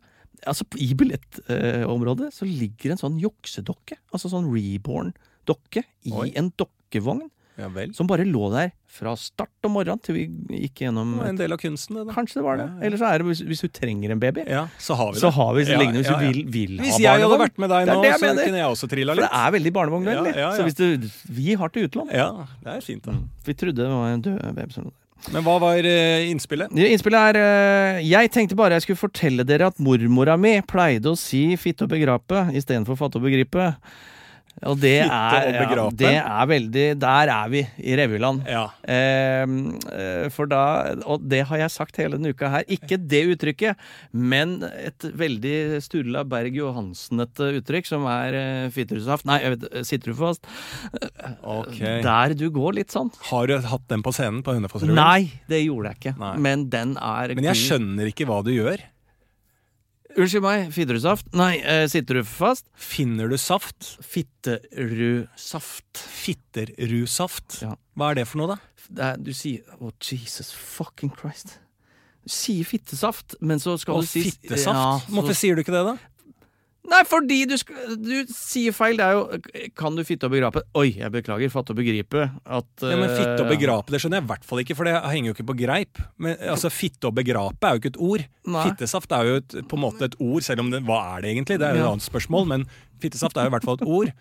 Speaker 2: Altså I billettområdet så ligger en sånn juksedokke. Altså sånn reborn-dokke i
Speaker 1: Oi.
Speaker 2: en dokkevogn.
Speaker 1: Ja vel.
Speaker 2: Som bare lå der fra start om morgenen til vi gikk gjennom
Speaker 1: Det var En del av kunsten, det da.
Speaker 2: Kanskje det var det.
Speaker 1: Ja, ja.
Speaker 2: Eller så er det hvis, hvis du trenger en baby.
Speaker 1: Ja, så har vi det.
Speaker 2: Så har vi
Speaker 1: Ja,
Speaker 2: lignende hvis
Speaker 1: ja, ja.
Speaker 2: du vil, vil ha
Speaker 1: Hvis jeg hadde
Speaker 2: barnevogn.
Speaker 1: vært med deg
Speaker 2: Det er
Speaker 1: nå,
Speaker 2: det jeg
Speaker 1: så
Speaker 2: mener.
Speaker 1: kunne jeg også trilla
Speaker 2: For det
Speaker 1: litt.
Speaker 2: er veldig barnevognsvennlig.
Speaker 1: Ja, ja, ja.
Speaker 2: Så hvis du Vi har til utlån.
Speaker 1: Ja, det er fint, da.
Speaker 2: Vi trodde det var en død baby. som lå der.
Speaker 1: Men hva var eh, innspillet?
Speaker 2: Innspillet er eh, Jeg tenkte bare jeg skulle fortelle dere at mormora mi pleide å si 'fitte og begrape' istedenfor 'fatte og begripe'. Og det
Speaker 1: Fitte
Speaker 2: er,
Speaker 1: og
Speaker 2: ja,
Speaker 1: begrape.
Speaker 2: det er veldig Der er vi i revyland.
Speaker 1: Ja.
Speaker 2: Ehm, eh, for da, og det har jeg sagt hele denne uka her, ikke det uttrykket, men et veldig Sturla Berg Johansen-ete uttrykk som er eh, fitterusaft Nei, jeg vet, eh, sitterufast.
Speaker 1: Ok.
Speaker 2: Der du går litt sånn.
Speaker 1: Har du hatt den på scenen på Hønefoss Revyen?
Speaker 2: Nei, det gjorde jeg ikke.
Speaker 1: Nei.
Speaker 2: Men den er
Speaker 1: Men jeg
Speaker 2: god.
Speaker 1: skjønner ikke hva du gjør.
Speaker 2: Unnskyld meg, fitterusaft? Nei, eh, sitterufast?
Speaker 1: Finner du saft?
Speaker 2: Fitterusaft.
Speaker 1: Fitterrusaft.
Speaker 2: Ja.
Speaker 1: Hva er det for noe, da?
Speaker 2: Det er, du sier Å, Jesus fucking Christ. Du sier fittesaft, men så skal
Speaker 1: Å,
Speaker 2: du si Ja,
Speaker 1: fittesaft?
Speaker 2: så-
Speaker 1: Hvorfor sier du ikke det, da?
Speaker 2: Nei, fordi du, sk- du sier feil. Det er jo Kan du fitte og begrape? Oi, jeg beklager. Fatte og begripe at
Speaker 1: Ja, men Fitte og
Speaker 2: eh,
Speaker 1: begrape, det skjønner jeg i hvert fall ikke, for det henger jo ikke på greip. Men altså, Fitte og begrape er jo ikke et ord.
Speaker 2: eh, Nei.
Speaker 1: Fittesaft er jo et, på en måte et ord, selv om det Hva er det egentlig? Det er jo et
Speaker 2: Ja.
Speaker 1: annet spørsmål, men fittesaft er jo i hvert fall et ord.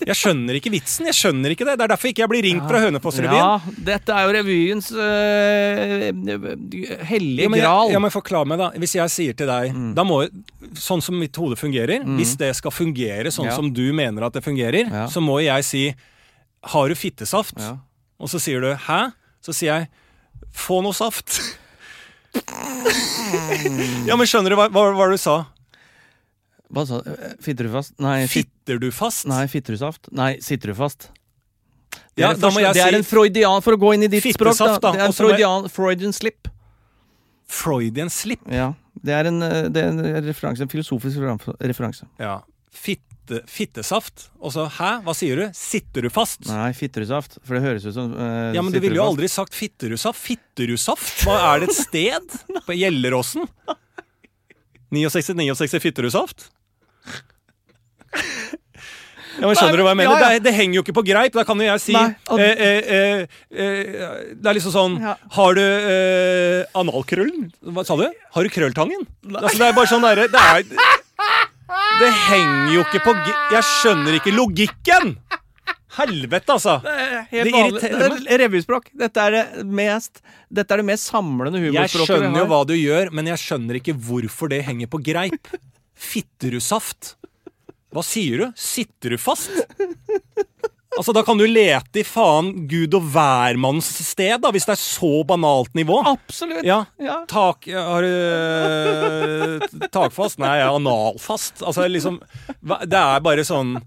Speaker 1: Jeg skjønner ikke vitsen, jeg skjønner ikke det. Det er derfor ikke jeg blir ringt fra Hønefoss-revyen.
Speaker 2: Ja, dette er jo revyens eh, hellige
Speaker 1: men,
Speaker 2: gral.
Speaker 1: jeg, ja, men forklar meg, da. Hvis jeg sier til deg
Speaker 2: Mm.
Speaker 1: da må, Sånn som mitt hode fungerer, hvis det skal fungere sånn
Speaker 2: Ja.
Speaker 1: som du mener at det fungerer,
Speaker 2: Mm. Ja.
Speaker 1: så må jeg si Har du fittesaft?
Speaker 2: Ja.
Speaker 1: Og så sier du hæ? Så sier jeg få noe saft. ja, men skjønner du hva, hva var det du sa?
Speaker 2: Hva sa du? Fitter du fast? Nei, fit,
Speaker 1: Fitter du fast?
Speaker 2: nei fitterusaft? Nei, sitter du fast? Det
Speaker 1: Ja,
Speaker 2: er, en
Speaker 1: da må
Speaker 2: forsk-
Speaker 1: jeg
Speaker 2: det er
Speaker 1: si
Speaker 2: en freudian For å gå inn i ditt språk, da.
Speaker 1: Fittesaft, da,
Speaker 2: Det er
Speaker 1: og
Speaker 2: en
Speaker 1: så må jeg-
Speaker 2: freudian, Freudian slip.
Speaker 1: Freudian slip.
Speaker 2: Ja. Det er en, eh, det er en referanse, en filosofisk referanse.
Speaker 1: Ja. Fitte fitte, fittesaft. Og så hæ, hva sier du? Sitter du fast?
Speaker 2: Nei, fitterudsaft. For det høres ut som eh,
Speaker 1: Ja, men du ville jo
Speaker 2: sitterudsaft.
Speaker 1: aldri sagt Fitterudsaft. Fitterudsaft? Hva er det et sted? På Gjelleråsen? 69-69 Fitterudsaft? Ja, men Skjønner du hva jeg mener?
Speaker 2: Ja, ja.
Speaker 1: Det, er- det henger jo ikke på greip. Da kan jo jeg si
Speaker 2: Nei, og-
Speaker 1: eh, eh, eh, eh, Det er liksom sånn
Speaker 2: Ja.
Speaker 1: Har du eh, analkrøllen? Hva sa du? Har du krølltangen? Altså, det er bare sånn derre det, er- det henger jo ikke på g... Jeg skjønner ikke logikken! Helvete, altså.
Speaker 2: Helt
Speaker 1: Det
Speaker 2: vanlig.
Speaker 1: irriterer
Speaker 2: Det er Revyspråk. Dette er det mest Dette er det mest samlende
Speaker 1: Jeg
Speaker 2: humorspråket vi
Speaker 1: skjønner jo
Speaker 2: har.
Speaker 1: hva du gjør, men jeg skjønner ikke hvorfor det henger på greip. Fitterudsaft. Hva sier du? Sitter du fast? Altså, Da kan du lete i faen gud og hvermanns sted, da, hvis det er så banalt nivå.
Speaker 2: Absolutt.
Speaker 1: Ja.
Speaker 2: Ja.
Speaker 1: Tak Har du eh, takfast? Nei, jeg er analfast. Altså, liksom hva- Det er bare sånn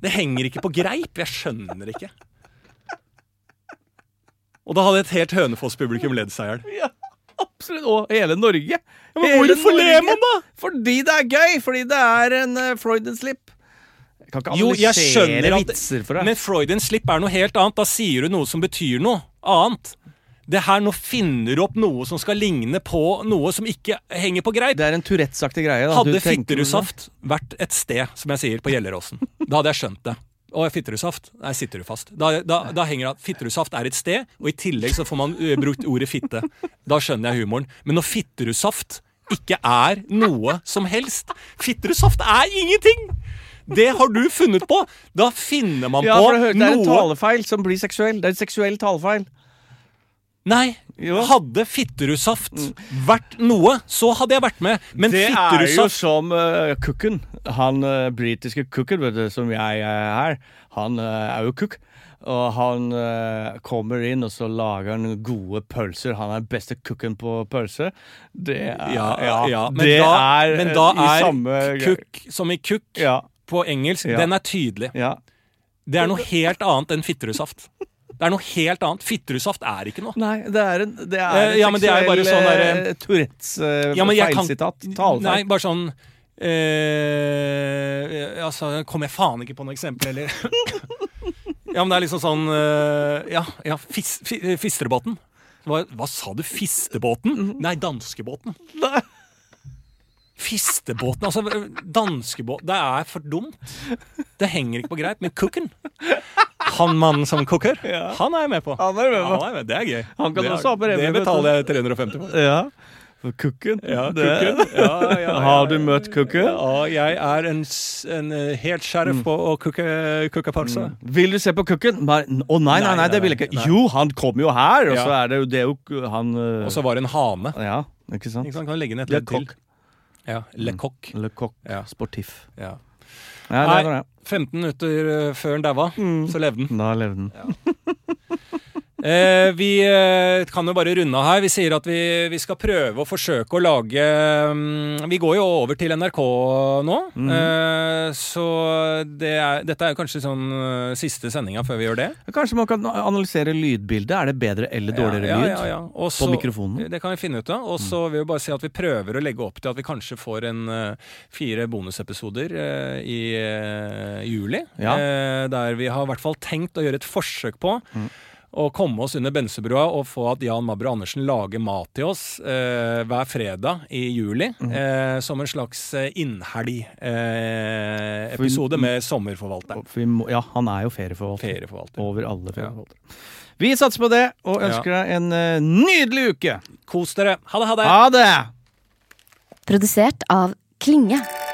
Speaker 1: Det henger ikke på greip. Jeg skjønner det ikke. Og da hadde et helt Hønefoss-publikum ledd seg i hjel.
Speaker 2: Ja, absolutt. Og hele Norge.
Speaker 1: men
Speaker 2: Hele
Speaker 1: hvorfor ler man da?
Speaker 2: Fordi det er gøy! Fordi det er en uh, Freudenslip. Jeg kan ikke
Speaker 1: Jo, jeg skjønner
Speaker 2: analysere
Speaker 1: at-
Speaker 2: vitser for deg.
Speaker 1: Men Freudens slipp er noe helt annet. Da sier du noe som betyr noe annet. Det her Nå finner du opp noe som skal ligne på noe som ikke henger på greip.
Speaker 2: det er en Tourettes-aktig greie. Da. Du
Speaker 1: Hadde
Speaker 2: tenker-
Speaker 1: Fitterudsaft vært et sted, som jeg sier, på Gjelleråsen, da hadde jeg skjønt det. Å, Fitterudsaft? Nei, sitter du fast? Da, da, da henger det at Fitterudsaft er et sted, og i tillegg så får man ø, brukt ordet fitte. Da skjønner jeg humoren. Men når Fitterudsaft ikke er noe som helst Fitterudsaft er ingenting! Det har du funnet på! Da finner man
Speaker 2: Ja,
Speaker 1: på
Speaker 2: for det, hø- det er en
Speaker 1: noe
Speaker 2: talefeil som blir seksuell. Det er en seksuell talefeil.
Speaker 1: Nei.
Speaker 2: Jo.
Speaker 1: Hadde Fitterudsaft vært noe, så hadde jeg vært med. Men
Speaker 2: det er jo
Speaker 1: Fitterudsaft
Speaker 2: som uh, kukken. Han uh, britiske kukken, vet du, som jeg eh, er. Han eh, er jo kukk. Og han eh, kommer inn, og så lager han gode pølser. Han er den beste kukken på pølse. Det er
Speaker 1: Ja, ja, men
Speaker 2: det
Speaker 1: da,
Speaker 2: er
Speaker 1: men
Speaker 2: eh,
Speaker 1: da
Speaker 2: i
Speaker 1: er
Speaker 2: samme
Speaker 1: kukk som i kukk
Speaker 2: Ja.
Speaker 1: på engelsk,
Speaker 2: Ja.
Speaker 1: den er tydelig.
Speaker 2: ja.
Speaker 1: Det er noe helt annet enn fitterudsaft. Det er noe helt annet. Fitterudsaft er ikke noe.
Speaker 2: Nei, det er en, det er
Speaker 1: Eh,
Speaker 2: en
Speaker 1: ja, men det er bare
Speaker 2: seksuell
Speaker 1: sånn der,
Speaker 2: eh, Tourettes eh,
Speaker 1: Ja, men jeg kan-
Speaker 2: feilsitat.
Speaker 1: Nei,
Speaker 2: Talefeil.
Speaker 1: bare sånn eh, Altså, kom jeg faen ikke på noe eksempel, eller? ja, men det er liksom sånn eh, Ja, ja fis, fi, Fistrebåten. Hva, hva sa du? Fistebåten? Nei, danskebåten.
Speaker 2: Mhm. Nei.
Speaker 1: Fistebåten, altså danskebåt Det er for dumt. Det henger ikke på greip. Men cooken Han mannen som cooker,
Speaker 2: Ja.
Speaker 1: han er jeg med på.
Speaker 2: Han er med på.
Speaker 1: Ja, han er Det er gøy.
Speaker 2: Han kan
Speaker 1: det, er-
Speaker 2: også ha på
Speaker 1: det
Speaker 2: revy, vet du.
Speaker 1: betaler jeg 350 for.
Speaker 2: Ja. For kukken.
Speaker 1: Ja,
Speaker 2: det-
Speaker 1: cooken. Ja, ja, ja, ja.
Speaker 2: Har du møtt kukken? Mm.
Speaker 1: Ja, jeg er en, s- en eh, helt sheriff på å cooke, cooke pølse.
Speaker 2: Vil du se på kukken? Bare, Å nei, nei, nei, det vil jeg ikke.
Speaker 1: nei.
Speaker 2: Jo, han kom jo her, og
Speaker 1: Ja.
Speaker 2: så er det jo det er jo k- han øh,
Speaker 1: Og så var det en hane.
Speaker 2: Ja, ikke sant?
Speaker 1: Ikke sant? Kan du legge ned et
Speaker 2: Le
Speaker 1: ledd til?
Speaker 2: coq.
Speaker 1: Ja,
Speaker 2: Mm.
Speaker 1: Le coq.
Speaker 2: Le coq
Speaker 1: Ja.
Speaker 2: sportif.
Speaker 1: Ja.
Speaker 2: Ja, det
Speaker 1: Nei.
Speaker 2: var det.
Speaker 1: 15 minutter eh, før den daua,
Speaker 2: Mm.
Speaker 1: så levde den.
Speaker 2: Da levde den.
Speaker 1: Eh, vi eh, kan jo bare runde av her. Vi sier at vi, vi skal prøve å forsøke å lage mm, Vi går jo over til NRK nå.
Speaker 2: Mm.
Speaker 1: Eh, så det er, dette er jo kanskje sånn eh, siste sendinga før vi gjør det.
Speaker 2: Kanskje man kan analysere lydbildet. Er det bedre eller dårligere
Speaker 1: ja,
Speaker 2: lyd?
Speaker 1: ja, ja. Og
Speaker 2: På mikrofonen?
Speaker 1: Det kan vi finne ut av. Og
Speaker 2: Mm.
Speaker 1: så vil vi bare si at vi prøver å legge opp til at vi kanskje får en eh, fire bonusepisoder eh, i eh, juli.
Speaker 2: Ja.
Speaker 1: eh, der vi har i hvert fall tenkt å gjøre et forsøk på
Speaker 2: Mm.
Speaker 1: å komme oss under Bensebrua og få at Jan Mabro Andersen lager mat til oss eh, hver fredag i juli.
Speaker 2: Mm.
Speaker 1: Eh, som en slags eh,
Speaker 2: For-
Speaker 1: innhelg-episode med sommerforvalteren.
Speaker 2: For vi må, ja, han er jo ferieforvalter.
Speaker 1: Ferieforvalter.
Speaker 2: Over alle ferieforvaltere. Vi satser på det, og ønsker deg en øh, nydelig uke!
Speaker 1: Kos dere! Ha det, ha det!
Speaker 2: Ha det!
Speaker 3: Produsert av Klinge.